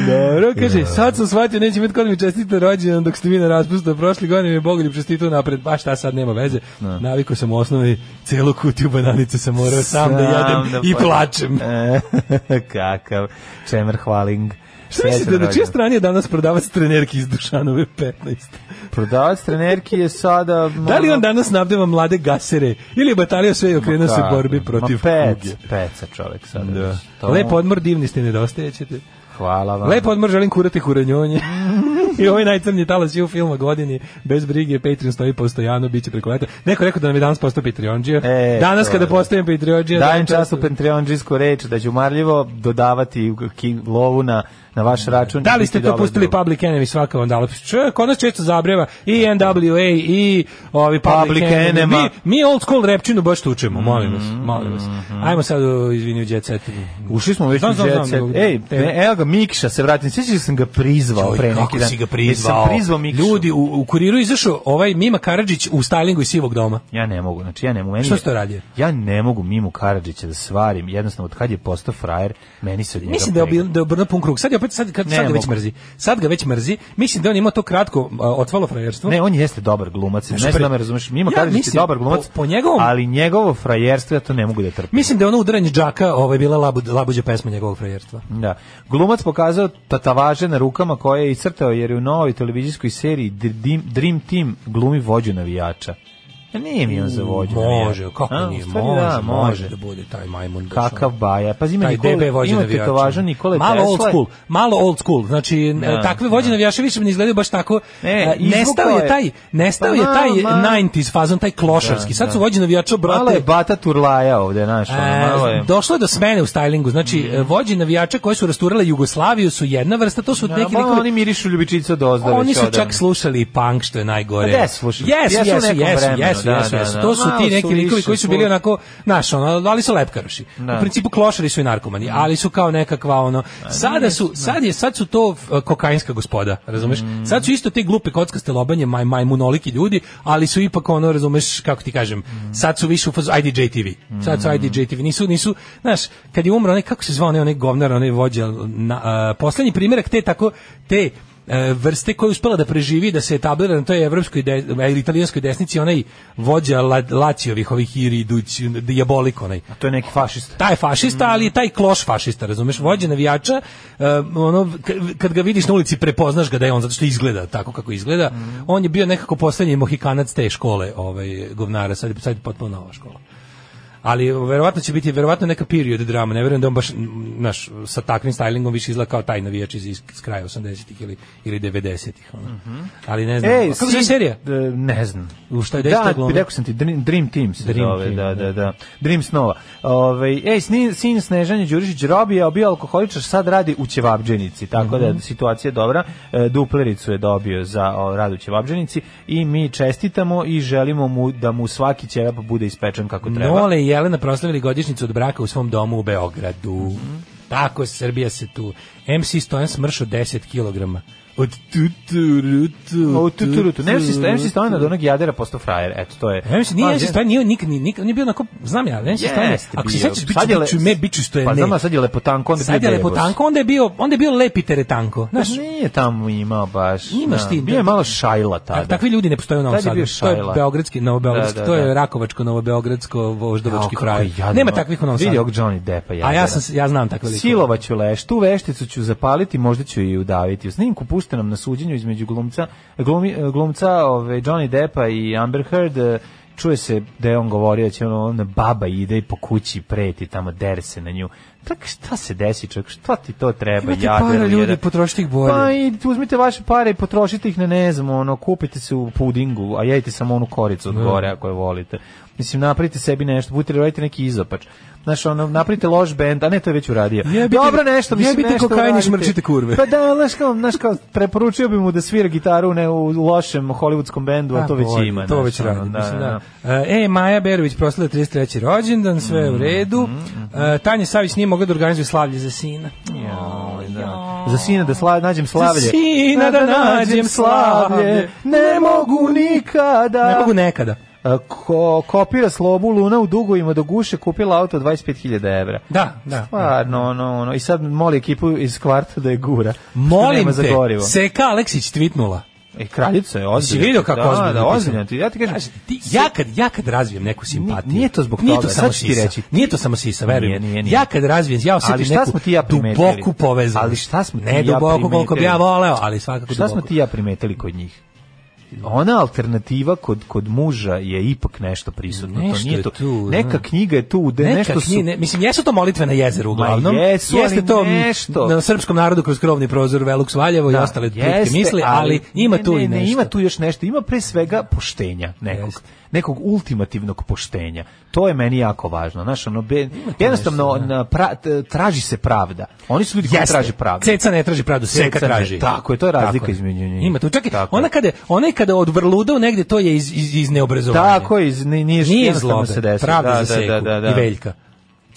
Speaker 6: Dobro, kaže, sad sam shvatio, neće imati kod mi čestite rođendan dok ste vi na raspustu. Prošli godine mi je Bogoljub čestitao napred, baš ta sad nema veze. Navikao sam u osnovi, celu kutiju bananice sam morao sam, da jedem i
Speaker 7: pa-
Speaker 6: plačem.
Speaker 7: E, Kakav čemer hvaling.
Speaker 6: Šta mislite, na čije strani je danas prodavac trenerki iz Dušanove 15?
Speaker 7: Prodavac trenerki je sada...
Speaker 6: Da li
Speaker 7: ono-
Speaker 6: on danas nabdeva mlade gasere ili je batalio sve i okrenuo se
Speaker 7: Kako?
Speaker 6: borbi protiv
Speaker 7: Ma pec,
Speaker 6: kuge?
Speaker 7: peca čovek sada.
Speaker 6: Da.
Speaker 7: već. To- ono- Pa.
Speaker 6: Lep odmor, divni ste, nedostajećete.
Speaker 7: Hvala vam.
Speaker 6: Lep odmor, želim kurati kuranjonje. I ovaj najcrnji talas je u filma godini, bez brige, Patreon stoji postojano, bit će preko leta. Neko je rekao da nam je danas postao Patreonđija.
Speaker 7: E,
Speaker 6: danas
Speaker 7: to
Speaker 6: kada
Speaker 7: je.
Speaker 6: postajem Patreonđija...
Speaker 7: Dajem čast u Pentreonđijsku reč da ću marljivo dodavati ki- lovu na, na vaš račun.
Speaker 6: Da
Speaker 7: i
Speaker 6: li ste
Speaker 7: biti
Speaker 6: to
Speaker 7: dobar
Speaker 6: pustili
Speaker 7: drug.
Speaker 6: Public Enemy svaka vam dala? Če, kod nas često zabrijeva i NWA i ovi Public,
Speaker 7: Public
Speaker 6: Enemy.
Speaker 7: Enema. Mm-hmm.
Speaker 6: Mi, mi old school repčinu baš tučemo, molim vas, molim vas. Ajmo sad, u, izvini, u Jet Set.
Speaker 7: Ušli smo već
Speaker 6: Znam,
Speaker 7: u
Speaker 6: znam,
Speaker 7: jet
Speaker 6: znam,
Speaker 7: set.
Speaker 6: znam.
Speaker 7: Ej,
Speaker 6: Te-
Speaker 7: ne, evo ga Mikša se vratim. Sjećaš da sam ga prizvao
Speaker 6: Oj,
Speaker 7: pre neki dan.
Speaker 6: kako si ga prizvao.
Speaker 7: Sam prizvao Mikšu.
Speaker 6: Ljudi, u, u kuriru je izašao ovaj Mima Karadžić u stylingu iz Sivog doma.
Speaker 7: Ja ne mogu, znači ja ne mogu. Meni
Speaker 6: Što
Speaker 7: je-
Speaker 6: si to radio?
Speaker 7: Ja ne mogu Mimu Karadžića da svarim. Jednostavno, od kad je postao frajer, meni se od njega
Speaker 6: Mislim da je
Speaker 7: pegla.
Speaker 6: obil- da je obrnuo pun krug. Sad je opet sad, kad,
Speaker 7: Ne
Speaker 6: sad ga već
Speaker 7: mogu.
Speaker 6: mrzi. Sad ga već mrzi. Mislim da je on imao to kratko a, otvalo frajerstvo.
Speaker 7: Ne, on jeste dobar glumac. Ne
Speaker 6: Znaš,
Speaker 7: znam da
Speaker 6: Znači, pre-
Speaker 7: me razumeš. Mimo
Speaker 6: Ja
Speaker 7: Karadžić je
Speaker 6: mislim,
Speaker 7: dobar glumac.
Speaker 6: po- po njegovom-
Speaker 7: Ali njegovo frajerstvo ja to ne mogu da trpim.
Speaker 6: Mislim da je ono udaranje džaka, ovaj bila labud, labuđa pesma njegovog frajerstva.
Speaker 7: Da. Glumac pokazao tatavaže na rukama koje je iscrtao jer je u novoj televizijskoj seriji Dream, Dream Team glumi vođu navijača. Ja nije mi on za vođu
Speaker 6: Može,
Speaker 7: navijača.
Speaker 6: kako
Speaker 7: A, u
Speaker 6: nije,
Speaker 7: stvari
Speaker 6: može,
Speaker 7: da,
Speaker 6: može da bude taj majmun. da
Speaker 7: Kakav
Speaker 6: šal-
Speaker 7: baja. Pazi, ima
Speaker 6: Taj
Speaker 7: Nikole,
Speaker 6: DB vođe
Speaker 7: ima
Speaker 6: navijača.
Speaker 7: tetovaža Nikole
Speaker 6: malo
Speaker 7: Tesle.
Speaker 6: old school, malo old school. Znači
Speaker 7: Da,
Speaker 6: takve vođe navijaše više ne izgledaju baš tako.
Speaker 7: Ne,
Speaker 6: E,
Speaker 7: izvukao
Speaker 6: nestao je
Speaker 7: je.
Speaker 6: taj, nestao
Speaker 7: Pa
Speaker 6: je
Speaker 7: ma,
Speaker 6: taj
Speaker 7: ma.
Speaker 6: 90s fazon, taj klošarski. Sad su
Speaker 7: da.
Speaker 6: vođe navijača
Speaker 7: Malo je
Speaker 6: brate.
Speaker 7: bata turlaja ovde, znaš, ono,
Speaker 6: E,
Speaker 7: malo je... Mm.
Speaker 6: došlo je do smene u stylingu. Znači e, vođe navijača koji su rasturale Jugoslaviju su jedna vrsta, to su
Speaker 7: Da,
Speaker 6: neki
Speaker 7: malo
Speaker 6: likovi-
Speaker 7: oni mirišu ljubičica od ono. ozda
Speaker 6: Oni
Speaker 7: već
Speaker 6: su
Speaker 7: odavno.
Speaker 6: čak slušali i punk što je najgore.
Speaker 7: Pa jesu slušali.
Speaker 6: Jesu,
Speaker 7: Jesu u
Speaker 6: jesu,
Speaker 7: nekom
Speaker 6: jesu, jesu,
Speaker 7: vremenu, da,
Speaker 6: jesu,
Speaker 7: da,
Speaker 6: jesu.
Speaker 7: da.
Speaker 6: To su
Speaker 7: Malo
Speaker 6: ti
Speaker 7: su
Speaker 6: neki likovi
Speaker 7: više
Speaker 6: koji su bili
Speaker 7: slu-
Speaker 6: onako, znaš, ono, ali su lepkaroši.
Speaker 7: Da. Mm.
Speaker 6: U principu klošari su i narkomani, ali su kao nekakva ono. Sada su, sad je, sad su to e, kokainska gospoda, razumeš?
Speaker 7: Mm.
Speaker 6: Sad su isto te glupe kockaste lobanje, maj majmunoliki ljudi, ali su ipak ono, razumeš, kako ti kažem,
Speaker 7: Mm.
Speaker 6: sad su više u fazu IDJ TV. Sad su IDJ TV, nisu nisu, znaš, kad je umro onaj kako se zvao onaj onaj govnar, onaj vođa, na, a, poslednji primjerak te tako te e, vrste koja je uspela da preživi da se etablira na toj evropskoj de, e, italijanskoj desnici onaj vođa la, Lacijovih ovih iriduć diabolik onaj
Speaker 7: To je neki fašista.
Speaker 6: taj fašista, ali je taj kloš fašista, razumeš? Vođa navijača, e, ono, k- kad ga vidiš na ulici, prepoznaš ga da je on, zato što izgleda tako kako izgleda.
Speaker 7: Mhm.
Speaker 6: On je bio nekako poslednji mohikanac te škole, ovaj, govnara, sad, je- sad je potpuno nova škola. ali verovatno će biti verovatno neka period drama, ne verujem da on baš m, naš sa takvim stylingom više izgleda kao taj navijač iz, iz iz kraja 80-ih ili ili 90-ih, ono. Ali ne znam.
Speaker 7: Mhm. Ej,
Speaker 6: Kako se zove
Speaker 7: E, si-
Speaker 6: serija?
Speaker 7: D- ne znam.
Speaker 6: U šta je da
Speaker 7: Da,
Speaker 6: isto glumi?
Speaker 7: rekao sam ti, Dream, Dream Team se
Speaker 6: Dream
Speaker 7: zove,
Speaker 6: Team,
Speaker 7: da,
Speaker 6: da.
Speaker 7: da, da. Dream Snova. Ove, ej, sin, sin Snežanje Đurišić Robi je bio alkoholičar, sad radi u Ćevabđenici, tako
Speaker 6: Mhm.
Speaker 7: da situacija je dobra. E, duplericu je dobio za o, rad u Ćevabđenici i mi čestitamo i želimo mu da mu svaki ćevap bude ispečen kako treba.
Speaker 6: Nole i Jelena proslavili godišnjicu od braka u svom domu u Beogradu. Tako, Srbija se tu. MC Stojan smršao 10 kg. Od tuturutu.
Speaker 7: O, tu, tu, tu, tu. Nem si, nem si Stojan od onog jadera posto frajer, eto, to je.
Speaker 6: MC nije
Speaker 7: Pa,
Speaker 6: MC
Speaker 7: je-
Speaker 6: Stojan, nije nikad, nikad, nikad, nije bio onako, znam ja, MC Stojan, je-
Speaker 7: Jeste
Speaker 6: ako se
Speaker 7: bio.
Speaker 6: sećaš, biću,
Speaker 7: Sad je le-
Speaker 6: biću, me, biću Stojan,
Speaker 7: Pa
Speaker 6: ne.
Speaker 7: znam, a sad je Pa lepotanko, onda
Speaker 6: Sad je
Speaker 7: bio
Speaker 6: lepo
Speaker 7: debos.
Speaker 6: tanko, onda je bio, onda je bio lepi teretanko. Znaš,
Speaker 7: Znaš, nije tamo imao baš.
Speaker 6: Imaš
Speaker 7: da.
Speaker 6: ti,
Speaker 7: Bio
Speaker 6: da.
Speaker 7: je malo šajla tada.
Speaker 6: tak- takvi ljudi ne postoje u Novom
Speaker 7: Tad je
Speaker 6: Sadu.
Speaker 7: bio
Speaker 6: To je
Speaker 7: Šajla.
Speaker 6: beogradski, novobeogradski,
Speaker 7: Da, da,
Speaker 6: to je
Speaker 7: da.
Speaker 6: rakovačko, novobeogradsko, voždovački
Speaker 7: Jao, kako
Speaker 6: kraj.
Speaker 7: je jadno.
Speaker 6: Nema takvih u Novom
Speaker 7: Vidi
Speaker 6: Sadu.
Speaker 7: ovog Johnny Deppa.
Speaker 6: A ja,
Speaker 7: jadera.
Speaker 6: sam, ja znam takve likove.
Speaker 7: Silovaću leštu, vešticu ću zapaliti, možda ću i udaviti. U snimku puštenom na suđenju između glumca, glumi, glumca ove, Johnny Deppa i Amber Heard, e, čuje se da je on govorio da će ono, ona baba ide i po kući preti tamo, dere se na nju. Tak šta se desi čovjek, šta ti to treba?
Speaker 6: Imate para
Speaker 7: jader,
Speaker 6: ljudi,
Speaker 7: jedan?
Speaker 6: potrošite ih bolje.
Speaker 7: Pa i uzmite vaše pare i potrošite ih na ne znam, ono, kupite se u pudingu, a jedite samo onu koricu od gore ako je volite. Mislim, napravite sebi nešto, budite radite neki izopač. Znaš, ono, napravite loš bend, a ne, to je već uradio.
Speaker 6: Jebite-
Speaker 7: Dobro nešto, mislim,
Speaker 6: jebite
Speaker 7: nešto
Speaker 6: kokajni,
Speaker 7: uradite.
Speaker 6: šmrčite kurve.
Speaker 7: Pa da, znaš kao, znaš kao, preporučio bi mu da svira gitaru ne u lošem hollywoodskom bendu, a to već
Speaker 6: Pa bolje,
Speaker 7: ima.
Speaker 6: To
Speaker 7: znaš,
Speaker 6: već
Speaker 7: ono,
Speaker 6: radi.
Speaker 7: da,
Speaker 6: mislim,
Speaker 7: da, da.
Speaker 6: da. E, Maja Berović proslavila 33. rođendan, sve
Speaker 7: Mm-hmm,
Speaker 6: je u redu. E, Tanja Savić nije mogla da organizuje slavlje za sina.
Speaker 7: Joj, da. Za sina da sla, nađem slavlje.
Speaker 6: Za sina da nađem slavlje.
Speaker 7: Ne mogu nikada.
Speaker 6: Ne mogu nekada.
Speaker 7: A, E, Ko, kopira slobu Luna u dugovima do guše, kupila auto od 25.000 evra.
Speaker 6: Da, da.
Speaker 7: Stvarno, ono, ono. I sad moli ekipu iz kvarta da je gura. što
Speaker 6: Molim
Speaker 7: nema
Speaker 6: te,
Speaker 7: za gorivo.
Speaker 6: Seka Aleksić tvitnula.
Speaker 7: E, kraljica je ozbiljna.
Speaker 6: Si vidio kako
Speaker 7: da,
Speaker 6: ozbiljno
Speaker 7: Da,
Speaker 6: je
Speaker 7: ozbiljno. ti. Ja ti kažem,
Speaker 6: Znaš, ti- ja kad ja kad razvijem neku simpatiju.
Speaker 7: nije to zbog
Speaker 6: nije
Speaker 7: toga,
Speaker 6: To samo
Speaker 7: sad ću ti
Speaker 6: sisa.
Speaker 7: reći.
Speaker 6: Nije to samo sisa, verujem.
Speaker 7: Nije, nije, nije.
Speaker 6: Ja kad razvijem, ja osetim
Speaker 7: Ali šta
Speaker 6: neku
Speaker 7: smo ti i ja primetili?
Speaker 6: duboku povezanost.
Speaker 7: Ali šta smo ti
Speaker 6: ne
Speaker 7: i ja
Speaker 6: duboko koliko bi ja
Speaker 7: primetili?
Speaker 6: voleo, ali svakako
Speaker 7: Šta smo
Speaker 6: duboko.
Speaker 7: ti i ja primetili kod njih? Ona alternativa kod kod muža je ipak nešto prisutno.
Speaker 6: Nešto
Speaker 7: to nije
Speaker 6: je
Speaker 7: to.
Speaker 6: tu,
Speaker 7: neka
Speaker 6: da.
Speaker 7: knjiga je tu, da
Speaker 6: Neka
Speaker 7: nešto su
Speaker 6: knji- ne, mislim, jesu to molitve na jezeru uglavnom.
Speaker 7: Ma jesu, ali
Speaker 6: Jeste to m,
Speaker 7: nešto.
Speaker 6: na srpskom narodu kroz krovni prozor Velux Valjevo i
Speaker 7: Da,
Speaker 6: ostale
Speaker 7: jeste,
Speaker 6: jeste, misli, ali ima
Speaker 7: ne,
Speaker 6: tu
Speaker 7: ne,
Speaker 6: i nešto.
Speaker 7: Ne, ima tu još nešto, ima pre svega poštenja nekog,
Speaker 6: Jeste.
Speaker 7: nekog ultimativnog poštenja. To je meni jako važno. Znaš, ono, be- jednostavno na pra- t- traži se pravda. Oni su ljudi koji
Speaker 6: Jeste.
Speaker 7: traže pravdu.
Speaker 6: Ceca ne traži pravdu, Seka
Speaker 7: Ceca ne,
Speaker 6: traži.
Speaker 7: tako je, to je razlika između njih.
Speaker 6: Ima tu, čekaj,
Speaker 7: Tako
Speaker 6: ona
Speaker 7: je.
Speaker 6: kada, ona je kada odvrludao negde, to je iz, iz, iz neobrazovanja.
Speaker 7: Tako je, iz- ni- nije,
Speaker 6: Nije
Speaker 7: jednostavno
Speaker 6: zlobe,
Speaker 7: se desilo.
Speaker 6: pravda
Speaker 7: Da,
Speaker 6: za
Speaker 7: da,
Speaker 6: Seku
Speaker 7: da, da, da.
Speaker 6: i Veljka.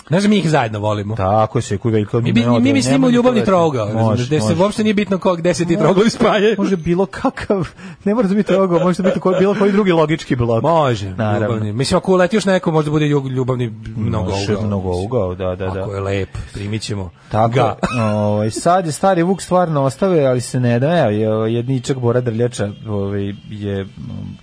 Speaker 6: Znaš da mi ih zajedno volimo.
Speaker 7: Tako je, Seku i Veljko.
Speaker 6: Mi,
Speaker 7: ne
Speaker 6: mi, mi
Speaker 7: odvoje,
Speaker 6: mislimo
Speaker 7: nema
Speaker 6: u ljubavni
Speaker 7: nikakve-
Speaker 6: trougao, razumeš,
Speaker 7: Može,
Speaker 6: gde se
Speaker 7: može.
Speaker 6: uopšte nije bitno kog gde se ti trouglovi spajaju.
Speaker 7: Može bilo kakav, ne mora da biti trougao, može da biti koji, bilo koji drugi logički blok.
Speaker 6: Može,
Speaker 7: Naravno.
Speaker 6: ljubavni. Mislim, ako uleti još neko, možda bude ljub- ljubavni mnogo
Speaker 7: Može mnogo ugao, da, da, da.
Speaker 6: Ako je lep, primit ćemo
Speaker 7: Tako,
Speaker 6: ga.
Speaker 7: ovaj, sad je stari Vuk stvarno ostave, ali se ne da, evo, je- jedničak Bora Drljača ovaj, je, mm,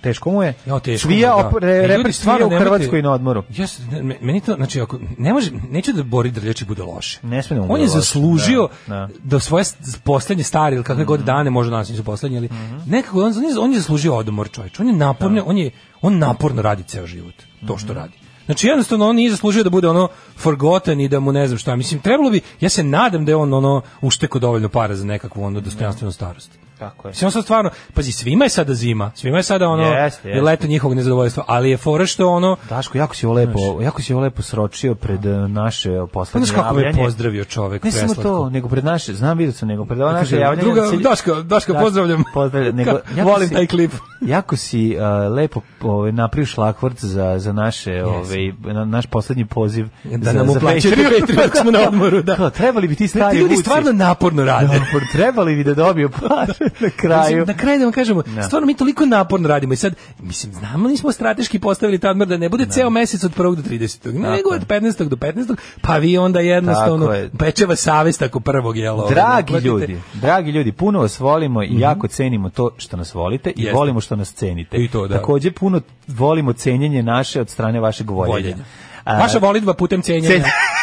Speaker 7: teško mu je.
Speaker 6: Ja teško.
Speaker 7: Svija,
Speaker 6: da.
Speaker 7: op- re-
Speaker 6: E, ljudi,
Speaker 7: reper svija
Speaker 6: stvarno
Speaker 7: u
Speaker 6: nemojte-
Speaker 7: Hrvatskoj na odmoru.
Speaker 6: Jes, ne, me- meni to, znači, ako, ne može, neću da Bori Drljači bude loše.
Speaker 7: Ne sme da mu
Speaker 6: On
Speaker 7: bude
Speaker 6: je
Speaker 7: loše,
Speaker 6: zaslužio
Speaker 7: da, Mhm.
Speaker 6: da,
Speaker 7: da.
Speaker 6: svoje s- poslednje stare ili kakve god dane, možda danas nisu poslednje, ali
Speaker 7: Mhm.
Speaker 6: nekako on, on je, on je zaslužio odmor čovječ. On je naporno, on je, on naporno radi ceo život, to
Speaker 7: Mhm.
Speaker 6: što radi. Znači jednostavno on nije zaslužio da bude ono forgotten i da mu ne znam šta. Mislim trebalo bi ja se nadam da je on ono ušteko dovoljno para za nekakvu ono dostojanstvenu starost.
Speaker 7: Tako je.
Speaker 6: Mislim, on sad stvarno, pazi, svima je sada zima, svima je sada ono
Speaker 7: Jeste, jeste.
Speaker 6: leto njihovog nezadovoljstva, ali je fora što ono,
Speaker 7: Daško, jako si ovo lepo, jako si ovo lepo sročio pred eh, naše poslednje
Speaker 6: znaš kako me
Speaker 7: javljanje.
Speaker 6: pozdravio čovek,
Speaker 7: Ne samo
Speaker 6: preslatko.
Speaker 7: to, nego pred Pa naše, znam vidio sam, nego pred ovo naše
Speaker 6: Kaže,
Speaker 7: javljanje.
Speaker 6: druga,
Speaker 7: da se-
Speaker 6: Daško, Daško, pozdravljam.
Speaker 7: Pozdravljam. Nego,
Speaker 6: Ka- volim taj klip.
Speaker 7: Jako si eh, lepo ovaj, napravio šlakvrt za, za naše, ovaj, na, naš poslednji poziv.
Speaker 6: da
Speaker 7: za-
Speaker 6: nam
Speaker 7: za
Speaker 6: uplaćaju
Speaker 7: Patreon.
Speaker 6: Patreon dok smo na odmoru, da.
Speaker 7: Kao, trebali bi ti
Speaker 6: Ti
Speaker 7: stari
Speaker 6: ljudi
Speaker 7: Vuci.
Speaker 6: stvarno naporno rade.
Speaker 7: Dobro, trebali bi da dobiju pare na kraju.
Speaker 6: Mislim, Na kraju da vam kažemo, stvarno mi toliko naporno radimo i sad, mislim, znamo li smo strateški postavili tadmor da ne bude ceo mesec od 1. do 30. nego
Speaker 7: Tako
Speaker 6: od 15. do 15. pa vi onda jednostavno
Speaker 7: Tako je.
Speaker 6: peče vas savest ako prvog jelo. ovaj,
Speaker 7: Dragi
Speaker 6: naplatite.
Speaker 7: ljudi, dragi ljudi, puno vas volimo i jako cenimo to što nas volite i
Speaker 6: Mhm. Jeste.
Speaker 7: volimo što nas cenite.
Speaker 6: I to, da.
Speaker 7: Takođe puno volimo cenjenje naše od strane vašeg voljenja.
Speaker 6: Voljenja.
Speaker 7: A,
Speaker 6: Vaša volitva putem cenjenja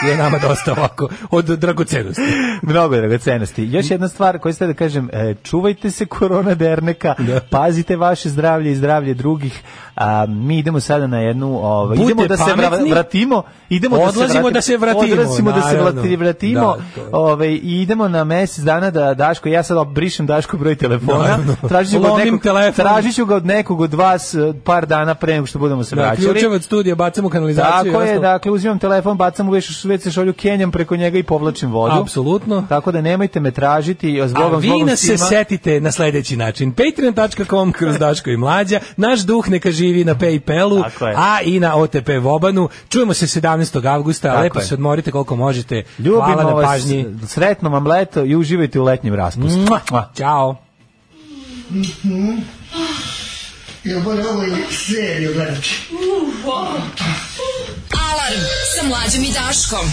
Speaker 6: je nama dosta ovako od dragocenosti.
Speaker 7: Mnogo je dragocenosti. Još jedna stvar koju ste da kažem, e, čuvajte se korona derneka, pazite vaše zdravlje i zdravlje drugih. A mi idemo sada na jednu, ovaj
Speaker 6: Budite
Speaker 7: idemo da se vra-
Speaker 6: pametni,
Speaker 7: vratimo, idemo
Speaker 6: odlazimo da se vratimo,
Speaker 7: odlazimo da se
Speaker 6: naravno.
Speaker 7: vrati- vratimo.
Speaker 6: Da, to je.
Speaker 7: ovaj i idemo na mjesec dana da Daško, ja sad brišem Daško broj telefona.
Speaker 6: Naravno.
Speaker 7: Tražit ću ga od
Speaker 6: Lomim
Speaker 7: nekog,
Speaker 6: telefon.
Speaker 7: tražit ću ga od nekog od vas e, par dana pre nego što budemo se
Speaker 6: Da,
Speaker 7: vraćali.
Speaker 6: ključev od studija bacamo u kanalizaciju. i
Speaker 7: Tako je,
Speaker 6: ostalo.
Speaker 7: dakle, uzimam telefon, bacam u veš, već se šolju kenjam preko njega i povlačim vodu.
Speaker 6: Apsolutno.
Speaker 7: Tako da nemojte me tražiti, a
Speaker 6: A
Speaker 7: zbogom,
Speaker 6: vi
Speaker 7: zbogom
Speaker 6: nas se
Speaker 7: svima.
Speaker 6: setite na sledeći način. Patreon.com kroz Daško i Mlađa. Naš duh neka živi na Paypalu,
Speaker 7: Tako je.
Speaker 6: a i na OTP Vobanu. Čujemo se 17. avgusta.
Speaker 7: Tako
Speaker 6: Lepo
Speaker 7: je.
Speaker 6: se odmorite koliko možete. Hvala
Speaker 7: Ljubimo
Speaker 6: na
Speaker 7: vas,
Speaker 6: pažnji.
Speaker 7: sretno vam leto i uživajte u letnjem raspustu.
Speaker 6: Mua.
Speaker 7: Mua.
Speaker 6: Ćao.
Speaker 12: Ja bolje ovo i seriju gledati.
Speaker 9: Alarm sa Mlađom i Daškom.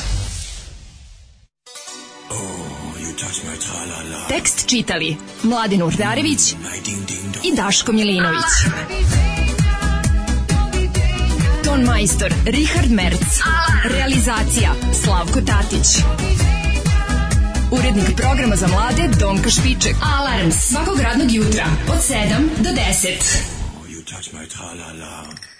Speaker 9: Tekst čitali Mladin Urdarević i Daško Milinović. Ton majstor Richard Merc. Realizacija Slavko Tatić. Urednik programa za mlade Donka Špiček. Alarms svakog radnog jutra od 7 do 10.
Speaker 2: You touch my tra-la-la.